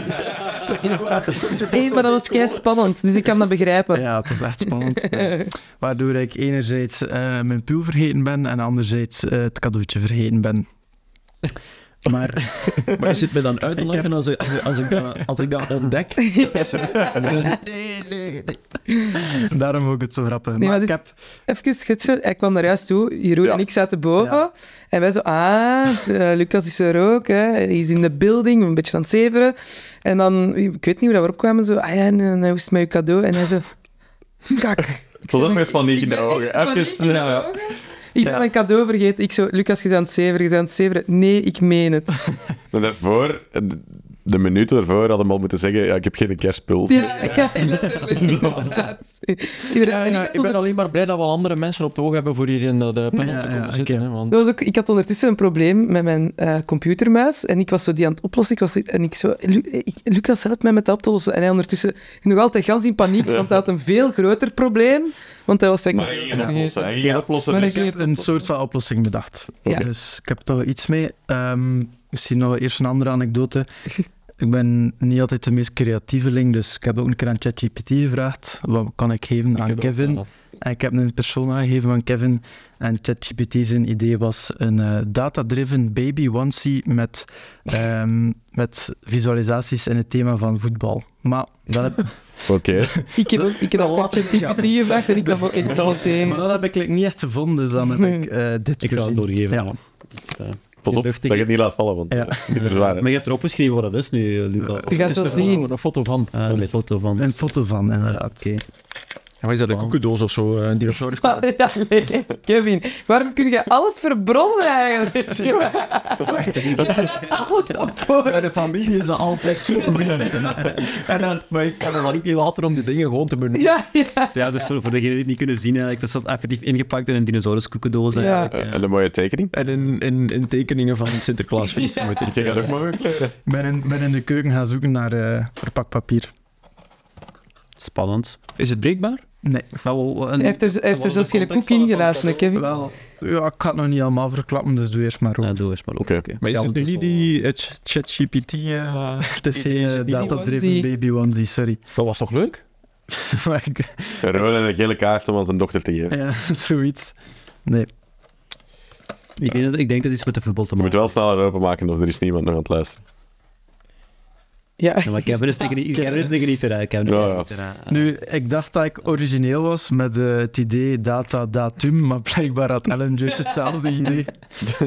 A: Nee, maar dat was kei spannend, dus ik kan dat begrijpen.
B: Ja, het was echt spannend. Ja. Waardoor ik enerzijds eh, mijn pull vergeten ben en anderzijds eh, het cadeautje vergeten ben. Maar
G: Maar je zit me dan uit te lachen als, ik- als, ik, dat- als ik dat ontdek.
B: daarom ook het zo grappig. Maar
A: Nee, maar
B: ik
A: dit-
B: heb
A: Even schetsen, hij kwam naar huis toe, Jeroen
D: Ja.
A: en ik zaten boven. En wij zo, ah, eh, Lucas is er ook, hè. hij is in de building, een beetje aan het zeveren. En dan, ik weet niet hoe dat we opkwamen, zo, ah ja, en, en hij wist mij uw cadeau. En hij zo, kak.
D: Het was ook eens van niet in de ogen. Even, ja, ja.
A: Ik ben mijn cadeau vergeten. Ik zo, Lucas, je bent aan het zeveren, je bent aan het zeveren. Nee, ik meen het.
D: En daarvoor, de- de minuten daarvoor hadden we al moeten zeggen, ja, ik heb geen kerstpul.
A: Ja, ja letterlijk. inderdaad. Inderdaad. En ik had
G: ik ben
A: onder-
G: alleen maar blij dat we al andere mensen op het oog hebben voor hier in dat eh panel
B: Ja,
G: te
B: ja,
G: komen
B: oké.
G: zitten. Hè, want...
A: Dat was ook, ik had ondertussen een probleem met mijn eh, computermuis en ik was zo die aan het oplossen. Ik was, en ik zo, Lu- ik, Lucas, help mij met dat op te lossen. En hij ondertussen nog altijd gans in paniek, want hij had een veel groter probleem. Want hij was
D: Maar
A: eigenlijk...
D: hij ging het oplossen. Hij ging het oplossen.
B: maar
D: dus-
B: ik heb een soort van oplossing bedacht.
A: Ja.
B: Dus ik heb toch iets mee. Ehm, misschien nog eerst een andere anekdote. Ik ben niet altijd de meest creatieveling, dus ik heb ook een keer aan ChatGPT gevraagd. Wat kan ik geven aan Kevin? En ik heb een persoon aangegeven aan Kevin. En ChatGPT zijn idee was een eh, data-driven baby onesie met, ehm, met visualisaties in het thema van voetbal. Maar dat heb,
D: Oké.
A: Ik heb, ik heb al wat die gevraagd en ik dacht van, ik al
B: maar
A: meteen.
B: dat heb ik like, niet echt gevonden, dus dan heb ik eh, dit
H: ik zal het
B: voorzien. Ja.
H: doorgeven. ja. Het, eh,
D: Pas op, dat
H: Luchtig.
D: je het niet laat vallen, want
B: Ja.
D: het is niet verzwaar. hè.
H: Maar je hebt erop geschreven wat dat is nu, eh, Luca.
A: Je gaat
G: Het
A: wel
G: is een
A: zien.
G: foto- een foto van.
H: Ah, een foto van.
B: Een foto van, inderdaad.
H: Oké.
G: Ja, maar is dat een koekendoos of zo? eh, Een dinosaurus?
A: Maar dat- Ah, nee, Kevin, waarom kun je alles verbronnen eigenlijk? Alles op voor.
G: Bij de familie is dat altijd super moeilijk. En dan, maar ik kan er wel niet in later om die dingen gewoon te benoemen.
A: Ja, ja.
H: Ja, dus voor, voor degenen die het niet kunnen zien, eigenlijk, dat staat effectief ingepakt in een dinosauruskoekendoos.
A: Ja.
H: eigenlijk.
D: Eh, En een mooie tekening.
G: En in, in, in tekeningen van het Sinterklaasfeest. moet
D: Ik ging dat ook maar kleuren.
B: Ik ben in, ben in de keuken gaan zoeken naar eh verpakpapier.
H: Spannend.
G: Is het breekbaar?
B: Nee.
H: Nou, een,
A: Hij heeft er, hij heeft er zelfs geen koek in gelaten, hè, Kevin.
B: Wel, ja, ik ga het nog niet allemaal verklappen, dus doe eerst maar op.
H: Ja, doe eens maar op.
D: Oké.
G: Maar is
H: Ja,
G: het
H: want
G: nu
H: het is
G: niet
H: wel-
G: die eh, ch- ChatGPT? eh,
B: Het is geen eh,
G: Baby
B: data-driven
A: onesie.
B: baby onesie, sorry.
G: dat was toch leuk?
B: Maar ik-
D: Een rode en een gele kaart om aan zijn dochter te geven.
B: Ja, zoiets. Nee.
H: Ik, denk dat, ik denk dat iets met de voetbal te
D: Je moet
H: maken
D: wel sneller openmaken of er is niemand nog aan het luisteren.
A: Ja.
H: Ja, maar Kevin is tegen niet, Kevin is tegen niet eruit. Kevin is
D: Ja,
H: tegen
D: ja.
H: niet
G: Ah.
H: eruit.
B: Nu, ik dacht dat ik origineel was met eh, het idee data datum, maar blijkbaar had Ellen Jurt hetzelfde idee.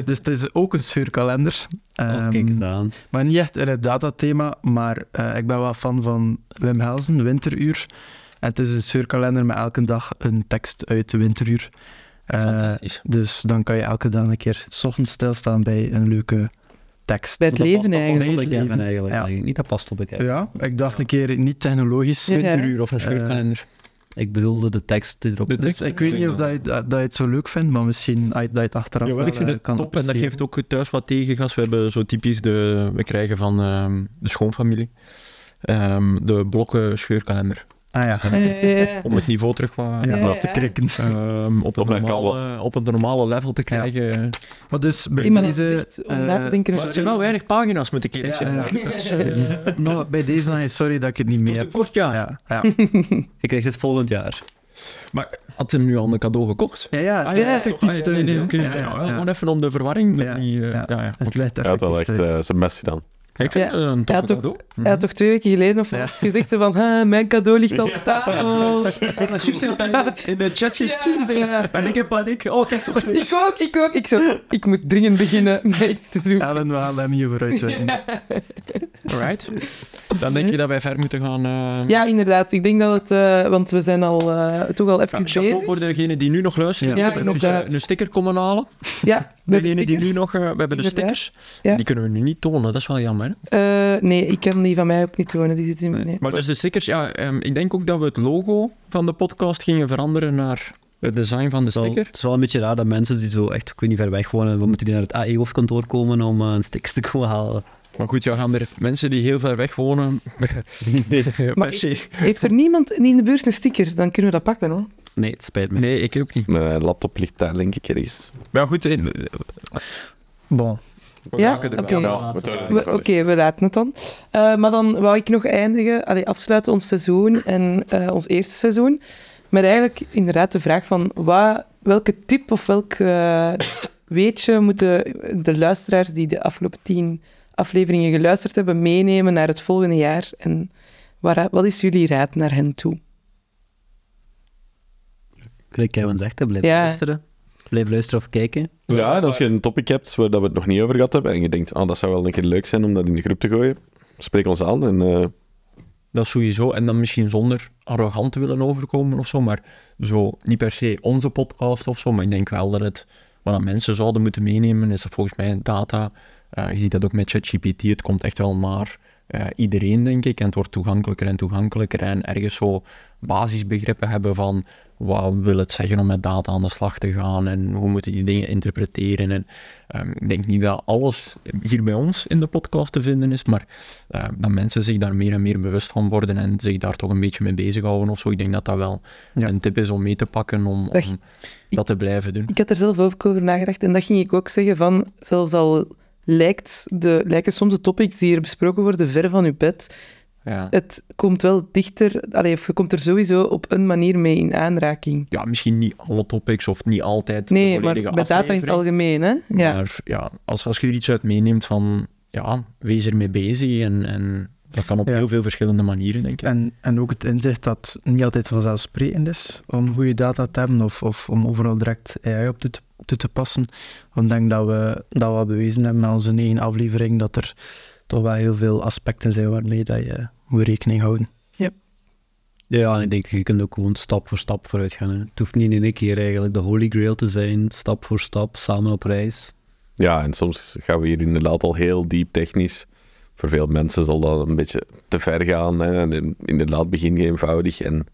B: Dus het is ook een scheurkalender.
H: Oh,
B: Ehm,
H: kijk eens aan.
B: maar niet echt in het datathema, maar eh, ik ben wel fan van Wim Helsen, Winteruur. En het is een scheurkalender met elke dag een tekst uit de Winteruur. Eh,
G: Fantastisch.
B: dus dan kan je elke dag een keer 's ochtends stilstaan bij een leuke tekst.
A: Bij het
H: Dat past-
A: leven
H: dat past
A: eigenlijk.
H: op
B: Nee,
H: de Kevin
B: leven.
H: eigenlijk.
B: Ja.
H: eigenlijk. Niet dat past op de Kevin.
B: Ja, ik dacht een keer niet technologisch.
A: Ja.
G: Winteruur of een scheurkalender.
H: Ik bedoelde de tekst die erop
G: De
H: is.
B: Dus ik weet niet of dat je, dat je het zo leuk vindt, maar misschien dat je dat je het achteraf
G: Jawel, ik
B: wel,
G: vind
B: eh,
G: het
B: kan
G: top en dat
B: appreciëren.
G: geeft ook thuis wat tegengas. We hebben zo typisch de, we krijgen van ehm, de schoonfamilie ehm, de blokken scheurkalender.
B: Ah ja,
A: Ja, ja, ja.
G: Om het niveau terug wat,
B: ja,
A: Ja,
B: om te
A: ja.
B: krikken.
G: ehm, op, het
D: mijn
G: normale,
D: canvas.
G: op het normale level te krijgen.
B: Maar dus bij
A: Iemand had
B: deze...
A: gezegd, om
B: eh,
A: na te denken...
G: Maar het zijn wel weinig pagina's, moet ik eerlijk
B: ja,
G: zeggen.
B: ja. Nou, bij deze dan, sorry dat ik het niet meer
G: Te
B: heb.
G: kort, ja.
B: Ja, ja.
H: Ik krijg dit volgend jaar.
G: Maar had hem nu al een cadeau gekocht?
B: Ja, ja,
G: Ah,
B: het lijkt
G: toch.
B: effectief
G: Ah, ja,
B: thuis,
G: nee,
B: hè.
G: oké.
B: Ja,
G: Ja,
B: ja,
G: ja,
B: ja.
G: Gewoon even om de verwarring.
B: Ja,
G: Ja, niet, eh,
B: ja.
G: ja. ja,
B: Het dus. lijkt
D: Hij had wel echt
B: effectief thuis.
D: eh, zijn best gedaan.
G: Ik vind
A: Ja.
G: het een tof
A: Ja, toch.
G: cadeau.
A: Hij had toch twee weken geleden of wat gezegd zo van, "Ah, mijn cadeau ligt op tafel.
G: In de chat gestuurd.
A: Ja.
G: En ik heb paniek. Oh, kijk toch
A: Ik ook, ik ook. Ik, zo, ik moet dringend beginnen met iets te doen.
B: Ellen, we gaan hem hier vooruit zetten.
G: Alright. Dan denk je dat wij ver moeten gaan. eh,
A: Ja, inderdaad. Ik denk dat het... eh, want we zijn al, eh, toch al even
G: ja, chapeau
A: bezig.
G: voor degenen die nu nog luisteren.
A: Ja,
G: Ik heb even,
A: inderdaad.
G: eh, een sticker komen halen.
A: Ja, we hebben
G: Degenen die nu
A: stickers.
G: nog... eh, we hebben de
A: Inderdaad.
G: stickers.
A: Ja.
G: Die kunnen we nu niet tonen, dat is wel jammer. hè?
A: Eh, nee, ik kan die van mij ook niet tonen. Die zit in mijn... Nee.
G: Maar dus de stickers, ja, ehm, ik denk ook dat we het logo van de podcast gingen veranderen naar het design van de
H: Het is wel-
G: sticker.
H: Het is wel een beetje raar dat mensen die zo echt, ik weet niet, ver weg wonen, we moeten die naar het AE-hoofdkantoor komen om eh, een sticker te komen halen.
G: Maar goed, ja, gaan er mensen die heel ver weg wonen...
A: Maar
G: per se.
A: Heeft er niemand in de buurt een sticker? Dan kunnen we dat pakken, hoor.
H: Nee, het spijt me.
G: Nee, ik ook niet.
D: Mijn laptop ligt daar, denk ik, ergens.
G: Maar goed, eh,
B: Bon.
G: we
A: Ja,
G: raken er
A: oké.
G: wel.
D: we
A: We- Oké, we laten het dan. Eh, maar dan wou ik nog eindigen, allee, afsluiten ons seizoen en eh, ons eerste seizoen, met eigenlijk inderdaad de vraag van wa- welke tip of welk eh, weetje moeten de luisteraars die de afgelopen tien afleveringen geluisterd hebben meenemen naar het volgende jaar? En waar- wat is jullie raad naar hen toe?
H: Kijk, Kevin zegt, hè, blijf
A: Ja.
H: luisteren. Blijf luisteren of kijken.
D: Ja, en als je een topic hebt waar dat we het nog niet over gehad hebben en je denkt, ah, dat zou wel een keer leuk zijn om dat in de groep te gooien, spreek ons aan en eh,
G: Dat sowieso. En dan misschien zonder arrogant te willen overkomen of zo. Maar zo, niet per se onze podcast of zo. Maar ik denk wel dat het. Wat dat mensen zouden moeten meenemen, is dat volgens mij data. Eh, je ziet dat ook met ChatGPT. Het komt echt wel naar eh, iedereen, denk ik. En het wordt toegankelijker en toegankelijker. En ergens zo basisbegrippen hebben van. Wat wil het zeggen om met data aan de slag te gaan? En hoe moeten die dingen interpreteren? En ehm, ik denk niet dat alles hier bij ons in de podcast te vinden is. Maar eh, dat mensen zich daar meer en meer bewust van worden en zich daar toch een beetje mee bezighouden of zo. Ik denk dat dat wel
B: Ja.
G: een tip is om mee te pakken, om,
A: Echt?
G: om dat te blijven doen.
A: Ik had er zelf ook over nagedacht en dat ging ik ook zeggen van, zelfs al lijkt de, lijken soms de topics die hier besproken worden ver van uw bed,
G: Ja.
A: het komt wel dichter, allee, of je komt er sowieso op een manier mee in aanraking.
G: ja, misschien niet alle topics of niet altijd de
A: Nee, maar
G: volledige
A: met data in het
G: aflevering.
A: algemeen, hè? Ja.
G: Maar ja, als, als je er iets uit meeneemt van, ja, wees ermee bezig en, en dat kan op
B: Ja.
G: heel veel verschillende manieren, denk ik.
B: En, en ook het inzicht dat het niet altijd vanzelfsprekend is om goede data te hebben of, of om overal direct AI op toe te, toe te passen. Want ik denk dat we dat we al bewezen hebben met onze negen aflevering dat er toch wel heel veel aspecten zijn waarmee dat je moet rekening houden.
H: Ja, en ik denk, je kunt ook gewoon stap voor stap vooruit gaan. Hè. Het hoeft niet in één keer eigenlijk de holy grail te zijn, stap voor stap, samen op reis.
D: ja, en soms gaan we hier inderdaad al heel diep technisch. Voor veel mensen zal dat een beetje te ver gaan. Hè? En in- inderdaad, begin je eenvoudig en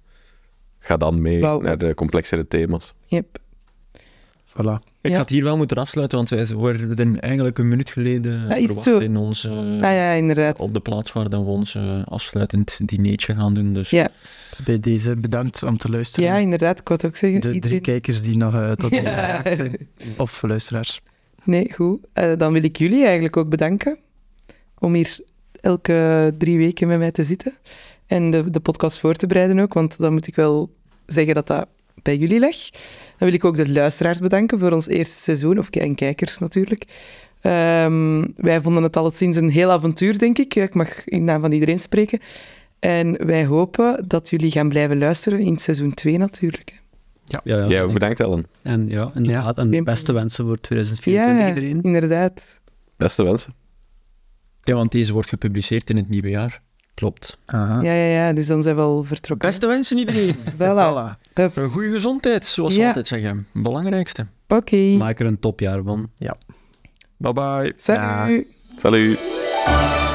D: ga dan mee
A: Wauw.
D: naar de complexere thema's.
A: Yep.
B: Voilà.
G: Ik
A: Ja.
G: ga het hier wel moeten afsluiten, want wij worden eigenlijk een minuut geleden
A: Ja, iets
G: verwacht
A: toe.
G: in onze...
A: Ah ja, inderdaad.
G: Op de plaats waar dan we ons eh, afsluitend dineetje gaan doen. Dus
A: Ja,
B: Dus bij deze bedankt om te luisteren.
A: ja inderdaad. Ik wou het ook zeggen.
B: de drie
A: iedereen-
B: kijkers die nog eh, tot hier
A: Ja.
B: geraakt zijn. Of luisteraars.
A: Nee, goed. Eh, dan wil ik jullie eigenlijk ook bedanken om hier elke drie weken met mij te zitten en de, de podcast voor te bereiden ook, want dan moet ik wel zeggen dat dat bij jullie lag. Dan wil ik ook de luisteraars bedanken voor ons eerste seizoen, of ki- en kijkers natuurlijk. Ehm, wij vonden het alleszins een heel avontuur, denk ik. Ik mag in naam van iedereen spreken. En wij hopen dat jullie gaan blijven luisteren in seizoen 2 natuurlijk.
H: Ja, ja.
D: Jij ook bedankt, Ellen.
H: En ja, inderdaad. En de
A: Geen
H: beste wensen voor 2024
A: Ja,
H: iedereen.
A: inderdaad.
D: Beste wensen.
G: Ja, want deze wordt gepubliceerd in het nieuwe jaar. Klopt.
B: Aha.
A: Ja, ja, ja. Dus dan zijn we al vertrokken.
G: Beste wensen iedereen.
A: Voilà.
B: Voilà.
A: Hup.
G: Een goede gezondheid, zoals we
A: Ja.
G: altijd zeggen. Belangrijkste.
A: Oké.
H: Maak er een topjaar van.
G: Bye bye.
A: Salut.
D: Salut.